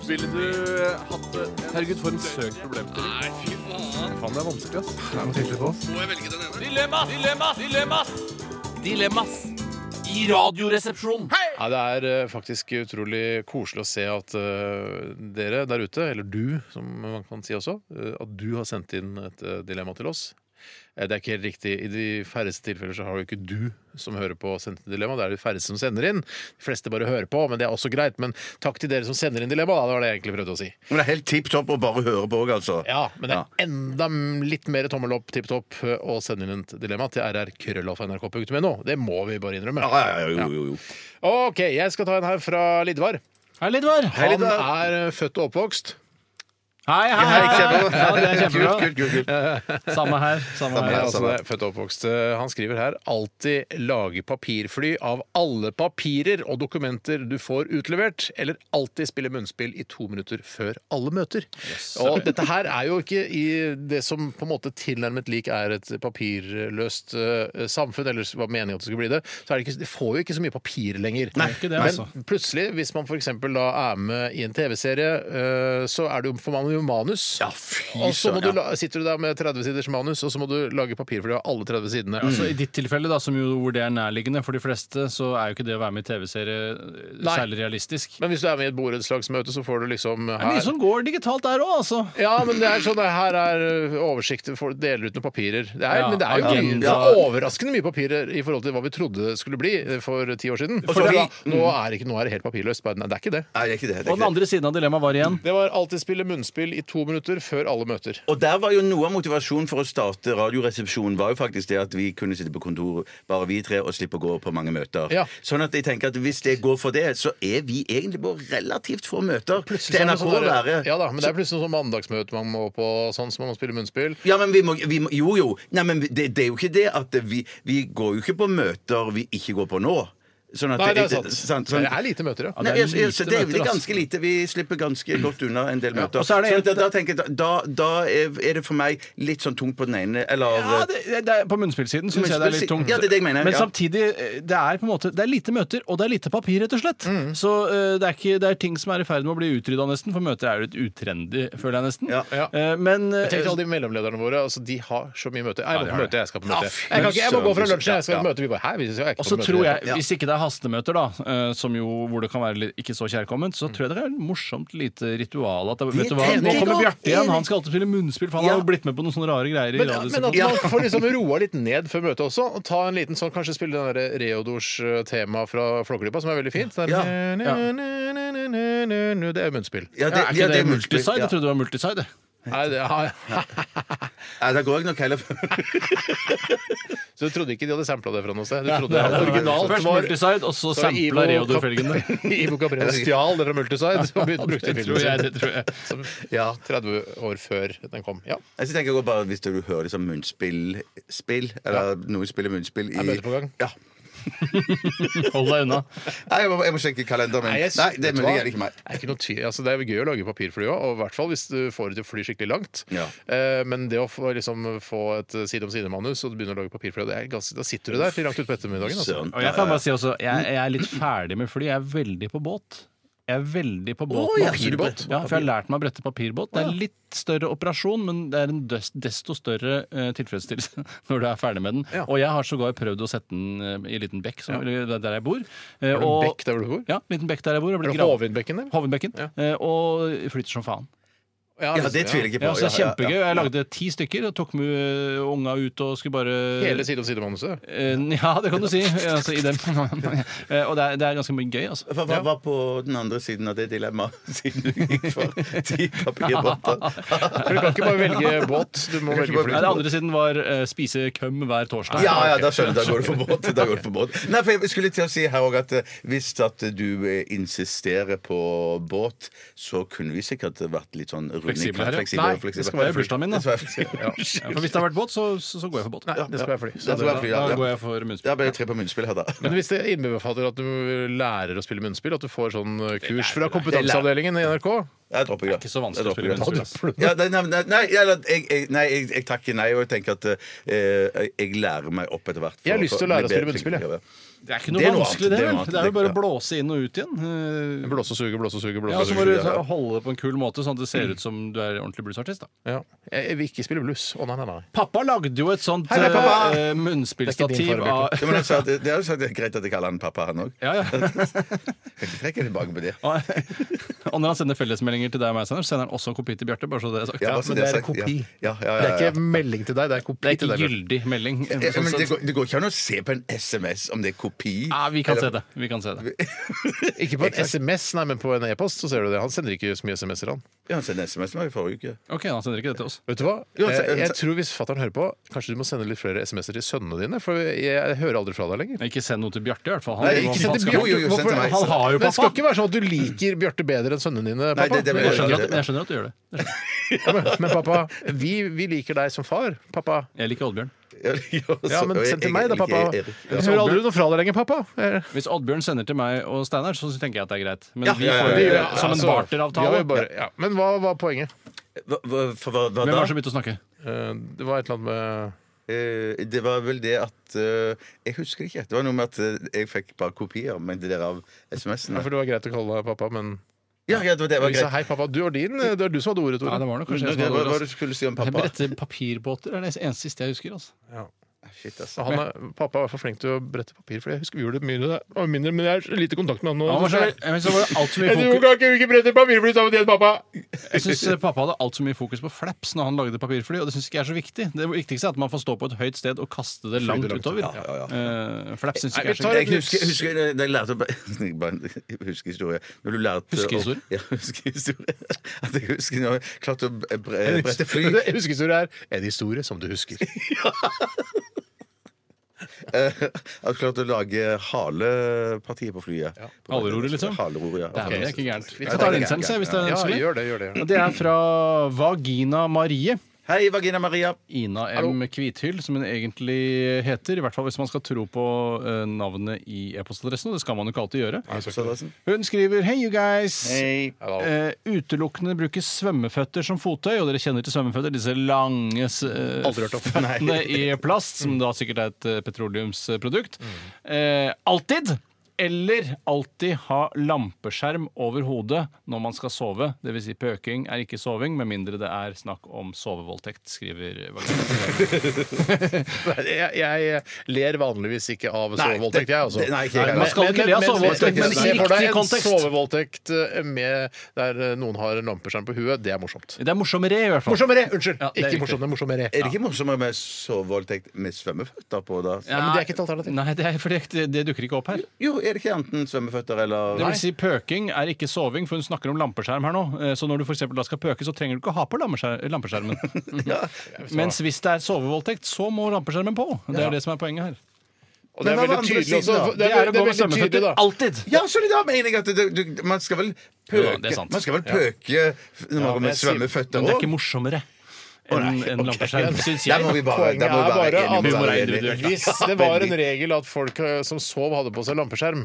Speaker 3: Ville du eh, hatt det? Herregud, for en søk problemstilling. Nei, fy faen. Faen, det er vanskelig, ass. Det er noe sikkert på oss. Må jeg velge den ene? Dilemmas! Dilemmas! Dilemmas! I radioresepsjonen.
Speaker 6: Ja, det er eh, faktisk utrolig koselig å se at eh, dere der ute, eller du som man kan si også, eh, at du har sendt inn et eh, dilemma til oss. Eh, Det er ikke helt riktig. I de færreste tilfeller så har jo ikke du som hører på, sendt inn dilemma. Det er de færreste som sender inn. De fleste bare hører på, men det er også greit. Men takk til dere som sender inn dilemma, da. Det var det jeg egentlig prøvde å si.
Speaker 4: Men det er helt tipp topp å bare høre på òg, altså.
Speaker 6: Ja, men det er enda m- litt mer tommel opp, tipp topp, og send inn et dilemma til rrkrøllalfa.nrk.no. Det må vi bare innrømme.
Speaker 4: Ja, ja, ja, jo, jo, jo.
Speaker 6: OK, jeg skal ta en her fra Lidvar.
Speaker 7: Hei, Lidvar!
Speaker 6: Han er eh, født og oppvokst.
Speaker 7: Hei, hei, hei! Ja, det er kjempebra.
Speaker 4: Kult, kult, kult.
Speaker 7: Samme her.
Speaker 6: Ja,
Speaker 7: Samme her.
Speaker 6: altså, det er født og oppvokst. Eh, Han skriver her alltid lage papirfly av alle papirer og dokumenter du får utlevert, eller alltid spille munnspill i to minutter før alle møter. Og dette her er jo ikke i det som på en måte tilnærmet lik er et papirløst eh, samfunn, eller var meningen at det skulle bli det, så er det ikke, det får jo ikke så mye papir lenger.
Speaker 7: Nei, ikke det,
Speaker 6: Men
Speaker 7: altså.
Speaker 6: plutselig, hvis man f.eks. da er med i en TV-serie, eh, så er det jo, får man jo man jo manus.
Speaker 4: Ja, fy
Speaker 6: og så må
Speaker 4: søren,
Speaker 6: du
Speaker 4: ja.
Speaker 6: la, sitter du der med 30-siders manus, og så må du lage papir for de har alle 30 sidene.
Speaker 4: Mm.
Speaker 6: Altså,
Speaker 7: Så I ditt tilfelle, da, som jo hvor det er nærliggende for de fleste, så er jo ikke det å være med i TV-serie eh,
Speaker 6: Nei.
Speaker 7: særlig realistisk.
Speaker 6: Men hvis du er med i et borettslagsmøte, så får du liksom
Speaker 7: Det er mye som går digitalt der òg, altså.
Speaker 6: Ja, men det er sånn det her er ø, oversikter. Folk deler ut noen papirer. Det er,
Speaker 7: Ja,
Speaker 6: men det er jo
Speaker 7: agenda.
Speaker 6: det er overraskende mye papirer i forhold til hva vi trodde det skulle bli ø, for ti år siden.
Speaker 4: så
Speaker 6: Fordi
Speaker 4: bra.
Speaker 6: nå er det ikke nå er det helt papirløst. Bare, Nei, det er ikke det.
Speaker 4: Nei, det er ikke det. det, er
Speaker 7: Og
Speaker 4: ikke
Speaker 7: den
Speaker 4: det.
Speaker 7: andre siden av dilemmaet var igjen.
Speaker 6: Det var alltid spille munnspill i to minutter før alle møter.
Speaker 4: Og der var jo noe av motivasjonen for å starte Radioresepsjonen var jo faktisk det at vi kunne sitte på kontor, bare vi tre, og slippe å gå på mange møter.
Speaker 6: Ja.
Speaker 4: Sånn at jeg tenker at hvis det går for det, så er vi egentlig på relativt få møter til NRK å
Speaker 6: Sånn der-
Speaker 4: være.
Speaker 6: Ja da, men det er plutselig noe sånn mandagsmøte man må på, sånn som man må spille munnspill.
Speaker 4: Ja, men vi må, vi må Jo, jo. Nei, men det, det er jo ikke det at vi, vi går jo ikke på møter vi ikke går på nå. Sånn at
Speaker 6: Nei, det er
Speaker 4: jeg- sant,
Speaker 6: sant.
Speaker 4: sånn-
Speaker 6: Men Det er lite møter, ja.
Speaker 7: det
Speaker 4: Nei,
Speaker 7: er
Speaker 4: jeg, jeg,
Speaker 7: lite
Speaker 4: så det er
Speaker 7: møter,
Speaker 4: det
Speaker 7: altså.
Speaker 4: ganske lite. Vi slipper ganske godt unna en del møter.
Speaker 7: og så er det
Speaker 4: Sånn
Speaker 7: en-
Speaker 4: at da, da, tenker jeg, da, da er er det for meg litt sånn tungt på den ene eller
Speaker 7: Ja, det, det er, på munnspillsiden syns jeg det er litt tungt.
Speaker 4: eh, Ja, det er det jeg mener,
Speaker 7: Men
Speaker 4: ja.
Speaker 7: samtidig, eh, det er på en måte Det er lite møter, og det er lite papir, rett og slett.
Speaker 4: Mm.
Speaker 7: Så eh, det er, ikke, det er ting som er i ferd med å bli utrydda, nesten. For møter er jo litt utrendy, føler jeg nesten.
Speaker 4: Ja,
Speaker 6: ja.
Speaker 7: Eh, Men eh,
Speaker 6: Tenk til alle de mellomlederne våre. altså De har så mye møter. Jeg må
Speaker 7: de
Speaker 6: på
Speaker 7: har
Speaker 6: møte, jeg skal på møte.
Speaker 4: fy
Speaker 6: Jeg, kan ikke, jeg må gå fra
Speaker 4: søren.
Speaker 6: lunsjen, jeg skal
Speaker 4: Ja.
Speaker 6: på møte. Vi bare, Hæ, vi skal ikke
Speaker 7: og
Speaker 6: på
Speaker 7: så
Speaker 6: møte.
Speaker 7: tror jeg,
Speaker 4: Ja.
Speaker 7: Hvis ikke det er hastemøter, da, eh, som jo, hvor det kan være litt, ikke så kjærkomment, så tror jeg det er et morsomt lite ritual. At, det- vet du hva,
Speaker 4: Mm. tenker
Speaker 7: nå
Speaker 4: jeg
Speaker 7: kommer
Speaker 4: også.
Speaker 7: Bjarte igjen! Han skal alltid spille munnspill, for han
Speaker 4: Ja.
Speaker 7: har jo blitt med på noen sånne rare greier. i
Speaker 6: Men,
Speaker 7: radio-
Speaker 6: men at man får liksom roa litt ned før møtet også. Og ta en liten sånn, Kanskje spille den der Reodors-temaet fra Flåklypa, som er veldig fint. Den,
Speaker 4: Ja.
Speaker 6: Det er munnspill.
Speaker 4: Ja, det,
Speaker 7: er ikke
Speaker 4: ja, det
Speaker 7: det,
Speaker 4: er multiple.
Speaker 7: multiside?
Speaker 4: Ja.
Speaker 7: Jeg trodde det var multiside.
Speaker 6: Nei, det, ja, ja.
Speaker 4: Nei, da går jeg nok heller
Speaker 6: Så du trodde ikke de hadde sampla det fra noe sted? Du trodde det
Speaker 7: Det er
Speaker 6: var
Speaker 7: originalt.
Speaker 6: originalt
Speaker 7: Først
Speaker 6: var
Speaker 7: multiside, og så
Speaker 6: så
Speaker 7: sampla
Speaker 6: Ivo
Speaker 7: Reodor-felgene.
Speaker 6: Cap- Ivo Caprera stjal det fra Multiside og begynte å bruke det i
Speaker 7: Det
Speaker 6: filmen
Speaker 7: tror jeg,
Speaker 6: sin.
Speaker 7: det tror jeg.
Speaker 6: Som- Ja, 30 år før den kom. Ja.
Speaker 4: Altså, Jeg tenker jeg går bare Hvis du hører liksom munnspill Spill, eller noen spiller munnspill i
Speaker 6: Er møte på gang?
Speaker 4: Ja.
Speaker 7: Hold deg unna.
Speaker 4: Nei, jeg må, jeg må sjekke kalenderen min. Nei,
Speaker 6: jeg-
Speaker 4: det
Speaker 6: vet du
Speaker 4: men
Speaker 6: hva?
Speaker 4: det gjelder ikke meg.
Speaker 6: Det er, ikke noe tvil. altså, det er jo gøy å lage papirfly òg, og i hvert fall hvis du får det til å fly skikkelig langt.
Speaker 4: Ja.
Speaker 6: Eh, men det å få, liksom, få et eh, side om side-manus og du begynner å lage papirfly, det er ganske, da sitter du der til langt utpå ettermiddagen. Altså.
Speaker 4: Søren.
Speaker 7: Og jeg kan bare si også, jeg, jeg er litt ferdig med fly. Jeg er veldig på båt. Jeg er veldig på båt.
Speaker 6: Å, ja,
Speaker 7: med
Speaker 6: så du båt?
Speaker 7: Ja, for jeg har lært meg å brette papirbåt. Det er en litt større operasjon, men det er en des- desto større eh, tilfredsstillelse når du er ferdig med den.
Speaker 6: Ja.
Speaker 7: Og jeg har sågar prøvd å sette den eh, i en liten bekk som, eller der jeg bor. Eh,
Speaker 6: Er det en bekk der hvor du bor?
Speaker 7: Ja, liten bekk der jeg bor. og
Speaker 6: Er
Speaker 7: blitt
Speaker 6: det
Speaker 7: grav-
Speaker 6: Hovindbekken, eller?
Speaker 7: Hovedbekken. eh, Og flyter som faen.
Speaker 6: altså,
Speaker 4: Ja, det tviler jeg ikke på.
Speaker 7: Ja, så det er
Speaker 4: Ja, ja, ja.
Speaker 7: kjempegøy. Jeg lagde ti stykker og tok med ø, unga ut og skulle bare
Speaker 6: Hele side om side-manuset.
Speaker 7: Eh, Ja, det kan du si. Altså, i dem. Eh, og det er, det er ganske mye gøy, altså.
Speaker 4: Hva hva var på den andre siden av det dilemmaet, siden du gikk for ti papirbåter?
Speaker 6: For Du kan ikke bare velge båt, du må velge
Speaker 7: Nei, det
Speaker 6: fly.
Speaker 7: andre siden var eh, spise køm hver torsdag.
Speaker 4: Ja, ja, da skjønner jeg. Da går det for båt. Da går det for båt. Nei, for jeg skulle til å si her òg at eh, hvis at du eh, insisterer på båt, så kunne vi sikkert vært litt sånn runde i
Speaker 7: Fleksible her, ja.
Speaker 4: fleksible,
Speaker 7: Nei, det skal være bursdagen min, da.
Speaker 4: Det skal være fleksible.
Speaker 7: Ja, for hvis det har vært båt, så, så, så går jeg for båt.
Speaker 6: Nei, det skal være fly.
Speaker 4: Ja, det skal være fly, ja.
Speaker 7: Da går jeg for munnspill.
Speaker 4: Da ble det tre på munnspill her, da.
Speaker 6: Men hvis det innbefatter at du lærer å spille munnspill, at du får sånn eh, kurs fra kompetanseavdelingen i NRK
Speaker 4: Jeg dropper det.
Speaker 7: Ikke så vanskelig
Speaker 4: Jeg
Speaker 7: å
Speaker 4: dropper
Speaker 7: spille
Speaker 4: det.
Speaker 7: munnspill. altså.
Speaker 4: Ja, nei, nei, nei, nei, eller, jeg, jeg, nei jeg, jeg takker nei, og jeg tenker at eh, jeg lærer meg opp etter hvert. for-
Speaker 6: Jeg har lyst til å
Speaker 4: for-
Speaker 6: lære å
Speaker 4: bli bedre
Speaker 6: spille
Speaker 4: til
Speaker 6: munnspill, jeg.
Speaker 4: gjøre det.
Speaker 7: Det er ikke noe
Speaker 4: Det er noe
Speaker 7: vanskelig, det.
Speaker 4: annet, det er
Speaker 7: vel?
Speaker 4: noe annet,
Speaker 7: Det er jo bare å
Speaker 4: ja.
Speaker 7: blåse inn og ut igjen. Eh,
Speaker 6: Blåse og suge, blåse og suge, blåse
Speaker 7: Ja,
Speaker 6: og
Speaker 7: Så
Speaker 6: suge.
Speaker 7: må du ta- holde det på en kul måte, sånn at det ser ut som du er ordentlig bluesartist. da
Speaker 6: Ja. Jeg jeg vil ikke spille blues. Å, nei, nei, nei.
Speaker 7: Pappa lagde jo et sånt
Speaker 6: Hei, pappa! Det er
Speaker 7: eh,
Speaker 6: ikke din
Speaker 7: munnspillstativ
Speaker 6: fare,
Speaker 7: av
Speaker 4: Ja, men jeg sa at- Det er jo sagt at det er greit at jeg kaller han pappa, han òg.
Speaker 7: ja, ja.
Speaker 4: Jeg trekker tilbake på det.
Speaker 7: Og og når han sender fellesmeldinger til deg og meg, Sander, sender han også en kopi til Bjarte. Bare så det er sagt.
Speaker 4: Ja, bare så
Speaker 6: men
Speaker 4: det er
Speaker 6: det er
Speaker 4: sagt, ja.
Speaker 6: kopi.
Speaker 4: Ja, ja, ja,
Speaker 6: Det
Speaker 4: ja.
Speaker 6: er ikke melding til deg, det er kopi
Speaker 7: Det er
Speaker 6: til
Speaker 7: ikke
Speaker 6: deg. Bjørn.
Speaker 7: gyldig melding.
Speaker 4: Ja,
Speaker 7: sånn
Speaker 4: Eh, men det,
Speaker 7: sett.
Speaker 4: går, det går ikke an å se på en SMS om det er kopi.
Speaker 7: Ja, vi kan se det. Vi kan se det.
Speaker 6: Ikke på en SMS, nei, men på en e-post. så ser du det. Han sender ikke så mye SMS-er, han.
Speaker 4: Ja, han sendte SMS til meg i forrige uke.
Speaker 7: Ok, Han sender ikke det til oss.
Speaker 6: Vet du hva?
Speaker 4: Jo,
Speaker 6: Eh,
Speaker 4: se-
Speaker 6: Jeg tror Hvis fatter'n hører på, kanskje du må sende litt flere SMS-er til sønnene dine? For jeg hører aldri fra deg lenger.
Speaker 7: Ikke send noe til Bjarte, i hvert fall. Han,
Speaker 4: Nei, ikke send
Speaker 7: han
Speaker 4: til
Speaker 7: skal-
Speaker 4: Bjarte. Jo, jo, jo, send til meg.
Speaker 7: Han har jo
Speaker 6: Men det skal
Speaker 7: pappa.
Speaker 6: ikke være sånn at du liker Bjarte bedre enn sønnene dine, pappa.
Speaker 4: Nei, det- det-
Speaker 6: Men-
Speaker 7: Jeg skjønner, at, jeg skjønner at du gjør det. Jeg skjønner.
Speaker 6: Ja, men, men pappa, vi, vi liker deg som far. Pappa.
Speaker 7: Jeg liker Oddbjørn.
Speaker 4: Ja,
Speaker 6: Ja, men send til meg, da, pappa. Jeg
Speaker 4: Ja.
Speaker 6: hører aldri noe fra deg lenger, pappa. Eh,
Speaker 7: Hvis Oddbjørn sender til meg og Steinar, så tenker jeg at det er greit. Men
Speaker 4: Ja,
Speaker 7: vi
Speaker 4: ja, ja,
Speaker 7: får
Speaker 4: ja, ja,
Speaker 7: jo
Speaker 4: ja.
Speaker 7: som en
Speaker 6: altså, vi har
Speaker 7: barteravtale.
Speaker 6: jo bare- Ja, men hva var poenget?
Speaker 4: Hva, hva, for hva, hva da?
Speaker 7: Hvem var det som begynte å snakke?
Speaker 6: Eh, Det var et eller annet med
Speaker 4: Eh, det var vel det at eh, Jeg husker ikke. Det var noe med at eh, jeg fikk bare kopier men det der av
Speaker 6: Ja,
Speaker 4: SMS-ene.
Speaker 6: for det var greit å kalle deg pappa, men
Speaker 4: Ja, ja, det var det var
Speaker 6: Vi sa
Speaker 4: greit.
Speaker 6: hei, pappa, du og din. eh, Det er du som hadde ordet,
Speaker 7: Nei, det
Speaker 6: Tore.
Speaker 7: var nok
Speaker 4: Hva
Speaker 7: kanskje jeg som hadde
Speaker 4: hva var
Speaker 7: ordet.
Speaker 4: det du skulle si om
Speaker 7: altså.
Speaker 4: pappa?
Speaker 7: Brette papirbåter er det eneste siste jeg husker. altså.
Speaker 4: Shit, altså. ass.
Speaker 6: Han er, pappa er for flink til å brette papir, for jeg husker vi gjorde det mye og mindre, men jeg har så lite kontakt med han nå.
Speaker 7: Ja, men så, men så var det alt for mye
Speaker 6: Jeg tror
Speaker 7: fokus.
Speaker 6: ikke- ikke vi ikke bretter papir for de sammen igjen, pappa!
Speaker 7: Jeg syns pappa hadde alt for mye fokus på flaps når han lagde papirfly, og det syns ikke jeg er så viktig. Det viktigste er at man får stå på et høyt sted og kaste det langt
Speaker 6: langt.
Speaker 7: utover. Eh, flaps syns
Speaker 6: Nei,
Speaker 7: ikke jeg
Speaker 6: vi
Speaker 7: er så
Speaker 6: tar
Speaker 7: viktig.
Speaker 4: Jeg husker, jeg husker da jeg lærte å bare- bare en Huskehistorie. Når du lærte å-
Speaker 7: Huskehistorie?
Speaker 4: Ja, huskehistorie. At jeg husker når jeg klarte å bre- bre- brette fly.
Speaker 6: Jeg husker så det er en historie som du husker.
Speaker 4: Eh, At jeg klarte å lage halepartiet på flyet.
Speaker 7: Haleroret, liksom?
Speaker 4: Haleroret, ja.
Speaker 7: Dæven, det er ikke gærent. Vi
Speaker 4: Nei, det er
Speaker 7: tar
Speaker 4: ikke
Speaker 7: en innsendelse, hvis det er
Speaker 6: Ja,
Speaker 7: ønskelig.
Speaker 6: gjør det, gjør det. Gjør det.
Speaker 7: Og Det er fra Vagina Marie.
Speaker 4: Hei, Vagina Maria.
Speaker 7: Ina M. Kvithyll, som hun egentlig heter. I hvert fall hvis man skal tro på eh, navnet i e-postadressen, og det skal man jo ikke alltid gjøre.
Speaker 4: sånn.
Speaker 7: Hun skriver Hei, you guys!
Speaker 4: Hei.
Speaker 7: Eh, utelukkende bruker svømmeføtter som fottøy, og dere kjenner til svømmeføtter, disse lange s- eh,
Speaker 6: Aldri hørt om.
Speaker 7: føttene i plast, som da sikkert er et eh, petroleumsprodukt.
Speaker 6: Mm.
Speaker 7: Eh, alltid! Eller alltid ha lampeskjerm over hodet når man skal sove. Dvs. Si pøking er ikke soving, med mindre det er snakk om sovevoldtekt, skriver Vagina.
Speaker 6: Jeg, jeg ler vanligvis ikke av sovevoldtekt, jeg, altså.
Speaker 4: det- nei, ikke jeg
Speaker 6: Men-
Speaker 4: heller. Man
Speaker 7: skal ikke
Speaker 6: men-
Speaker 7: le av
Speaker 6: men-
Speaker 7: sovevoldtekt, men i
Speaker 6: se for deg
Speaker 7: riktig
Speaker 6: en
Speaker 7: kontekst.
Speaker 6: Sovevoldtekt eh, med der eh, noen har en lampeskjerm på huet, det er morsomt.
Speaker 7: Det er morsommere, i hvert fall.
Speaker 6: Morsommere! Unnskyld.
Speaker 7: Ja, det er
Speaker 6: ikke
Speaker 7: riktig.
Speaker 6: morsommere, morsommere.
Speaker 4: Er det ikke morsommere med sovevoldtekt med svømmeføtter på, da?
Speaker 7: Ja,
Speaker 6: men det er ikke et alternativ.
Speaker 7: Nei, det, er, for det, det dukker ikke opp her.
Speaker 4: Jo, er det ikke enten svømmeføtter eller
Speaker 7: Det vil si Pøking er ikke soving, for hun snakker om lampeskjerm her nå. Eh, Så når du for eksempel da skal pøke, så trenger du ikke ha på lampeskjer- lampeskjermen. Mens hvis det er sovevoldtekt, så må lampeskjermen på. Det er det som er poenget her.
Speaker 6: Og det
Speaker 4: Men
Speaker 6: er
Speaker 4: hva var
Speaker 6: veldig
Speaker 4: andre
Speaker 6: tydelig
Speaker 4: siden,
Speaker 6: også.
Speaker 4: da?
Speaker 6: Det er, det
Speaker 7: å
Speaker 6: er
Speaker 7: gå med
Speaker 6: veldig tydelig,
Speaker 7: svømmeføtter
Speaker 6: da.
Speaker 7: alltid.
Speaker 4: Ja, så det da mener jeg at du, du, man skal vel
Speaker 7: Ja,
Speaker 4: pøke
Speaker 7: det er sant.
Speaker 4: Man skal vel pøke når man går
Speaker 6: men
Speaker 4: med
Speaker 6: jeg sier-
Speaker 4: svømmeføtter
Speaker 7: Men det er
Speaker 4: òg?
Speaker 7: ikke morsommere enn en lampeskjerm, syns
Speaker 4: Der
Speaker 7: jeg.
Speaker 4: må vi bare,
Speaker 6: Poenget
Speaker 4: der må vi
Speaker 6: er
Speaker 4: være
Speaker 6: bare
Speaker 4: enige
Speaker 6: at
Speaker 4: med
Speaker 7: humor er
Speaker 4: hverandre.
Speaker 7: individuelt.
Speaker 6: Hvis det var en regel at folk eh, som sov, hadde på seg lampeskjerm,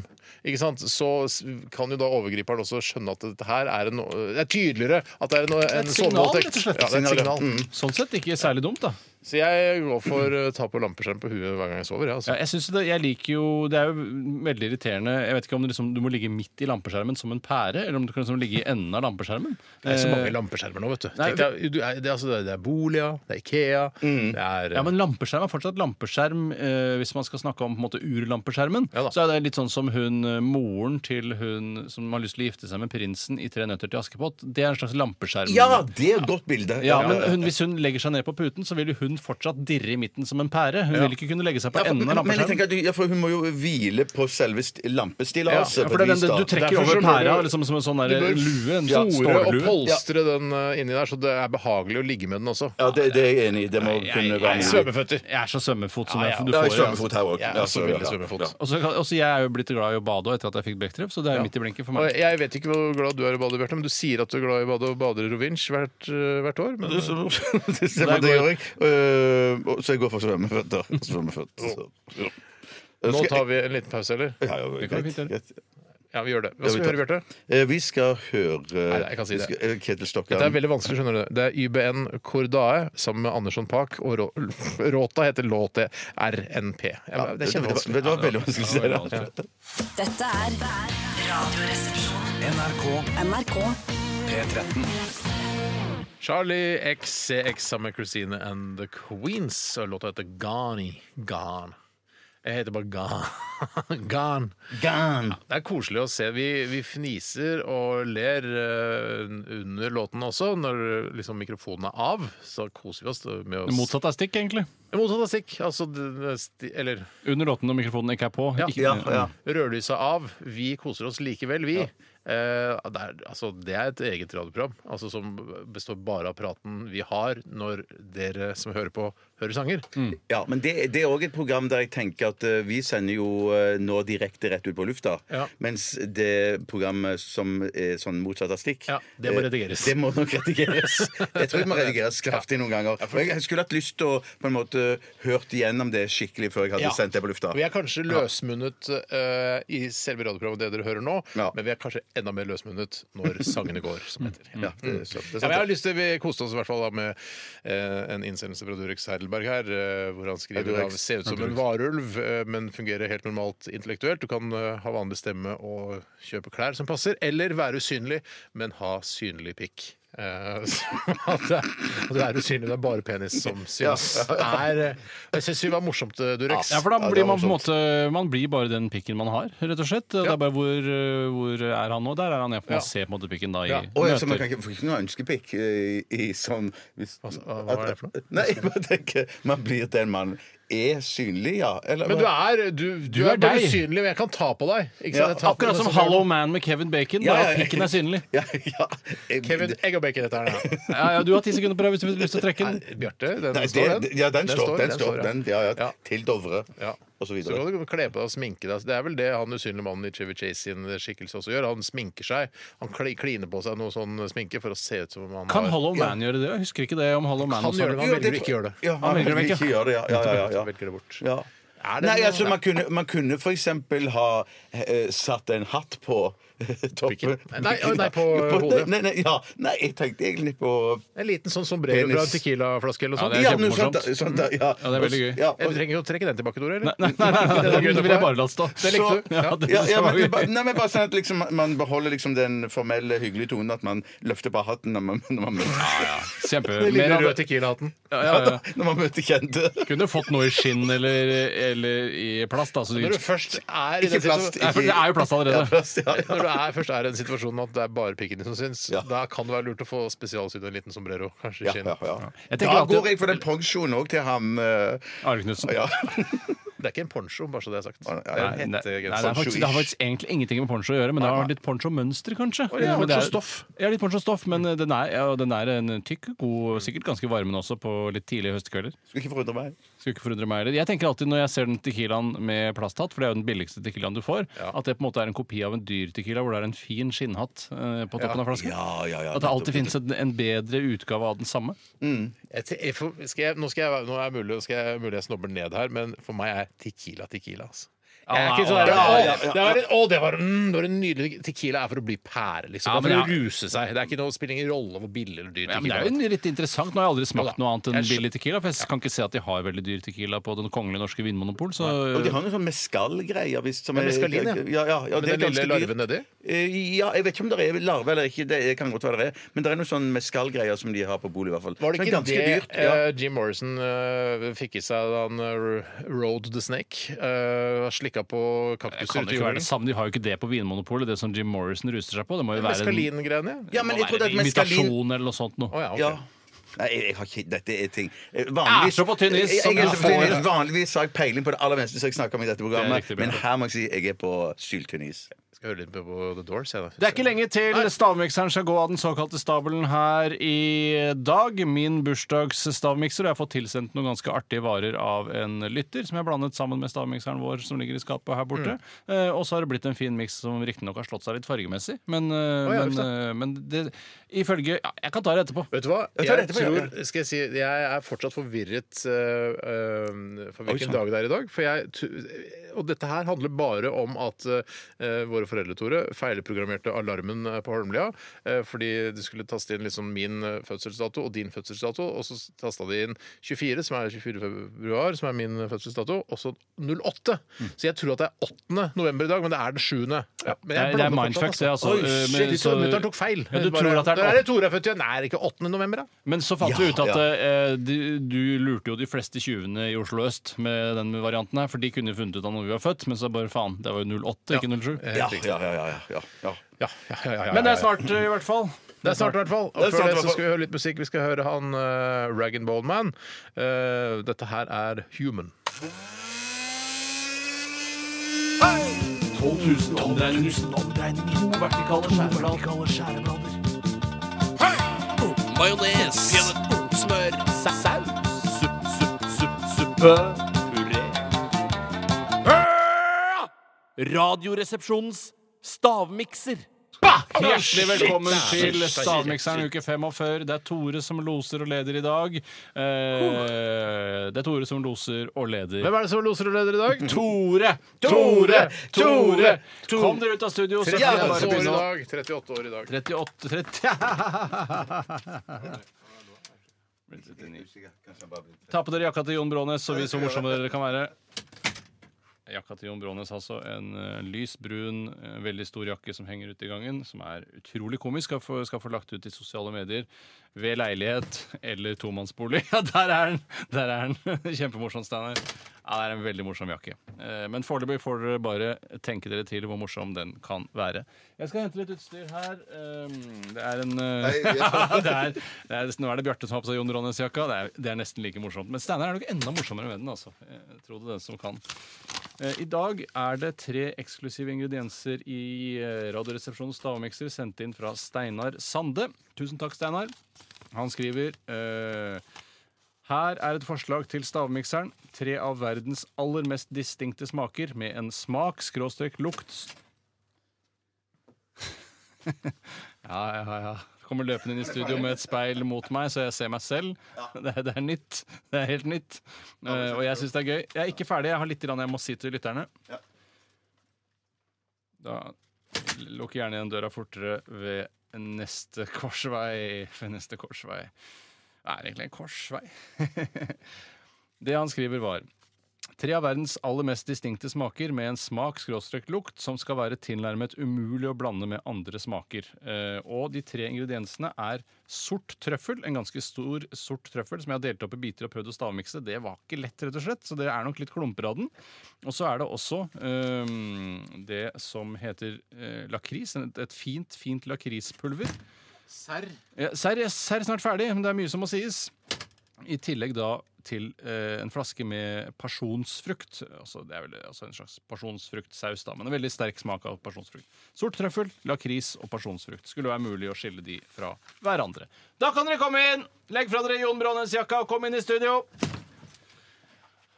Speaker 6: ikke sant? så s- kan jo da overgriperen også skjønne at dette her er, en, eh, det er tydeligere at det er en, en
Speaker 7: et signal, rett
Speaker 6: sovevoldtekt.
Speaker 7: og slett.
Speaker 6: Ja, det er et signal.
Speaker 7: Sånn sett ikke særlig dumt, da.
Speaker 6: Så jeg går for eh, ta på lampeskjerm på huet hver gang jeg sover. Ja,
Speaker 7: Ja,
Speaker 6: altså.
Speaker 7: jeg synes det, jeg liker jo, det er jo veldig irriterende Jeg vet ikke om det liksom, du må ligge midt i lampeskjermen som en pære, eller om du kan liksom ligge i enden av lampeskjermen.
Speaker 6: Det er så mange
Speaker 7: Eh,
Speaker 6: lampeskjermer nå, vet du.
Speaker 7: Nei,
Speaker 6: Tenk deg, du er, det, er altså, det er Bolia, det er Ikea, det er eh,
Speaker 7: Ja, men lampeskjerm er fortsatt lampeskjerm eh, hvis man skal snakke om på en måte urlampeskjermen.
Speaker 6: Ja da.
Speaker 7: så er det litt sånn som hun eh, moren til hun som har lyst til å gifte seg med prinsen i Tre nøtter til Askepott. Det er en slags lampeskjerm.
Speaker 4: Ja, det er et godt bilde.
Speaker 7: Ja, men hun, Hvis hun legger seg ned på puten, så vil jo hun fortsatt dirre i midten som en pære. Hun vil ikke kunne legge seg på
Speaker 4: Ja, for,
Speaker 7: enden av
Speaker 4: men jeg
Speaker 7: lampeskjermen.
Speaker 4: tenker at du, ja, for hun må jo hvile på selve st- lampestillaset.
Speaker 7: Ja, for det er den, du trekker
Speaker 6: Derfor så
Speaker 7: over
Speaker 6: bør
Speaker 7: pæra
Speaker 6: du-
Speaker 7: liksom, som en sånn
Speaker 6: du
Speaker 7: der
Speaker 6: bør
Speaker 7: lue. En
Speaker 6: fòre
Speaker 7: sånn
Speaker 6: og
Speaker 7: stålue.
Speaker 6: polstre den eh, inni der, så det er behagelig å ligge med den også.
Speaker 4: Ja, det, det er jeg enig i. Det må kunne være mulig.
Speaker 6: Svømmeføtter.
Speaker 7: Jeg er så svømmefot som
Speaker 6: Ja, ja.
Speaker 7: jeg, du
Speaker 4: Ja,
Speaker 7: får.
Speaker 4: jeg svømmefot her òg.
Speaker 6: Jeg er også veldig svømmefot.
Speaker 7: Og så kan- og så jeg er jo blitt glad i å bade også etter at jeg fikk bekktreff, så det er midt i blinken for
Speaker 6: Og
Speaker 7: meg.
Speaker 6: jeg vet ikke hvor glad du er i å bade, Bjarte, men du sier at du er glad i å bade og bader i Rovinj hvert, eh, hvert år. Men,
Speaker 4: Det stemmer, det gjør jeg. Øh, og så jeg går for svømmeføtter. Svømmeføtter. så.
Speaker 6: eh,
Speaker 4: Eh,
Speaker 6: nå
Speaker 4: Skal jeg-
Speaker 6: tar vi en liten pause, eller?
Speaker 4: Ja, ja,
Speaker 7: kan
Speaker 4: greit,
Speaker 7: vi fint gjøre.
Speaker 4: greit.
Speaker 6: Ja, vi gjør det. Hva skal vi
Speaker 4: Ja, vi
Speaker 6: høre, Bjarte?
Speaker 4: Eh, Vi skal høre
Speaker 6: Nei, nei, jeg kan si
Speaker 4: vi
Speaker 6: det.
Speaker 4: skal- eh, Ketil
Speaker 6: Det er
Speaker 4: Stokkan.
Speaker 6: veldig vanskelig, skjønner du. Det er YBN Kordae sammen med Andersson Paak, og Rå- Råta heter låte RNP. Ja, men det er
Speaker 4: Det var,
Speaker 6: kjempevanskelig.
Speaker 4: det var veldig vanskelig å se det.
Speaker 1: Dette er Radioresepsjonen.
Speaker 2: NRK
Speaker 1: NRK
Speaker 2: P13.
Speaker 6: Charlie XCX sammen med Christine and The Queens, og låta heter Gani. Gone. Jeg heter bare Gone. Gone.
Speaker 4: Gan.
Speaker 6: Det er koselig å se. Vi, vi fniser og ler eh, under låten også. Når liksom, mikrofonen er av, så koser vi oss med oss.
Speaker 7: Det motsatte er stikk, egentlig.
Speaker 6: Motsatt av stikk. Altså, det- det sti, eller
Speaker 7: Under låten når mikrofonen ikke er på.
Speaker 6: Ja.
Speaker 7: Ikke,
Speaker 4: Ja, ja.
Speaker 6: rødlyset av. Vi koser oss likevel, vi. Eh, det, er, altså, det er et eget radioprogram altså, som består bare av praten vi har når dere som hører på, hører sanger.
Speaker 4: Ja, men det, det er òg et program der jeg tenker at eh, vi sender jo eh, nå direkte rett ut på lufta.
Speaker 6: Ja.
Speaker 4: Mens det programmet som er sånn motsatt av stikk
Speaker 6: Ja, det må
Speaker 4: eh,
Speaker 6: redigeres.
Speaker 4: Det må nok redigeres. Jeg tror det må redigeres kraftig noen ganger. Og jeg skulle hatt lyst til å på en måte eh, hørt igjennom det skikkelig før jeg hadde
Speaker 6: Ja.
Speaker 4: sendt det på lufta.
Speaker 6: Vi er kanskje løsmunnet eh, i selve radioprogrammet det dere hører nå,
Speaker 4: Ja.
Speaker 6: men vi er kanskje enda mer løsmunnet når sangene går, som heter.
Speaker 4: Ja, Mm. det er sant, det er
Speaker 6: Ja, men
Speaker 4: sant.
Speaker 6: jeg har lyst til, Vi koste oss i hvert fall da med eh, en innsendelse fra Durek Seidelberg her, eh, hvor han skriver
Speaker 4: Durex.
Speaker 6: av ser ut som en varulv, eh, men fungerer helt normalt intellektuelt. Du kan eh, ha vanlig stemme og kjøpe klær som passer, eller være usynlig, men ha synlig pikk. Eh, så at det, at du er usynlig, det er bare penis som syns. Er, eh, jeg syns vi var morsomt, eh, Durex.
Speaker 7: Ja, for da
Speaker 6: det
Speaker 7: blir
Speaker 6: var
Speaker 7: man på en
Speaker 6: morsomt.
Speaker 7: måte Man blir bare den pikken man har, rett og slett. Det er bare hvor, øh, hvor er han nå? Der er han, ja. for
Speaker 6: Ja.
Speaker 7: Man ser på en måte pikken da i
Speaker 6: Ja.
Speaker 4: Å, ja, så man
Speaker 7: møter.
Speaker 4: kan ikke, får ikke noe ønskepikk eh, i, i sånn hvis,
Speaker 6: Altså, hva var det for noe?
Speaker 4: Nei, jeg bare tenker Man blir den man er synlig, ja. Eller,
Speaker 6: Men du er, du, du er,
Speaker 7: er
Speaker 6: bare
Speaker 7: deg.
Speaker 6: usynlig, men jeg kan ta på deg. Ikke
Speaker 4: Ja,
Speaker 6: sant? Jeg tar på
Speaker 7: Akkurat
Speaker 6: deg,
Speaker 7: som
Speaker 6: så ser du-
Speaker 7: Hollow Man med Kevin Bacon,
Speaker 4: Ja,
Speaker 7: bare
Speaker 4: ja,
Speaker 7: at
Speaker 4: ja.
Speaker 7: pikken er synlig.
Speaker 4: Ja, ja. Jeg-
Speaker 6: Kevin Egg og Bacon, dette her. da.
Speaker 7: Ja, ja, du har ti sekunder på deg hvis du har lyst til å trekke den.
Speaker 6: Nei, Bjarte, den
Speaker 4: Nei,
Speaker 6: står, den.
Speaker 4: det, ja, den står, den står, den, ja, ja,
Speaker 6: Ja.
Speaker 4: Til Dovre,
Speaker 6: Ja.
Speaker 4: og så
Speaker 6: Så
Speaker 4: videre.
Speaker 6: kan du kle på deg og sminke deg. Det er vel det han usynlige mannen i Chevy Chase sin skikkelse også gjør. Han sminker seg. Han kli- kliner på seg noe sånn sminke for å se ut som om han
Speaker 7: Kan
Speaker 6: har
Speaker 7: Hollow Man gjøre det? Jeg husker ikke det om Hollow Man.
Speaker 6: Han
Speaker 7: også har
Speaker 6: gjør det,
Speaker 7: det.
Speaker 6: men han velger ikke å gjøre det.
Speaker 4: Ja,
Speaker 7: Han velger det vekk,
Speaker 4: ikke gjøre det, ja. ja, ja, ja,
Speaker 6: Velger det bort.
Speaker 4: ja.
Speaker 6: Er det
Speaker 4: Nei,
Speaker 6: noe-
Speaker 4: altså Man kunne, man kunne for eksempel ha eh, satt en hatt på eh, toppen.
Speaker 6: Pikken. Nei, å, nei, på hodet.
Speaker 4: Nei, nei, ja. nei, jeg tenkte egentlig på
Speaker 6: En liten sånn sombrero
Speaker 4: Penis.
Speaker 6: fra en tequilaflaske eller noe sånt.
Speaker 7: det er
Speaker 4: Ja,
Speaker 7: kjempemorsomt.
Speaker 4: noe sånt, da- sånt, da, ja.
Speaker 7: Ja, det er veldig gøy.
Speaker 4: Ja,
Speaker 6: Jeg
Speaker 4: og-
Speaker 6: trenger ikke å trekke den tilbake, Tore. Eller?
Speaker 7: Nei, nei, nei, nei,
Speaker 6: Det var gøy
Speaker 7: den
Speaker 6: å
Speaker 7: vil jeg
Speaker 6: få.
Speaker 7: bare la stå.
Speaker 6: Det likte du.
Speaker 7: Ja, det
Speaker 4: ja, ja,
Speaker 7: var
Speaker 4: men,
Speaker 7: gøy.
Speaker 4: ba- nei, men bare sånn at liksom, man beholder liksom den formelle, hyggelige tonen at man løfter på hatten når man, når man, møter,
Speaker 7: Kjempe.
Speaker 6: Den
Speaker 7: Mer
Speaker 6: lille
Speaker 7: av
Speaker 6: røde
Speaker 7: det.
Speaker 6: tequilahatten.
Speaker 7: Ja, ja, ja.
Speaker 4: når man møter kjente.
Speaker 7: Kunne fått noe i skinn eller, eller i plast. Da, så du,
Speaker 6: Når du først er i
Speaker 4: Ikke
Speaker 6: den
Speaker 4: plast.
Speaker 6: situasjonen
Speaker 7: Nei, for det er jo plast
Speaker 4: Ja,
Speaker 7: allerede.
Speaker 4: plass, ja, ja.
Speaker 6: Når du er, først er i den situasjonen at det er bare pikken din som syns,
Speaker 4: Ja.
Speaker 6: da kan det være lurt å få spesialsydd en liten sombrero. Kanskje
Speaker 4: Ja,
Speaker 6: skinn.
Speaker 4: ja, ja.
Speaker 7: Jeg
Speaker 4: Da
Speaker 7: tenker alltid-
Speaker 4: går jeg for den pensjonen òg til han eh,
Speaker 7: Are Knutsen.
Speaker 4: ja. eh,
Speaker 6: Det er ikke en poncho, bare så det er sagt.
Speaker 4: Nei,
Speaker 6: Det er en
Speaker 7: Nei, nei,
Speaker 4: sånn
Speaker 6: hettegenser.
Speaker 7: nei, det, er faktisk, det har faktisk egentlig ingenting med poncho å gjøre, men det har vært litt poncho-mønster, kanskje.
Speaker 6: ja,
Speaker 7: Men det er-
Speaker 6: poncho-stoff.
Speaker 7: Ja, litt poncho-stoff, men eh, den er, ja, den er en tykk, god, sikkert ganske varmende også på litt tidlige høstkvelder.
Speaker 4: Skulle ikke forundre meg.
Speaker 7: Skulle ikke forundre meg heller. Jeg tenker alltid når jeg ser den tequilaen med plasthatt, for det er jo den billigste tequilaen du får, at det på en måte er en kopi av en dyr tequila hvor det er en fin skinnhatt eh, på toppen av flasken.
Speaker 4: Ja, ja, ja.
Speaker 7: At det alltid finnes en, en bedre utgave av den samme.
Speaker 6: Jeg te- jeg får- skal jeg, nå, skal jeg, være- nå er det mulig, skal jeg, mulig jeg snobber ned her, men for meg er tequila tequila. altså. Jeg er
Speaker 7: Ja,
Speaker 6: ikke sånn
Speaker 7: Ah, ja,
Speaker 6: der,
Speaker 7: ja,
Speaker 6: «Å,
Speaker 4: ja, ja.
Speaker 6: det var en, å, det var, mm, det var en nydelig Tequila er for å bli pære, liksom.
Speaker 7: Ja,
Speaker 6: det er
Speaker 7: men
Speaker 6: for å ruse seg. Det er ikke noe, spiller ingen rolle hvor billig eller dyr
Speaker 7: Ja, men det
Speaker 6: tequila
Speaker 7: er jo en litt interessant. Nå har jeg aldri
Speaker 6: Ja,
Speaker 7: smakt
Speaker 6: da.
Speaker 7: noe annet enn
Speaker 6: Jeg skjø-
Speaker 7: billig tequila, for jeg kan ikke se at de har veldig dyr tequila på Den kongelige norske vinmonopol. Så
Speaker 4: Og de har noen sånne mescal-greier. hvis- som
Speaker 6: Ja,
Speaker 4: er-
Speaker 6: mescalin, ja.
Speaker 4: ja, ja, ja
Speaker 6: Men
Speaker 4: det er
Speaker 6: den lille
Speaker 4: ganske dyrt.
Speaker 6: larven nedi?
Speaker 4: Eh, Ja, jeg vet ikke om det er larve eller ikke. Det kan godt være det er. Men det er noen sånne mescal-greier som de har på bolig, i hvert fall.
Speaker 6: Var det
Speaker 4: Men ganske
Speaker 6: ikke det
Speaker 4: dyrt, ja.
Speaker 6: eh, Jim Morrison eh, fikk i seg da han eh, rode the snake? Uh, slikka på
Speaker 7: det
Speaker 6: kaktuser
Speaker 7: kan
Speaker 6: ute i
Speaker 7: ikke være
Speaker 6: jorden?
Speaker 7: det samme. De har jo ikke det på Vinmonopolet, det som Jim Morrison ruser seg på. Det må jo være en,
Speaker 6: Meskalin-greiene?
Speaker 4: ja, men
Speaker 7: må
Speaker 4: jeg tror
Speaker 7: være
Speaker 4: det er
Speaker 7: en
Speaker 4: mescalin.
Speaker 7: imitasjon eller noe sånt noe.
Speaker 6: Å ja, ok.
Speaker 4: Ja. Nei, jeg, jeg har ikke Dette er ting Eh,
Speaker 7: Jeg er så på tynn is
Speaker 4: Jeg-
Speaker 7: som
Speaker 4: jeg er
Speaker 7: jeg
Speaker 4: så på tynn
Speaker 7: får.
Speaker 4: is. Vanligvis har jeg peiling på det aller meste, så jeg snakker om i dette programmet.
Speaker 7: riktig,
Speaker 4: men
Speaker 7: Bjarte.
Speaker 4: her må jeg si jeg er på syltynn is.
Speaker 6: Skal høre litt på The Doors, jeg, da.
Speaker 7: Det er ikke lenge til stavmikseren skal gå av den såkalte stabelen her i dag. Min bursdagsstavmikser. Og jeg har fått tilsendt noen ganske artige varer av en lytter, som jeg blandet sammen med stavmikseren vår som ligger i skapet her borte. Eh, og så har det blitt en fin miks som riktignok har slått seg litt fargemessig, men, eh,
Speaker 6: ja,
Speaker 7: men,
Speaker 6: uff da.
Speaker 7: eh, men det, ifølge ja, Jeg kan ta det etterpå.
Speaker 6: Vet du hva?
Speaker 4: Jeg
Speaker 6: Jeg,
Speaker 4: tar dette på,
Speaker 6: tror, skal jeg, si, jeg er fortsatt forvirret eh, eh, for hvilken dag det er i dag. For jeg, tu- og dette her handler bare om at eh, våre foreldre Tore, feilprogrammerte alarmen eh, på Holmlia. eh, fordi det skulle taste inn liksom min eh, fødselsdato og din fødselsdato. Og så tasta de inn 24, som er 24. februar, som er min fødselsdato. Og så 08.
Speaker 4: Mm.
Speaker 6: Så jeg tror at det er 8. november i dag, men det er den 7. Ja, men
Speaker 7: Det
Speaker 6: jeg
Speaker 7: er- det er
Speaker 6: blander fortsatt,
Speaker 7: mindfuck, det, altså.
Speaker 6: Oi,
Speaker 7: Eh, men
Speaker 6: shit,
Speaker 7: så-
Speaker 6: Mutter'n tok feil.
Speaker 7: Ja, du
Speaker 6: Bare,
Speaker 7: tror at det er den
Speaker 6: "Der Tore er født igjen. Nei, er det ikke 8. november, da?
Speaker 7: Men så fant
Speaker 4: Ja,
Speaker 7: vi ut at
Speaker 4: ja.
Speaker 7: eh, du, du lurte jo de fleste tjuvene i Oslo øst med den varianten her, for de kunne funnet ut av når vi var født, men så bare faen, det var jo 08, ikke 07.
Speaker 4: Ja, Eh, ja, ja, ja, ja, ja.
Speaker 6: Ja, ja, ja, ja, ja,
Speaker 7: Men det
Speaker 6: ja,
Speaker 7: er
Speaker 6: ja.
Speaker 7: snart, eh, i hvert fall.
Speaker 6: Det er snart, i hvert fall.
Speaker 4: Det
Speaker 6: Og
Speaker 4: er
Speaker 6: før
Speaker 4: snart, i
Speaker 6: det
Speaker 4: hvert
Speaker 6: så
Speaker 4: fall.
Speaker 6: skal vi høre litt musikk. Vi skal høre han uh, Rag and Bone Man. Eh, dette her er Human.
Speaker 9: Radioresepsjonens stavmikser.
Speaker 7: Hjertelig velkommen til Stavmikseren uke 45. Det er Tore som loser og leder i dag. Eh, det er Tore som loser og leder.
Speaker 6: Hvem er det som er loser og leder i dag?
Speaker 7: Tore! Tore!
Speaker 6: Tore!
Speaker 7: Tore! Kom dere ut av studio, så kan jeg bare
Speaker 6: 38 år i
Speaker 7: begynne.
Speaker 6: dag. 38 år i dag.
Speaker 7: 38 30 Ta på dere jakka til Jon Brånes, så vis hvor morsomme dere kan være. Jakka til Jon Brånes, altså. En eh, lys brun, eh, veldig stor jakke som henger ute i gangen. Som er utrolig komisk. Skal få, skal få lagt ut i sosiale medier. Ved leilighet eller tomannsbolig. Ja, der er den! Der er den. Kjempemorsom, Steinar. Ja, det er en veldig morsom jakke. Eh, Men foreløpig får dere bare tenke dere til hvor morsom den kan være. Jeg skal hente litt utstyr her. Eh, Det er en eh, det er, det er, Nå er det Bjarte som har på seg Jon Ronnes-jakka. Det, er- det er nesten like morsomt. Men Steinar er nok enda morsommere med den. altså. Jeg tror det er den som kan. Eh, I dag er det tre eksklusive ingredienser i eh, Radioresepsjonens stavmikser sendt inn fra Steinar Sande. Tusen takk, Steinar. Han skriver eh, her er et forslag til stavmikseren. Tre av verdens aller mest distinkte smaker med en smak-lukt Ja, ja, ja. Kommer løpende inn i studio med et speil mot meg, så jeg ser meg selv. Det, er- det er nytt. Det er helt nytt. Eh, og jeg syns det er gøy. Jeg er ikke ferdig. Jeg har litt grann jeg må si til lytterne. Da lukk gjerne igjen døra fortere ved neste korsvei. Ved neste korsvei. Det er egentlig en korsvei. det han skriver, var Tre av verdens aller mest distinkte smaker med en smak-lukt som skal være tilnærmet umulig å blande med andre smaker. Eh, og de tre ingrediensene er sort trøffel, en ganske stor sort trøffel som jeg har delt opp i biter og prøvd å stavmikse. Det var ikke lett, rett og slett, så det er nok litt klumper av den. Og så er det også eh, det som heter eh, lakris, et, et fint, fint lakrispulver. Ja, Serr er serr snart ferdig, men det er mye som må sies. I tillegg da til eh, en flaske med pasjonsfrukt. Altså, det er vel altså en slags pasjonsfruktsaus, da, men en veldig sterk smak av pasjonsfrukt. Sort trøffel, lakris og pasjonsfrukt. Skulle være mulig å skille de fra hverandre. Da kan dere komme inn! Legg fra dere Jon Brånens jakka og kom inn i studio.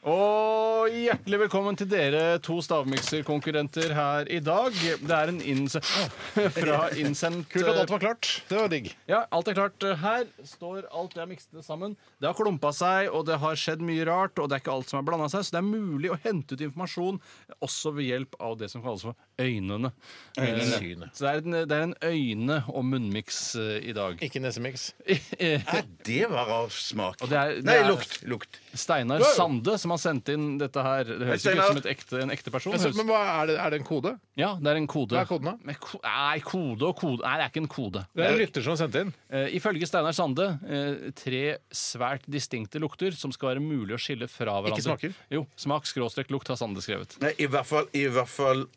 Speaker 7: Og hjertelig velkommen til dere to stavmikserkonkurrenter her i dag. Det er en innse fra innsendt
Speaker 6: Kult at alt var klart. Det var digg.
Speaker 7: ja, alt er klart. Her står alt jeg mikset sammen. Det har klumpa seg, og det har skjedd mye rart, og det er ikke alt som er blanda seg, så det er mulig å hente ut informasjon også ved hjelp av det som kalles for øynene. Eh, Så det er en, det er en øyne- og munnmiks eh, i dag. Eh,
Speaker 6: Ikke nesemiks. eh.
Speaker 4: Nei, det var av smak.
Speaker 7: Og det er- det
Speaker 4: Nei,
Speaker 7: er-
Speaker 4: lukt. lukt.
Speaker 7: Steinar Sande som har sendt inn dette her. Det høres ikke ut som et ekte, en ekte person.
Speaker 6: Men, så,
Speaker 7: Høres-
Speaker 6: men hva er, det, er det en kode?
Speaker 7: Ja, det er en kode.
Speaker 6: Hva er koden da?
Speaker 7: Men ko- Nei, kode og kode Nei, det er ikke en kode.
Speaker 6: Det er en lytter som har sendt inn.
Speaker 7: Eh, ifølge Steinar Sande eh, tre svært distinkte lukter som skal være mulig å skille fra hverandre.
Speaker 6: Ikke smaker?
Speaker 7: Jo. Smak, skråstrek, lukt har Sande skrevet.
Speaker 4: Nei, i hvert fall, i hvert fall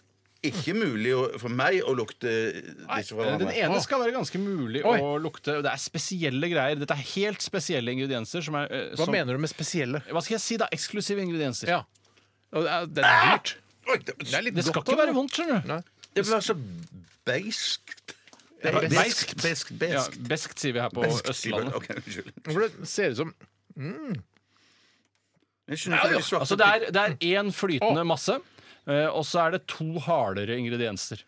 Speaker 4: ikke mulig å, for meg å lukte disse fra
Speaker 7: Eh, Den
Speaker 4: hverandre.
Speaker 7: ene skal være ganske mulig
Speaker 6: Oi.
Speaker 7: å lukte. og Det er spesielle greier. Dette er helt spesielle ingredienser. Som er, eh,
Speaker 6: Hva
Speaker 7: som,
Speaker 6: mener du med spesielle?
Speaker 7: Hva skal jeg si, da? Eksklusive ingredienser.
Speaker 6: Ja. Og det er- Det er dyrt.
Speaker 4: Oi, det, det,
Speaker 6: litt
Speaker 7: Det skal
Speaker 6: godt,
Speaker 7: ikke
Speaker 6: da.
Speaker 7: være vondt, skjønner du.
Speaker 4: det var så beiskt. Det er
Speaker 7: Beiskt.
Speaker 4: beiskt, beiskt,
Speaker 7: Ja,
Speaker 4: beiskt.
Speaker 7: beskt sier vi her på
Speaker 4: Beiskt, sier man.
Speaker 7: Østlandet.
Speaker 4: Ok, unnskyld.
Speaker 6: For det ser ut som
Speaker 4: Jeg skjønner ikke de svarte
Speaker 7: Altså, det er- det er én flytende masse, eh, og så er det to hardere ingredienser.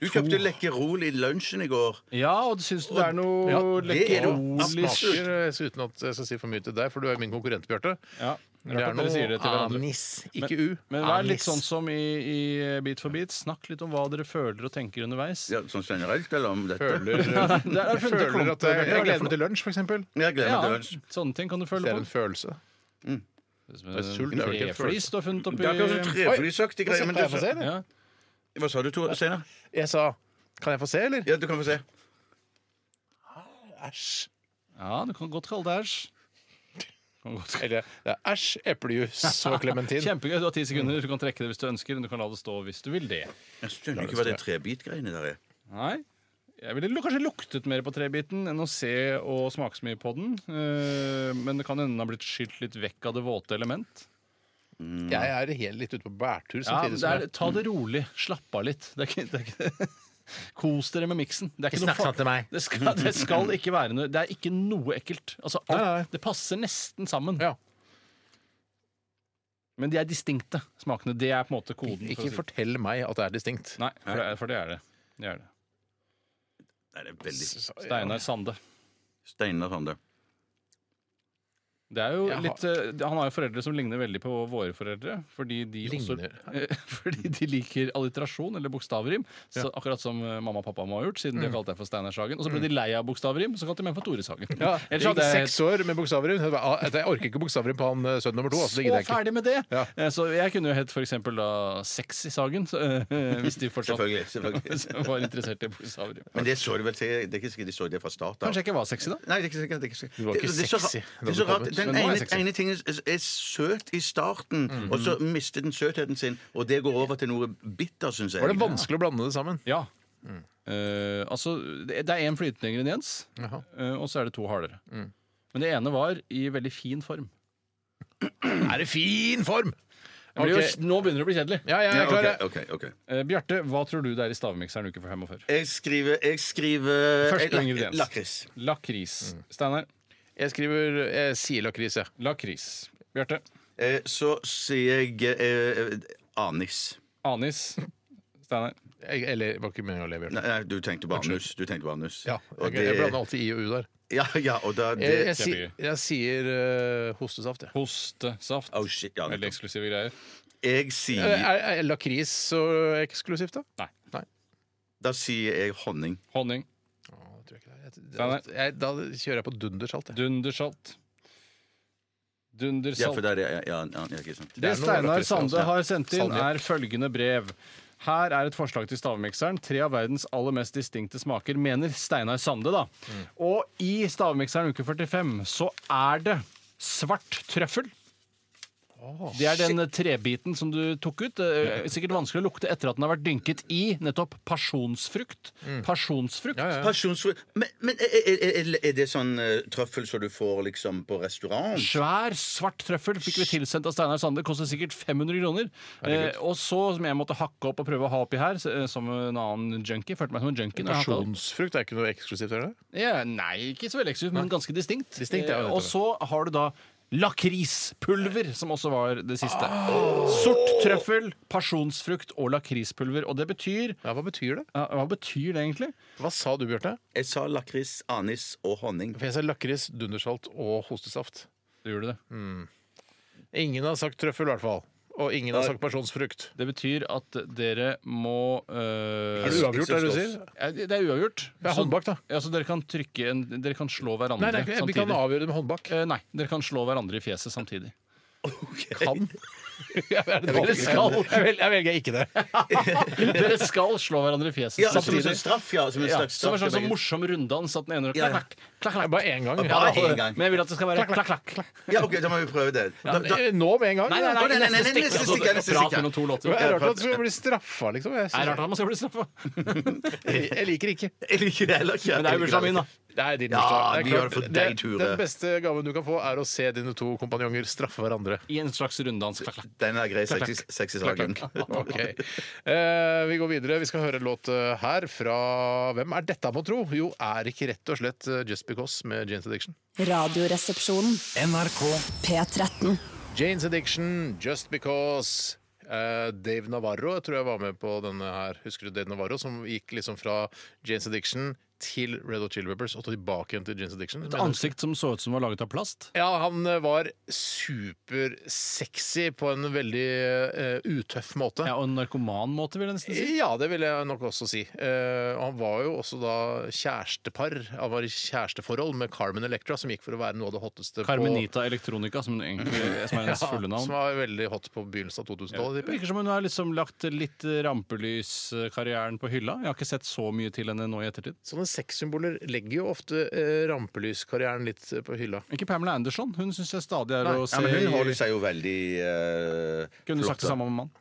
Speaker 4: Du kjøpte Lekkerol i lunsjen i går.
Speaker 7: Ja, og syns du det er noe
Speaker 6: Ja,
Speaker 4: det er det
Speaker 7: lekkerolisk
Speaker 6: smaker eh, så uten at jeg skal si for mye til deg, for du er jo min konkurrent, Bjarte.
Speaker 7: Ja,
Speaker 6: Det
Speaker 7: rart
Speaker 6: er
Speaker 7: at dere sier det til
Speaker 6: noe
Speaker 7: hverandre.
Speaker 6: anis, ikke u.
Speaker 7: Men vær litt
Speaker 6: Anis.
Speaker 7: sånn som i, i Beat for beat. Snakk litt om hva dere føler og tenker underveis.
Speaker 4: Ja, sånn generelt, eller om dette?
Speaker 6: Føler,
Speaker 7: der er det funnet
Speaker 6: føler
Speaker 7: klumper,
Speaker 6: at jeg,
Speaker 7: Bjarte.
Speaker 6: jeg gleder meg til lunsj, for eksempel.
Speaker 4: Jeg gleder meg til
Speaker 7: Ja,
Speaker 4: lunsj.
Speaker 7: sånne ting kan du føle
Speaker 6: Det er en
Speaker 7: på.
Speaker 6: følelse. er sult, det er vel ikke en
Speaker 7: Treflis du har funnet
Speaker 4: Det er akkurat som
Speaker 7: oppi
Speaker 4: treflysaktig greie. Men det,
Speaker 6: Kan jeg få se, eller?
Speaker 7: ja.
Speaker 4: hva sa du, Tore? Steinar?
Speaker 6: Jeg sa Kan jeg få se, eller?
Speaker 4: Ja, du kan få se.
Speaker 6: Æsj.
Speaker 7: ja, du kan godt kalle det æsj. Kan godt kalle-
Speaker 6: Eller det er æsj, eplejus og klementin.
Speaker 7: Kjempegøy. Du har ti sekunder. Du kan trekke det hvis du ønsker. Men du kan la det stå hvis du vil det.
Speaker 4: Jeg skjønner ikke hva det trebitgreiene der er.
Speaker 7: Nei. Jeg ville lu- kanskje luktet mer på trebiten enn å se og smake så mye på den. Eh, Men det kan hende den har blitt skylt litt vekk av det våte element.
Speaker 6: Jeg er helt litt ute på bærtur
Speaker 7: Ja, men
Speaker 6: samtidig
Speaker 7: det
Speaker 6: som
Speaker 7: er,
Speaker 6: jeg
Speaker 7: ta det rolig. Slapp av litt. Det er ikke, det er ikke Kos dere med miksen. Det er ikke noe fa-
Speaker 6: meg.
Speaker 7: Det skal, det skal ikke være noe Det er ikke noe ekkelt. Altså, alt,
Speaker 6: Nei, nei.
Speaker 7: Det passer nesten sammen.
Speaker 6: Ja.
Speaker 7: Men de er distinkte, smakene. Det er på en måte koden.
Speaker 6: Ikke
Speaker 7: for å si-
Speaker 6: fortell meg at det er distinkt.
Speaker 7: Nei, for det er for det. Er det. det, er det.
Speaker 4: Nei, det er veldig
Speaker 7: Steinar Sande.
Speaker 4: Steinar Sande.
Speaker 7: Det er jo
Speaker 6: Jeg har-
Speaker 7: litt, eh, han har jo foreldre som ligner veldig på våre foreldre. Fordi de, også,
Speaker 6: Ligner?
Speaker 7: fordi de liker alliterasjon, eller bokstavrim. Så akkurat som eh, mamma og pappa må ha gjort, siden
Speaker 6: Mm.
Speaker 7: de har kalt deg for Steinar Sagen. Og så ble de lei av bokstavrim, så kalte de meg for Tore Sagen.
Speaker 6: Ja,
Speaker 7: Ellers
Speaker 6: det gikk
Speaker 7: hadde jeg
Speaker 6: seks år med bokstavrim. Jeg bare, ah, Jeg orker ikke bokstavrim på han eh, sønn nummer to. Altså, det
Speaker 7: så
Speaker 6: gidder jeg ikke.
Speaker 7: ferdig med det!
Speaker 6: Ja.
Speaker 7: Eh, Så jeg kunne jo hett f.eks. da Sexy Sagen, så, eh, hvis de fortsatt
Speaker 4: Selvfølgelig. selvfølgelig.
Speaker 7: var interessert i bokstavrim.
Speaker 4: Men det så du vel til Det er ikke sikkert de så det fra start av.
Speaker 7: Kanskje jeg ikke var sexy, da?
Speaker 4: Nei, det er ikke sikkert. Det er ikke sikkert.
Speaker 6: Du var
Speaker 4: Det-
Speaker 6: ikke
Speaker 4: det er så ra-
Speaker 6: sexy da
Speaker 4: Det er
Speaker 6: du
Speaker 4: så
Speaker 6: kom
Speaker 4: rart.
Speaker 6: ut.
Speaker 4: Den
Speaker 7: Men nå er jeg
Speaker 4: ene,
Speaker 7: sexy.
Speaker 4: ene tingen er- er søt i starten, og så mister den søtheten sin, og det går over til noe bitter, syns jeg.
Speaker 6: Var det vanskelig å blande det sammen?
Speaker 7: Ja.
Speaker 6: Mm.
Speaker 7: Eh, altså, det det er én flytende ingrediens,
Speaker 6: Jaha. Mm.
Speaker 7: eh, og så er det to hardere. Men det ene var i veldig fin form.
Speaker 6: Er det fin form?
Speaker 7: Jeg blir
Speaker 6: Ok.
Speaker 7: jo, nå begynner det å bli kjedelig.
Speaker 6: Ja, jeg
Speaker 4: Ja,
Speaker 6: er klar. jeg.
Speaker 4: ok, ok, ok.
Speaker 7: Eh, Bjarte, hva tror du det er i stavmikseren uke for 45?
Speaker 4: Jeg skriver, jeg skriver
Speaker 7: Første
Speaker 4: eh, lak-
Speaker 7: ingrediens.
Speaker 4: Lakris.
Speaker 7: Lakris.
Speaker 6: Mm.
Speaker 7: Steinar.
Speaker 6: Jeg skriver jeg sier lakris, jeg.
Speaker 7: Lakris. Bjarte.
Speaker 4: Eh, Så sier jeg eh, anis.
Speaker 7: Anis. Steinar.
Speaker 6: Jeg- Eller var ikke meningen å leve, Bjørn.
Speaker 4: Nei, nei, du tenkte på anus. Du tenkte på anus.
Speaker 6: Ja,
Speaker 4: og
Speaker 6: jeg, jeg blander
Speaker 4: det,
Speaker 6: alltid i og u der.
Speaker 4: ja, ja, og da
Speaker 6: Jeg, jeg,
Speaker 4: det,
Speaker 6: si, jeg sier eh, hostesaft, jeg.
Speaker 7: Hostesaft.
Speaker 4: Oh shit, ja.
Speaker 7: Veldig eksklusive greier.
Speaker 4: Jeg
Speaker 6: Er,
Speaker 4: sier
Speaker 6: er, Eh, er lakris så eksklusivt, da?
Speaker 7: Nei.
Speaker 4: Da sier jeg honning.
Speaker 7: Honning.
Speaker 6: Å, det tror jeg ikke det er. Jeg-
Speaker 7: Steinar?
Speaker 6: Da, jeg, da kjører jeg på dundersalt. Jeg.
Speaker 7: Dundersalt.
Speaker 4: Ja, for
Speaker 7: Dundersalt.
Speaker 4: der er ja, ja, ja, ikke sant.
Speaker 7: Det
Speaker 6: er noe
Speaker 7: Steinar
Speaker 6: lakris, altså.
Speaker 7: Sande har sendt inn,
Speaker 6: Salmiakk.
Speaker 7: er følgende brev. Her er et forslag til stavmikseren. Tre av verdens aller mest distinkte smaker, mener Steinar Sande, da.
Speaker 6: Mm.
Speaker 7: Og i stavmikseren uke 45 så er det svart trøffel. Det er den trebiten som du tok ut. Det er Sikkert vanskelig å lukte etter at den har vært dynket i nettopp pasjonsfrukt. Pasjonsfrukt.
Speaker 6: Mm. Ja, ja.
Speaker 4: Pasjonsfrukt Men, men er, er, er, er det sånn eh, trøffel som du får liksom på restaurant?
Speaker 7: Svær, svart trøffel fikk vi tilsendt av Steinar Sande. Kostet sikkert 500 kroner. Eh, og så, som jeg måtte hakke opp og prøve å ha oppi her, s- eh, som en annen junkie Følte meg som en junkie. når jeg hakket opp.
Speaker 6: Pasjonsfrukt er ikke noe eksklusivt? Er det?
Speaker 7: Ja, nei, ikke så veldig eksklusivt, men ganske distinkt.
Speaker 6: Distinkt, ja,
Speaker 7: Eh,
Speaker 6: nettopp.
Speaker 7: og så har du da Lakrispulver, som også var det siste. Ah! Sort trøffel, pasjonsfrukt og lakrispulver. Og det betyr
Speaker 6: Ja, hva betyr det?
Speaker 7: ja, Hva betyr det egentlig?
Speaker 6: Hva sa du, Bjarte?
Speaker 4: Jeg sa lakris, anis og honning.
Speaker 6: For jeg sa lakris, dundersalt og hostesaft.
Speaker 7: Det gjorde det.
Speaker 6: Ingen har sagt trøffel, i hvert fall. Og ingen har
Speaker 4: Nei.
Speaker 6: sagt pasjonsfrukt.
Speaker 7: Det betyr at dere må eh,
Speaker 6: Er det uavgjort, er det du sier?
Speaker 7: Ja, Det det er uavgjort.
Speaker 6: Det er håndbak, da.
Speaker 7: Ja, så dere kan trykke en, Dere kan slå hverandre
Speaker 6: Nei, nei, vi kan
Speaker 7: samtidig.
Speaker 6: avgjøre det med håndbak.
Speaker 7: Eh, nei, dere kan slå hverandre i fjeset samtidig.
Speaker 6: Kan. Jeg,
Speaker 7: Dere skal,
Speaker 6: vel- jeg velger ikke det.
Speaker 7: dere skal slå hverandre i fjeset
Speaker 4: Ja, som en
Speaker 7: samtidig.
Speaker 4: slags straff, ja. Som en
Speaker 7: Ja,
Speaker 4: slags straff.
Speaker 7: som en slags
Speaker 4: til
Speaker 7: sånn
Speaker 4: begge.
Speaker 7: morsom runddans at den ene
Speaker 4: Ja, ja.
Speaker 7: klakk, klakk, klakk,
Speaker 6: Bare én gang.
Speaker 4: Bare én gang.
Speaker 7: Men jeg vil at det skal være klakk, klakk, klakk.
Speaker 4: Ja, ok, da må vi prøve det. Da, da,
Speaker 6: Eh, Nå med en gang?
Speaker 7: Nei,
Speaker 4: Å,
Speaker 7: nei, nei,
Speaker 4: nei, nei, nei,
Speaker 7: neste stikk.
Speaker 4: neste
Speaker 7: Altså,
Speaker 4: stikk, ja, neste
Speaker 7: prat
Speaker 4: stikk, ja.
Speaker 7: mellom to
Speaker 6: Det
Speaker 7: låter.
Speaker 6: er rart at du blir straffa, liksom. Jeg,
Speaker 7: Det er
Speaker 6: synes-
Speaker 7: rart at man skal bli straffa.
Speaker 6: jeg liker ikke.
Speaker 4: jeg liker det heller ikke.
Speaker 7: Men det er jo bursdagen min, da.
Speaker 6: Det er din
Speaker 4: Ja,
Speaker 6: bursdag. Det er
Speaker 4: vi
Speaker 6: klart.
Speaker 4: gjør det for
Speaker 6: Det-
Speaker 4: deg, Ture.
Speaker 6: Den beste gaven du kan få, er å se dine to kompanjonger straffe hverandre.
Speaker 7: I en slags runddans. Klakk, klakk.
Speaker 4: Den er grei. Sexy, sexy saken.
Speaker 6: Ok. Eh, vi går videre. Vi skal høre en låt eh, her fra Hvem er dette, må tro? Jo, er ikke rett og slett eh, Just Because med Janes Addiction.
Speaker 1: Radioresepsjonen.
Speaker 2: NRK
Speaker 1: P13.
Speaker 6: Janes Addiction, Just Because. Eh, Dave Navarro jeg tror jeg var med på denne her. Husker du Dave Navarro som gikk liksom fra Janes Addiction til Red Hot Chili Peppers og tilbake igjen til Janes Addiction?
Speaker 7: Et ansikt som så ut som var laget av plast.
Speaker 6: Ja, han eh, var supersexy på en veldig eh, utøff måte.
Speaker 7: Ja, og en narkoman måte, vil jeg nesten si.
Speaker 6: Ja, det vil jeg nok også si. Eh, og han var jo også da kjærestepar. Han var i kjæresteforhold med Carmen Electra, som gikk for å være noe av det hotteste
Speaker 7: Carmenita Electronica, som, den egentlig, som er
Speaker 6: på ja,
Speaker 7: hennes fulle
Speaker 6: Som
Speaker 7: navn.
Speaker 6: var veldig hot på begynnelsen av 2000-tallet. tipper jeg.
Speaker 7: Virker som hun har liksom lagt litt rampelyskarrieren på hylla. Jeg har ikke sett så mye til henne nå i ettertid.
Speaker 6: Sånne sexsymboler legger jo ofte eh, rampelyskarrieren litt eh, på hylla.
Speaker 7: Ikke Pamela Anderson. Hun syns jeg stadig er å
Speaker 4: Ja,
Speaker 7: se
Speaker 4: men hun
Speaker 7: i-
Speaker 4: holder seg jo veldig eh,
Speaker 7: Kunne du sagt
Speaker 4: flott, da.
Speaker 7: det samme om en mann?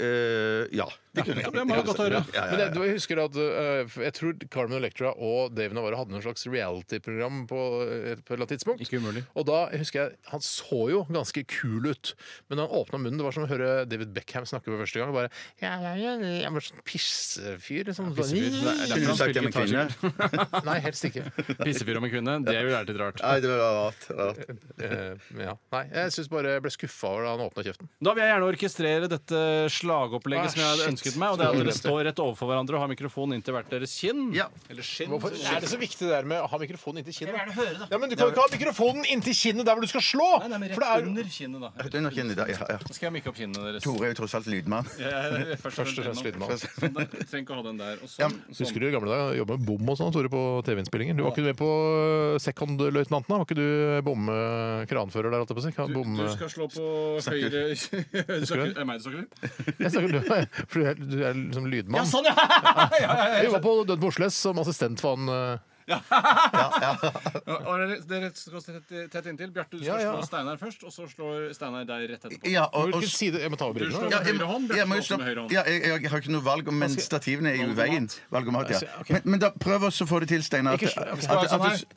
Speaker 4: Eh, ja. Det kunne jeg.
Speaker 7: det må jeg godt høre.
Speaker 4: Ja, ja,
Speaker 6: Men
Speaker 4: ja.
Speaker 6: det, du husker at eh, Jeg tror Carmen Electra og Dave Navarro hadde noe slags reality-program på eh, på et eller annet tidspunkt.
Speaker 7: Ikke umulig.
Speaker 6: Og da husker jeg, Han så jo ganske kul ut, men da han åpna munnen Det var som å høre David Beckham snakke for første gang. Bare, ja, ja, ja, jeg var sånn pissefyr. Sånn,
Speaker 4: Kunne du sagt det om en kvinne?
Speaker 6: Nei, helst ikke.
Speaker 7: Pissefyr om en kvinne, det ville vært litt rart.
Speaker 4: Nei, det var rart. rart.
Speaker 6: Eh, ja. Nei, jeg syns bare jeg ble skuffa over da han åpna kjeften.
Speaker 7: Da vil jeg gjerne orkestrere dette slagopplegget
Speaker 6: Ah,
Speaker 7: som jeg hadde
Speaker 6: shit,
Speaker 7: ønsket meg, og det er at dere står rett overfor hverandre og har mikrofonen inntil hvert deres kinn.
Speaker 4: Ja.
Speaker 7: Eller skinn.
Speaker 6: Hvorfor er det så viktig det der med å ha mikrofonen inntil kinnet? Ja, men Du kan jo ikke ha mikrofonen inntil kinnet der hvor du skal slå!
Speaker 7: Nei, nei, men
Speaker 6: For
Speaker 7: rett
Speaker 6: det er
Speaker 7: under kinnet, da.
Speaker 4: Det er nok en i dag, ja, ja.
Speaker 7: Nå skal jeg myke opp kinnene deres.
Speaker 4: Tore er jo tross alt lydmann.
Speaker 7: Jeg-
Speaker 6: Først og fremst lydmann.
Speaker 7: Sånn der. Jeg Trenger ikke å ha den der. Og sånn, sånn.
Speaker 6: Husker du i gamle dager jobba med bom og sånn, Tore, på TV-innspillinger? Du var ikke med på eh, sekondløytnanten, da? Var ikke du bomme-kranfører der, holdt jeg på å si? Kan-
Speaker 7: Du, sånn- du
Speaker 6: Bomme...
Speaker 7: skal slå på høyre Du snakker- Er det meg du snakker til?
Speaker 6: Jeg snakker, du, er- for du er, du er liksom lydmann.
Speaker 7: sånn, ja! ja, ja,
Speaker 6: Jeg jobba på Døden på Osles som assistent for han eh,
Speaker 7: Ja, og dere, dere skal stå tett, tett inntil. Bjarte, du skal
Speaker 6: Ja, ja.
Speaker 7: slå Steinar først, og så slår Steinar deg rett etterpå.
Speaker 4: Ja, og, og
Speaker 6: Hvilken side Jeg må ta av
Speaker 7: Du
Speaker 6: brillene.
Speaker 7: slår
Speaker 6: da.
Speaker 7: med høyre hånd,
Speaker 4: jeg, må
Speaker 7: Bjarte
Speaker 4: jo
Speaker 7: slår
Speaker 4: snakke-
Speaker 7: med høyre hånd.
Speaker 4: ja, jeg, jeg har ikke noe valg, men stativene er jo i veien. Valgomat, ja. Men, men da prøv også å få det til, Steinar. at-
Speaker 6: Ikke slå-
Speaker 4: at-
Speaker 7: Skal du ha
Speaker 4: at-
Speaker 7: sånn
Speaker 4: at
Speaker 7: her?
Speaker 4: du-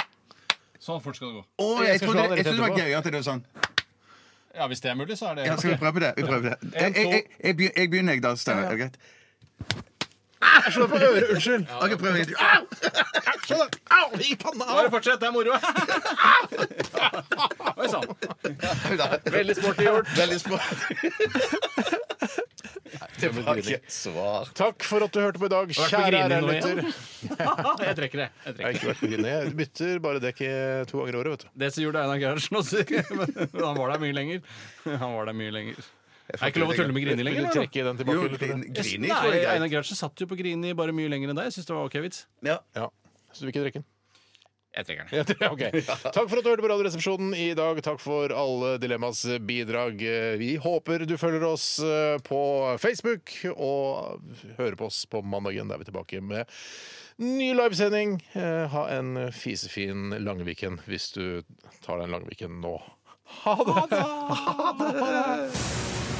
Speaker 7: Sånn fort skal det gå.
Speaker 4: Å,
Speaker 6: Jeg
Speaker 4: Jeg
Speaker 6: skal
Speaker 4: trodde jeg
Speaker 6: slå det rett
Speaker 4: trodde det var
Speaker 6: etterpå.
Speaker 4: gøy at det var sånn.
Speaker 7: Ja, hvis det er mulig, så er det
Speaker 4: Ja, skal vi prøve på det? Vi prøver det. Jeg, jeg, jeg, jeg, begyn- jeg begynner, jeg, da, Steinar. Er det greit?
Speaker 6: Jeg slår på øret, unnskyld!
Speaker 4: Ok, prøv igjen.
Speaker 7: Ah!
Speaker 6: Sånn, da. Au! I panna!
Speaker 7: Bare fortsett, det er moro! Oi sann. Veldig sporty gjort.
Speaker 4: Veldig smart.
Speaker 6: Au!
Speaker 4: Svar.
Speaker 6: Takk for at du hørte på i dag,
Speaker 7: på
Speaker 6: kjære
Speaker 7: Grini nå
Speaker 6: RR-lytter.
Speaker 7: Jeg trekker det. Jeg
Speaker 6: Jeg har
Speaker 7: trekker.
Speaker 6: ikke vært på Grini. Jeg bytter bare dekk i to ganger i året, vet du.
Speaker 7: Det gjorde Einar Gerhardsen også, men men han var der mye lenger. Han var der mye lenger. Er det ikke lov å tulle med Grini
Speaker 6: Vil
Speaker 7: lenger?
Speaker 6: du
Speaker 7: eller?
Speaker 6: trekke den
Speaker 4: Jo,
Speaker 6: tilbake? eller ikke?
Speaker 4: Grini tror
Speaker 7: Nei,
Speaker 4: jeg er
Speaker 7: Einar
Speaker 4: greit.
Speaker 7: Gerhardsen satt jo på Grini bare mye lenger enn deg. Jeg syns det var OK vits.
Speaker 4: Ja.
Speaker 6: Ja. Så du vil ikke trekke den?
Speaker 7: Jeg trekker den.
Speaker 6: Ja, det- ok. Takk for at du hørte på Radioresepsjonen i dag. Takk for alle Dilemmas bidrag. Vi håper du følger oss eh, på Facebook, og hører på oss på mandagen. Der er vi tilbake med ny livesending. Eh, Ha en fisefin Langviken hvis du tar den Langviken nå. Ha det!